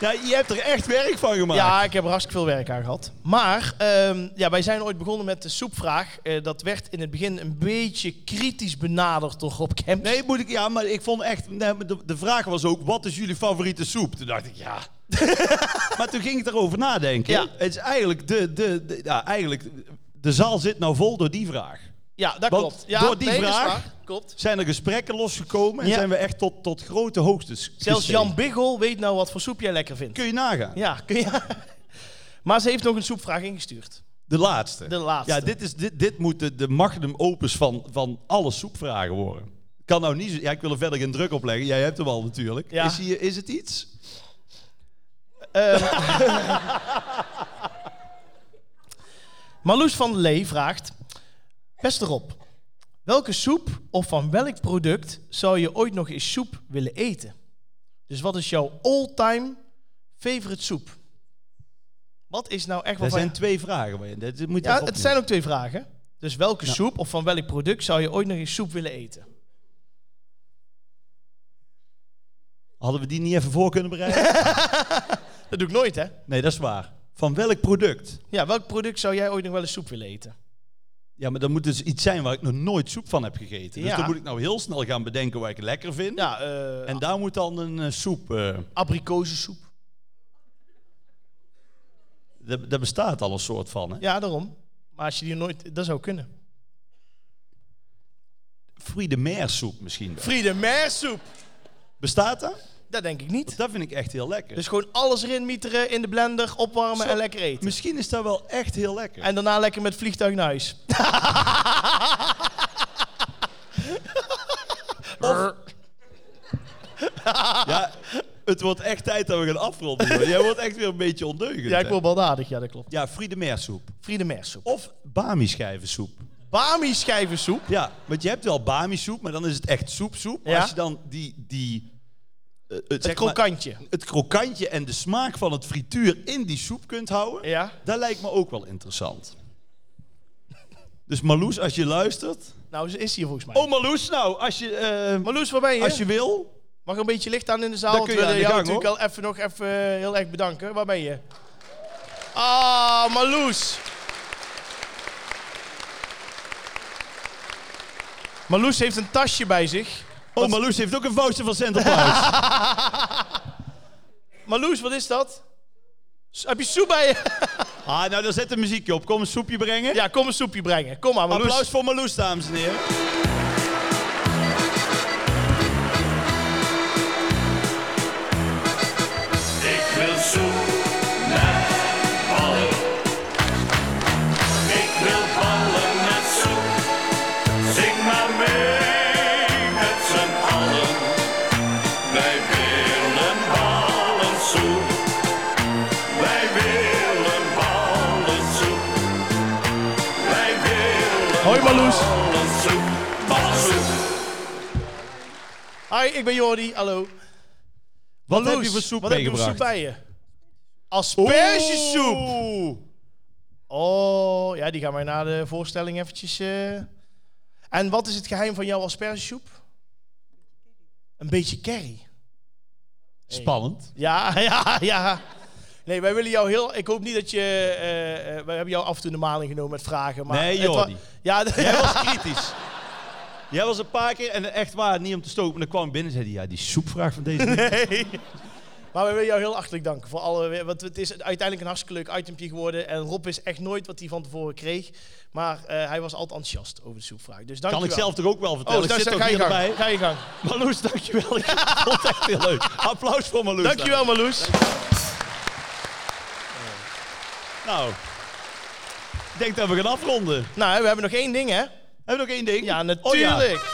[SPEAKER 2] Ja, je hebt er echt werk van gemaakt.
[SPEAKER 1] ja, ik heb er hartstikke veel werk aan gehad. Maar ehm, ja, wij zijn ooit begonnen met de soepvraag. Eh, dat werd in het begin een beetje kritisch benaderd door Rob Kemp.
[SPEAKER 2] Nee, moet ik, ja, maar ik vond echt. nee, maar de, de vraag was ook: wat is jullie favoriete soep? Toen dacht ik, ja. maar toen ging ik erover nadenken.
[SPEAKER 1] Ja.
[SPEAKER 2] Het is eigenlijk de, de, de- ja, eigenlijk. De zaal zit nou vol door die vraag.
[SPEAKER 1] Ja, dat
[SPEAKER 2] Want
[SPEAKER 1] klopt. Ja,
[SPEAKER 2] door die
[SPEAKER 1] nee, dat is
[SPEAKER 2] vraag-
[SPEAKER 1] waar. Klopt.
[SPEAKER 2] Zijn er gesprekken losgekomen en
[SPEAKER 1] Ja.
[SPEAKER 2] zijn we echt tot, tot grote hoogtes
[SPEAKER 1] Zelfs
[SPEAKER 2] gestegen.
[SPEAKER 1] Jan Biggel weet nou wat voor soep jij lekker vindt.
[SPEAKER 2] Kun je nagaan?
[SPEAKER 1] Ja, kun je... Maar ze heeft nog een soepvraag ingestuurd.
[SPEAKER 2] De laatste.
[SPEAKER 1] De laatste.
[SPEAKER 2] Ja, dit, is, dit, dit moet de, de magnum opus van, van alle soepvragen worden. Kan nou niet zo... Ja, ik wil er verder geen druk op leggen. Jij hebt hem al natuurlijk.
[SPEAKER 1] Ja.
[SPEAKER 2] Is, hier, is het iets?
[SPEAKER 1] Marloes van der Lee vraagt... Beste Rob, welke soep of van welk product zou je ooit nog eens soep willen eten? Dus wat is jouw all-time favorite soep? Wat is nou echt
[SPEAKER 2] Er
[SPEAKER 1] wat
[SPEAKER 2] zijn twee vragen. maar Dat dit moet je
[SPEAKER 1] Ja,
[SPEAKER 2] opnemen.
[SPEAKER 1] het zijn ook twee vragen. Dus welke soep of van welk product zou je ooit nog eens soep willen eten?
[SPEAKER 2] Hadden we die niet even voor kunnen bereiden?
[SPEAKER 1] Dat doe ik nooit, hè?
[SPEAKER 2] Nee, dat is waar. Van welk product?
[SPEAKER 1] Ja, welk product zou jij ooit nog wel eens soep willen eten?
[SPEAKER 2] Ja, maar dat moet dus iets zijn waar ik nog nooit soep van heb gegeten. Dus
[SPEAKER 1] Ja.
[SPEAKER 2] dan moet ik nou heel snel gaan bedenken wat ik lekker vind.
[SPEAKER 1] Ja, eh
[SPEAKER 2] En daar moet dan een eh, soep... eh,
[SPEAKER 1] abrikozensoep.
[SPEAKER 2] daar daar bestaat al een soort van. Hè?
[SPEAKER 1] Ja, daarom. Maar als je die nooit... Dat zou kunnen.
[SPEAKER 2] Friedemair soep misschien. wel.
[SPEAKER 1] Friedemeersoep.
[SPEAKER 2] Bestaat dat?
[SPEAKER 1] Dat denk ik niet.
[SPEAKER 2] Dat vind ik echt heel lekker.
[SPEAKER 1] Dus gewoon alles erin mieteren, in de blender, opwarmen
[SPEAKER 2] Zo.
[SPEAKER 1] en lekker eten.
[SPEAKER 2] misschien is dat wel echt heel lekker.
[SPEAKER 1] En daarna lekker met vliegtuig naar huis.
[SPEAKER 2] Ja, het wordt echt tijd dat we gaan afronden. joh. Jij wordt echt weer een beetje ondeugend.
[SPEAKER 1] Ja, ik
[SPEAKER 2] hè?
[SPEAKER 1] word baldadig. Ja, dat klopt.
[SPEAKER 2] ja Friedemair soep.
[SPEAKER 1] Friedemeersoep.
[SPEAKER 2] Of Bami schijvensoep.
[SPEAKER 1] Bami schijvensoep.
[SPEAKER 2] Ja, want je hebt wel bami-soep, maar dan is het echt soepsoep. Maar
[SPEAKER 1] Ja.
[SPEAKER 2] Als je dan die... die eh, het,
[SPEAKER 1] Het
[SPEAKER 2] zeg maar,
[SPEAKER 1] krokantje.
[SPEAKER 2] het krokantje en de smaak van het frituur in die soep kunt houden...
[SPEAKER 1] Ja.
[SPEAKER 2] dat lijkt me ook wel interessant. Dus Marloes, als je luistert...
[SPEAKER 1] Nou, ze is hier volgens mij.
[SPEAKER 2] Oh Marloes, nou, als je, eh,
[SPEAKER 1] Marloes, waar ben je?
[SPEAKER 2] als je wil...
[SPEAKER 1] Mag een beetje licht aan in de zaal?
[SPEAKER 2] Dan
[SPEAKER 1] want
[SPEAKER 2] kun je
[SPEAKER 1] we
[SPEAKER 2] aan de
[SPEAKER 1] willen
[SPEAKER 2] gang,
[SPEAKER 1] jou natuurlijk al even nog even eh, heel erg bedanken. Waar ben je? Ah, Marloes. Marloes heeft een tasje bij zich.
[SPEAKER 2] Oh, Marloes heeft ook een voucher van Centerparks.
[SPEAKER 1] Marloes, wat is dat? S- heb je soep bij je?
[SPEAKER 2] ah, nou, dan zet de muziekje op. Kom een soepje brengen.
[SPEAKER 1] Ja, kom een soepje brengen. Kom maar, Marloes.
[SPEAKER 2] Applaus voor Marloes, dames en heren.
[SPEAKER 8] Zing maar mee met z'n
[SPEAKER 1] Hoi Marloes. Hi, ik ben Jordi. Hallo.
[SPEAKER 2] Wat
[SPEAKER 1] Marloes,
[SPEAKER 2] heb je voor soep
[SPEAKER 1] wat heb je voor
[SPEAKER 2] meegebracht?
[SPEAKER 1] soep bij je? Aspergesoep.
[SPEAKER 2] Oeh.
[SPEAKER 1] Oh, ja, die gaan wij na de voorstelling eventjes... eh. En wat is het geheim van jouw aspergesoep? Een beetje curry.
[SPEAKER 2] Spannend.
[SPEAKER 1] Ja, ja, ja. Nee, wij willen jou heel... Ik hoop niet dat je... eh, eh, wij hebben jou af en toe de maling genomen met vragen. Maar
[SPEAKER 2] Nee,
[SPEAKER 1] het wa-
[SPEAKER 2] Jordi.
[SPEAKER 1] Ja,
[SPEAKER 2] Jij was kritisch. Jij was een paar keer, en echt waar, niet om te stoken, maar dan kwam ik binnen en zei hij, ja, die soepvraag van deze...
[SPEAKER 1] Nee. Maar we willen jou heel hartelijk danken voor alle. Want het is uiteindelijk een hartstikke leuk itempje geworden. En Rob is echt nooit wat hij van tevoren kreeg. Maar eh, hij was altijd enthousiast over de soepvraag. Dus dank
[SPEAKER 2] Kan
[SPEAKER 1] je
[SPEAKER 2] ik
[SPEAKER 1] wel.
[SPEAKER 2] zelf toch ook wel
[SPEAKER 1] Oh,
[SPEAKER 2] vertellen?
[SPEAKER 1] dus
[SPEAKER 2] ik zit
[SPEAKER 1] daar-
[SPEAKER 2] ook
[SPEAKER 1] ga je gang.
[SPEAKER 2] hierbij.
[SPEAKER 1] Ga je gang.
[SPEAKER 2] Marloes, dankjewel. Ik vond het echt heel leuk. Applaus voor Marloes.
[SPEAKER 1] Dankjewel, Marloes.
[SPEAKER 2] Nou, ik denk dat we gaan afronden.
[SPEAKER 1] Nou, we hebben nog één ding, hè?
[SPEAKER 2] Hebben we nog één ding?
[SPEAKER 1] Ja,
[SPEAKER 2] Oh ja.
[SPEAKER 1] natuurlijk.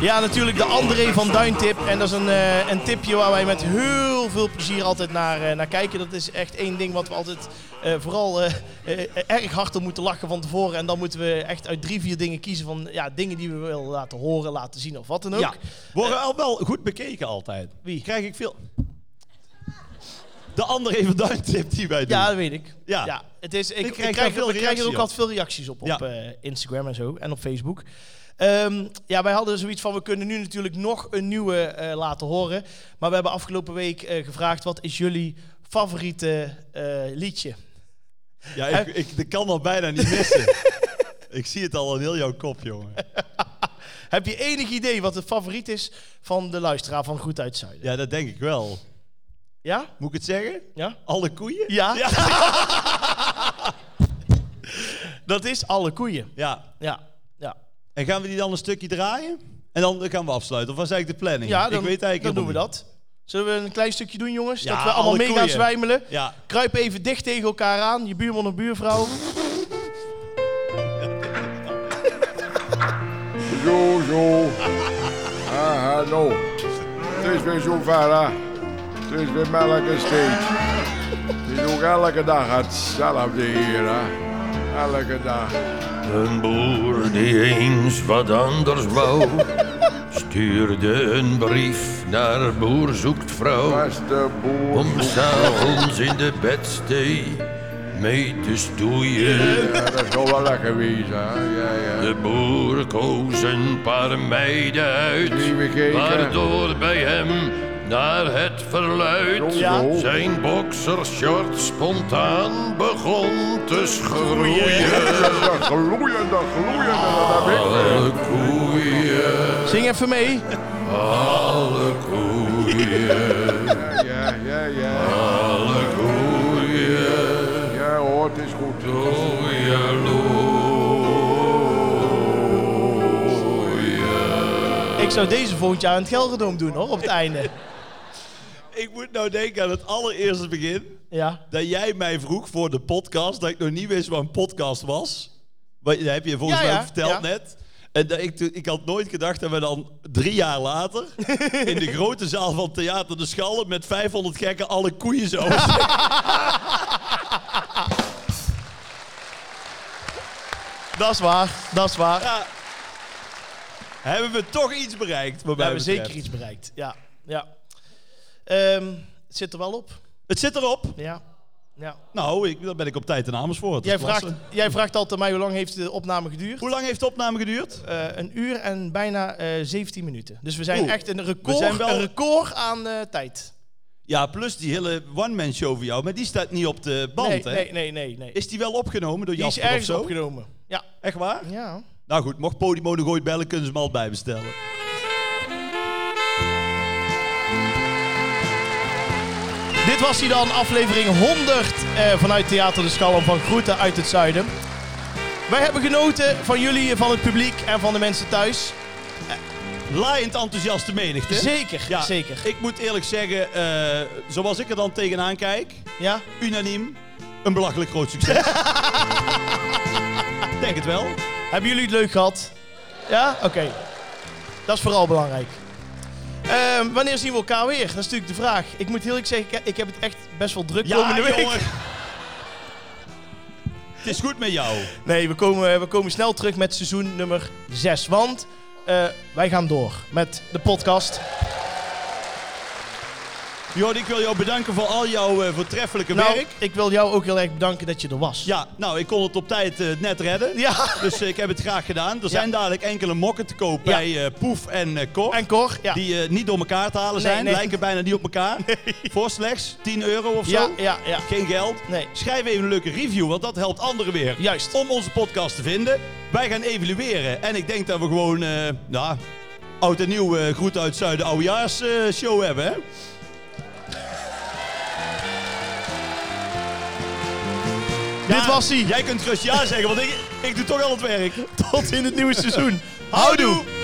[SPEAKER 1] Ja, natuurlijk de André van Duintip. En dat is een, eh, een tipje waar wij met heel veel plezier altijd naar, eh, naar kijken. Dat is echt één ding wat we altijd eh, vooral eh, eh, erg hard om moeten lachen van tevoren. En dan moeten we echt uit drie, vier dingen kiezen van ja, dingen die we willen laten horen, laten zien of wat dan ook. Eh.
[SPEAKER 2] Ja, worden al wel goed bekeken altijd. Wie? Krijg ik veel... De andere even duimtip die wij doen.
[SPEAKER 1] Ja, dat weet ik.
[SPEAKER 2] Ja.
[SPEAKER 1] het is, ik, ik
[SPEAKER 2] krijg
[SPEAKER 1] krijg,
[SPEAKER 2] daar veel
[SPEAKER 1] we krijgen er ook
[SPEAKER 2] reactie
[SPEAKER 1] altijd veel reacties op,
[SPEAKER 2] Ja.
[SPEAKER 1] op eh, Instagram en zo, en op Facebook. Ehm, ja, wij hadden zoiets van, we kunnen nu natuurlijk nog een nieuwe eh, laten horen. Maar we hebben afgelopen week eh, gevraagd, wat is jullie favoriete eh, liedje?
[SPEAKER 2] Ja, ik,
[SPEAKER 1] eh.
[SPEAKER 2] ik, ik kan dat bijna niet missen. ik zie het al in heel jouw kop, jongen.
[SPEAKER 1] Heb je enig idee wat het favoriet is van de luisteraar van Goed Uit Zuiden?
[SPEAKER 2] Ja, dat denk ik wel.
[SPEAKER 1] Ja?
[SPEAKER 2] Moet ik het zeggen?
[SPEAKER 1] Ja?
[SPEAKER 2] Alle koeien?
[SPEAKER 1] Ja? Dat is Alle Koeien.
[SPEAKER 2] Ja.
[SPEAKER 1] Ja, ja.
[SPEAKER 2] En gaan we die dan een stukje draaien? En dan gaan we afsluiten. Of was eigenlijk de planning?
[SPEAKER 1] Ja, dan,
[SPEAKER 2] ik weet eigenlijk
[SPEAKER 1] dan doen we
[SPEAKER 2] helemaal
[SPEAKER 1] dat. Zullen we een klein stukje doen, jongens?
[SPEAKER 2] Ja,
[SPEAKER 1] dat we allemaal
[SPEAKER 2] alle
[SPEAKER 1] mee gaan
[SPEAKER 2] koeien.
[SPEAKER 1] zwijmelen.
[SPEAKER 2] niet. Ja.
[SPEAKER 1] Kruip even dicht tegen elkaar aan, je buurman en buurvrouw.
[SPEAKER 8] Zo, zo. Ah, hallo. Het is weer zo ver, hè. Het is weer melk en steek. Het is ook elke dag hetzelfde hier, hè. Elke dag.
[SPEAKER 9] Een boer die eens wat anders wou, stuurde een brief naar boer zoekt vrouw.
[SPEAKER 8] Beste boer.
[SPEAKER 9] Om s'avonds in de bedstee mee te stoeien.
[SPEAKER 8] Ja, dat is nog wel lekker wezen, hè. Ja, ja.
[SPEAKER 9] De boer koos een paar meiden uit,
[SPEAKER 8] Die we keken.
[SPEAKER 9] waardoor bij hem naar het verluid
[SPEAKER 1] Ja.
[SPEAKER 8] Zo.
[SPEAKER 9] zijn boxershort spontaan begon te schroeien.
[SPEAKER 8] Dat gloeiende, gloeiende, dat heb ik.
[SPEAKER 9] Alle koeien,
[SPEAKER 1] Zing even mee.
[SPEAKER 9] alle koeien.
[SPEAKER 8] Ja, ja, ja.
[SPEAKER 9] Alle koeien,
[SPEAKER 8] Ja, hoor, het is goed.
[SPEAKER 1] Ik zou deze volgend jaar aan het Gelderdoom doen hoor, op het einde.
[SPEAKER 2] Ik moet nou denken aan het allereerste begin.
[SPEAKER 1] Ja.
[SPEAKER 2] Dat jij mij vroeg voor de podcast, dat ik nog niet wist wat een podcast was. Wat, dat heb je volgens
[SPEAKER 1] Ja,
[SPEAKER 2] mij
[SPEAKER 1] ja,
[SPEAKER 2] verteld
[SPEAKER 1] ja.
[SPEAKER 2] net. En dat ik, toen- ik had nooit gedacht dat we dan drie jaar later in de grote zaal van Theater de Schallen met 500 gekken alle koeien zo.
[SPEAKER 1] Dat is waar, dat is waar.
[SPEAKER 2] Ja. Hebben we toch iets bereikt? Wat
[SPEAKER 1] we
[SPEAKER 2] mij
[SPEAKER 1] hebben
[SPEAKER 2] betreft.
[SPEAKER 1] zeker iets bereikt. Ja, ja. Ehm, het zit er wel op.
[SPEAKER 2] Het zit erop.
[SPEAKER 1] Ja. ja.
[SPEAKER 2] Nou, ik, daar ben ik op tijd in Amersfoort.
[SPEAKER 1] Jij,
[SPEAKER 2] Dat is
[SPEAKER 1] vraagt,
[SPEAKER 2] klasse.
[SPEAKER 1] jij vraagt altijd aan mij hoe lang heeft de opname geduurd?
[SPEAKER 2] Hoe lang heeft de opname geduurd?
[SPEAKER 1] Eh, een uur en bijna eh, 17 minuten. Dus we zijn
[SPEAKER 2] Oeh,
[SPEAKER 1] echt een record,
[SPEAKER 2] zijn wel-
[SPEAKER 1] een record aan eh, tijd.
[SPEAKER 2] Ja, plus die hele one-man show van jou. Maar die staat niet op de band,
[SPEAKER 1] nee,
[SPEAKER 2] hè?
[SPEAKER 1] nee, nee, nee, nee.
[SPEAKER 2] Is die wel opgenomen door
[SPEAKER 1] Die is
[SPEAKER 2] Jasper of
[SPEAKER 1] ergens
[SPEAKER 2] zo?
[SPEAKER 1] opgenomen. Ja.
[SPEAKER 2] Echt waar?
[SPEAKER 1] Ja.
[SPEAKER 2] Nou goed, mocht Podimo nog ooit bellen, kunnen ze hem al bijbestellen.
[SPEAKER 1] Dit was hij dan, aflevering 100 eh, vanuit Theater de Schalm van Groeten uit het Zuiden. Wij hebben genoten van jullie, van het publiek en van de mensen thuis.
[SPEAKER 2] Laaiend enthousiaste menigte.
[SPEAKER 1] Zeker, zeker.
[SPEAKER 2] Ik moet eerlijk zeggen, eh, zoals ik er dan tegenaan kijk,
[SPEAKER 1] Ja?
[SPEAKER 2] unaniem, een belachelijk groot succes. Denk het wel.
[SPEAKER 1] Hebben jullie het leuk gehad? Ja? Oké. Dat is vooral belangrijk. Ehm, wanneer zien we elkaar weer? Dat is natuurlijk de vraag. Ik moet heel eerlijk zeggen, ik- ik heb het echt best wel druk
[SPEAKER 2] Ja,
[SPEAKER 1] komende week.
[SPEAKER 2] jongen. Het is goed met jou.
[SPEAKER 1] Nee, we komen, we komen snel terug met seizoen nummer 6. Want eh, wij gaan door met de podcast.
[SPEAKER 2] Jord, ik wil jou bedanken voor al jouw eh, voortreffelijke
[SPEAKER 1] Nou,
[SPEAKER 2] werk.
[SPEAKER 1] ik wil jou ook heel erg bedanken dat je er was.
[SPEAKER 2] Ja, nou, ik kon het op tijd eh, net redden.
[SPEAKER 1] Ja.
[SPEAKER 2] Dus eh, ik heb het graag gedaan. Er zijn dadelijk enkele mokken te koop
[SPEAKER 1] Ja.
[SPEAKER 2] bij eh, Poef en eh Cor.
[SPEAKER 1] En Cor, ja.
[SPEAKER 2] Die eh, niet door elkaar te halen
[SPEAKER 1] Nee,
[SPEAKER 2] zijn.
[SPEAKER 1] nee.
[SPEAKER 2] Lijken bijna niet op elkaar. Voor slechts 10 euro of
[SPEAKER 1] ja,
[SPEAKER 2] zo.
[SPEAKER 1] ja, ja.
[SPEAKER 2] Geen geld.
[SPEAKER 1] Nee.
[SPEAKER 2] Schrijf even een leuke review, want dat helpt anderen weer.
[SPEAKER 1] Juist.
[SPEAKER 2] Om onze podcast te vinden. Wij gaan evalueren. En ik denk dat we gewoon, eh nou, oud en nieuw eh groet uit Zuiden oudejaars eh, show hebben, hè?
[SPEAKER 1] Dit
[SPEAKER 2] Ah,
[SPEAKER 1] was hij.
[SPEAKER 2] Jij kunt gerust ja zeggen, want ik, ik doe toch al het werk.
[SPEAKER 1] Tot in het nieuwe seizoen.
[SPEAKER 2] Houdoe!
[SPEAKER 1] Houdoe.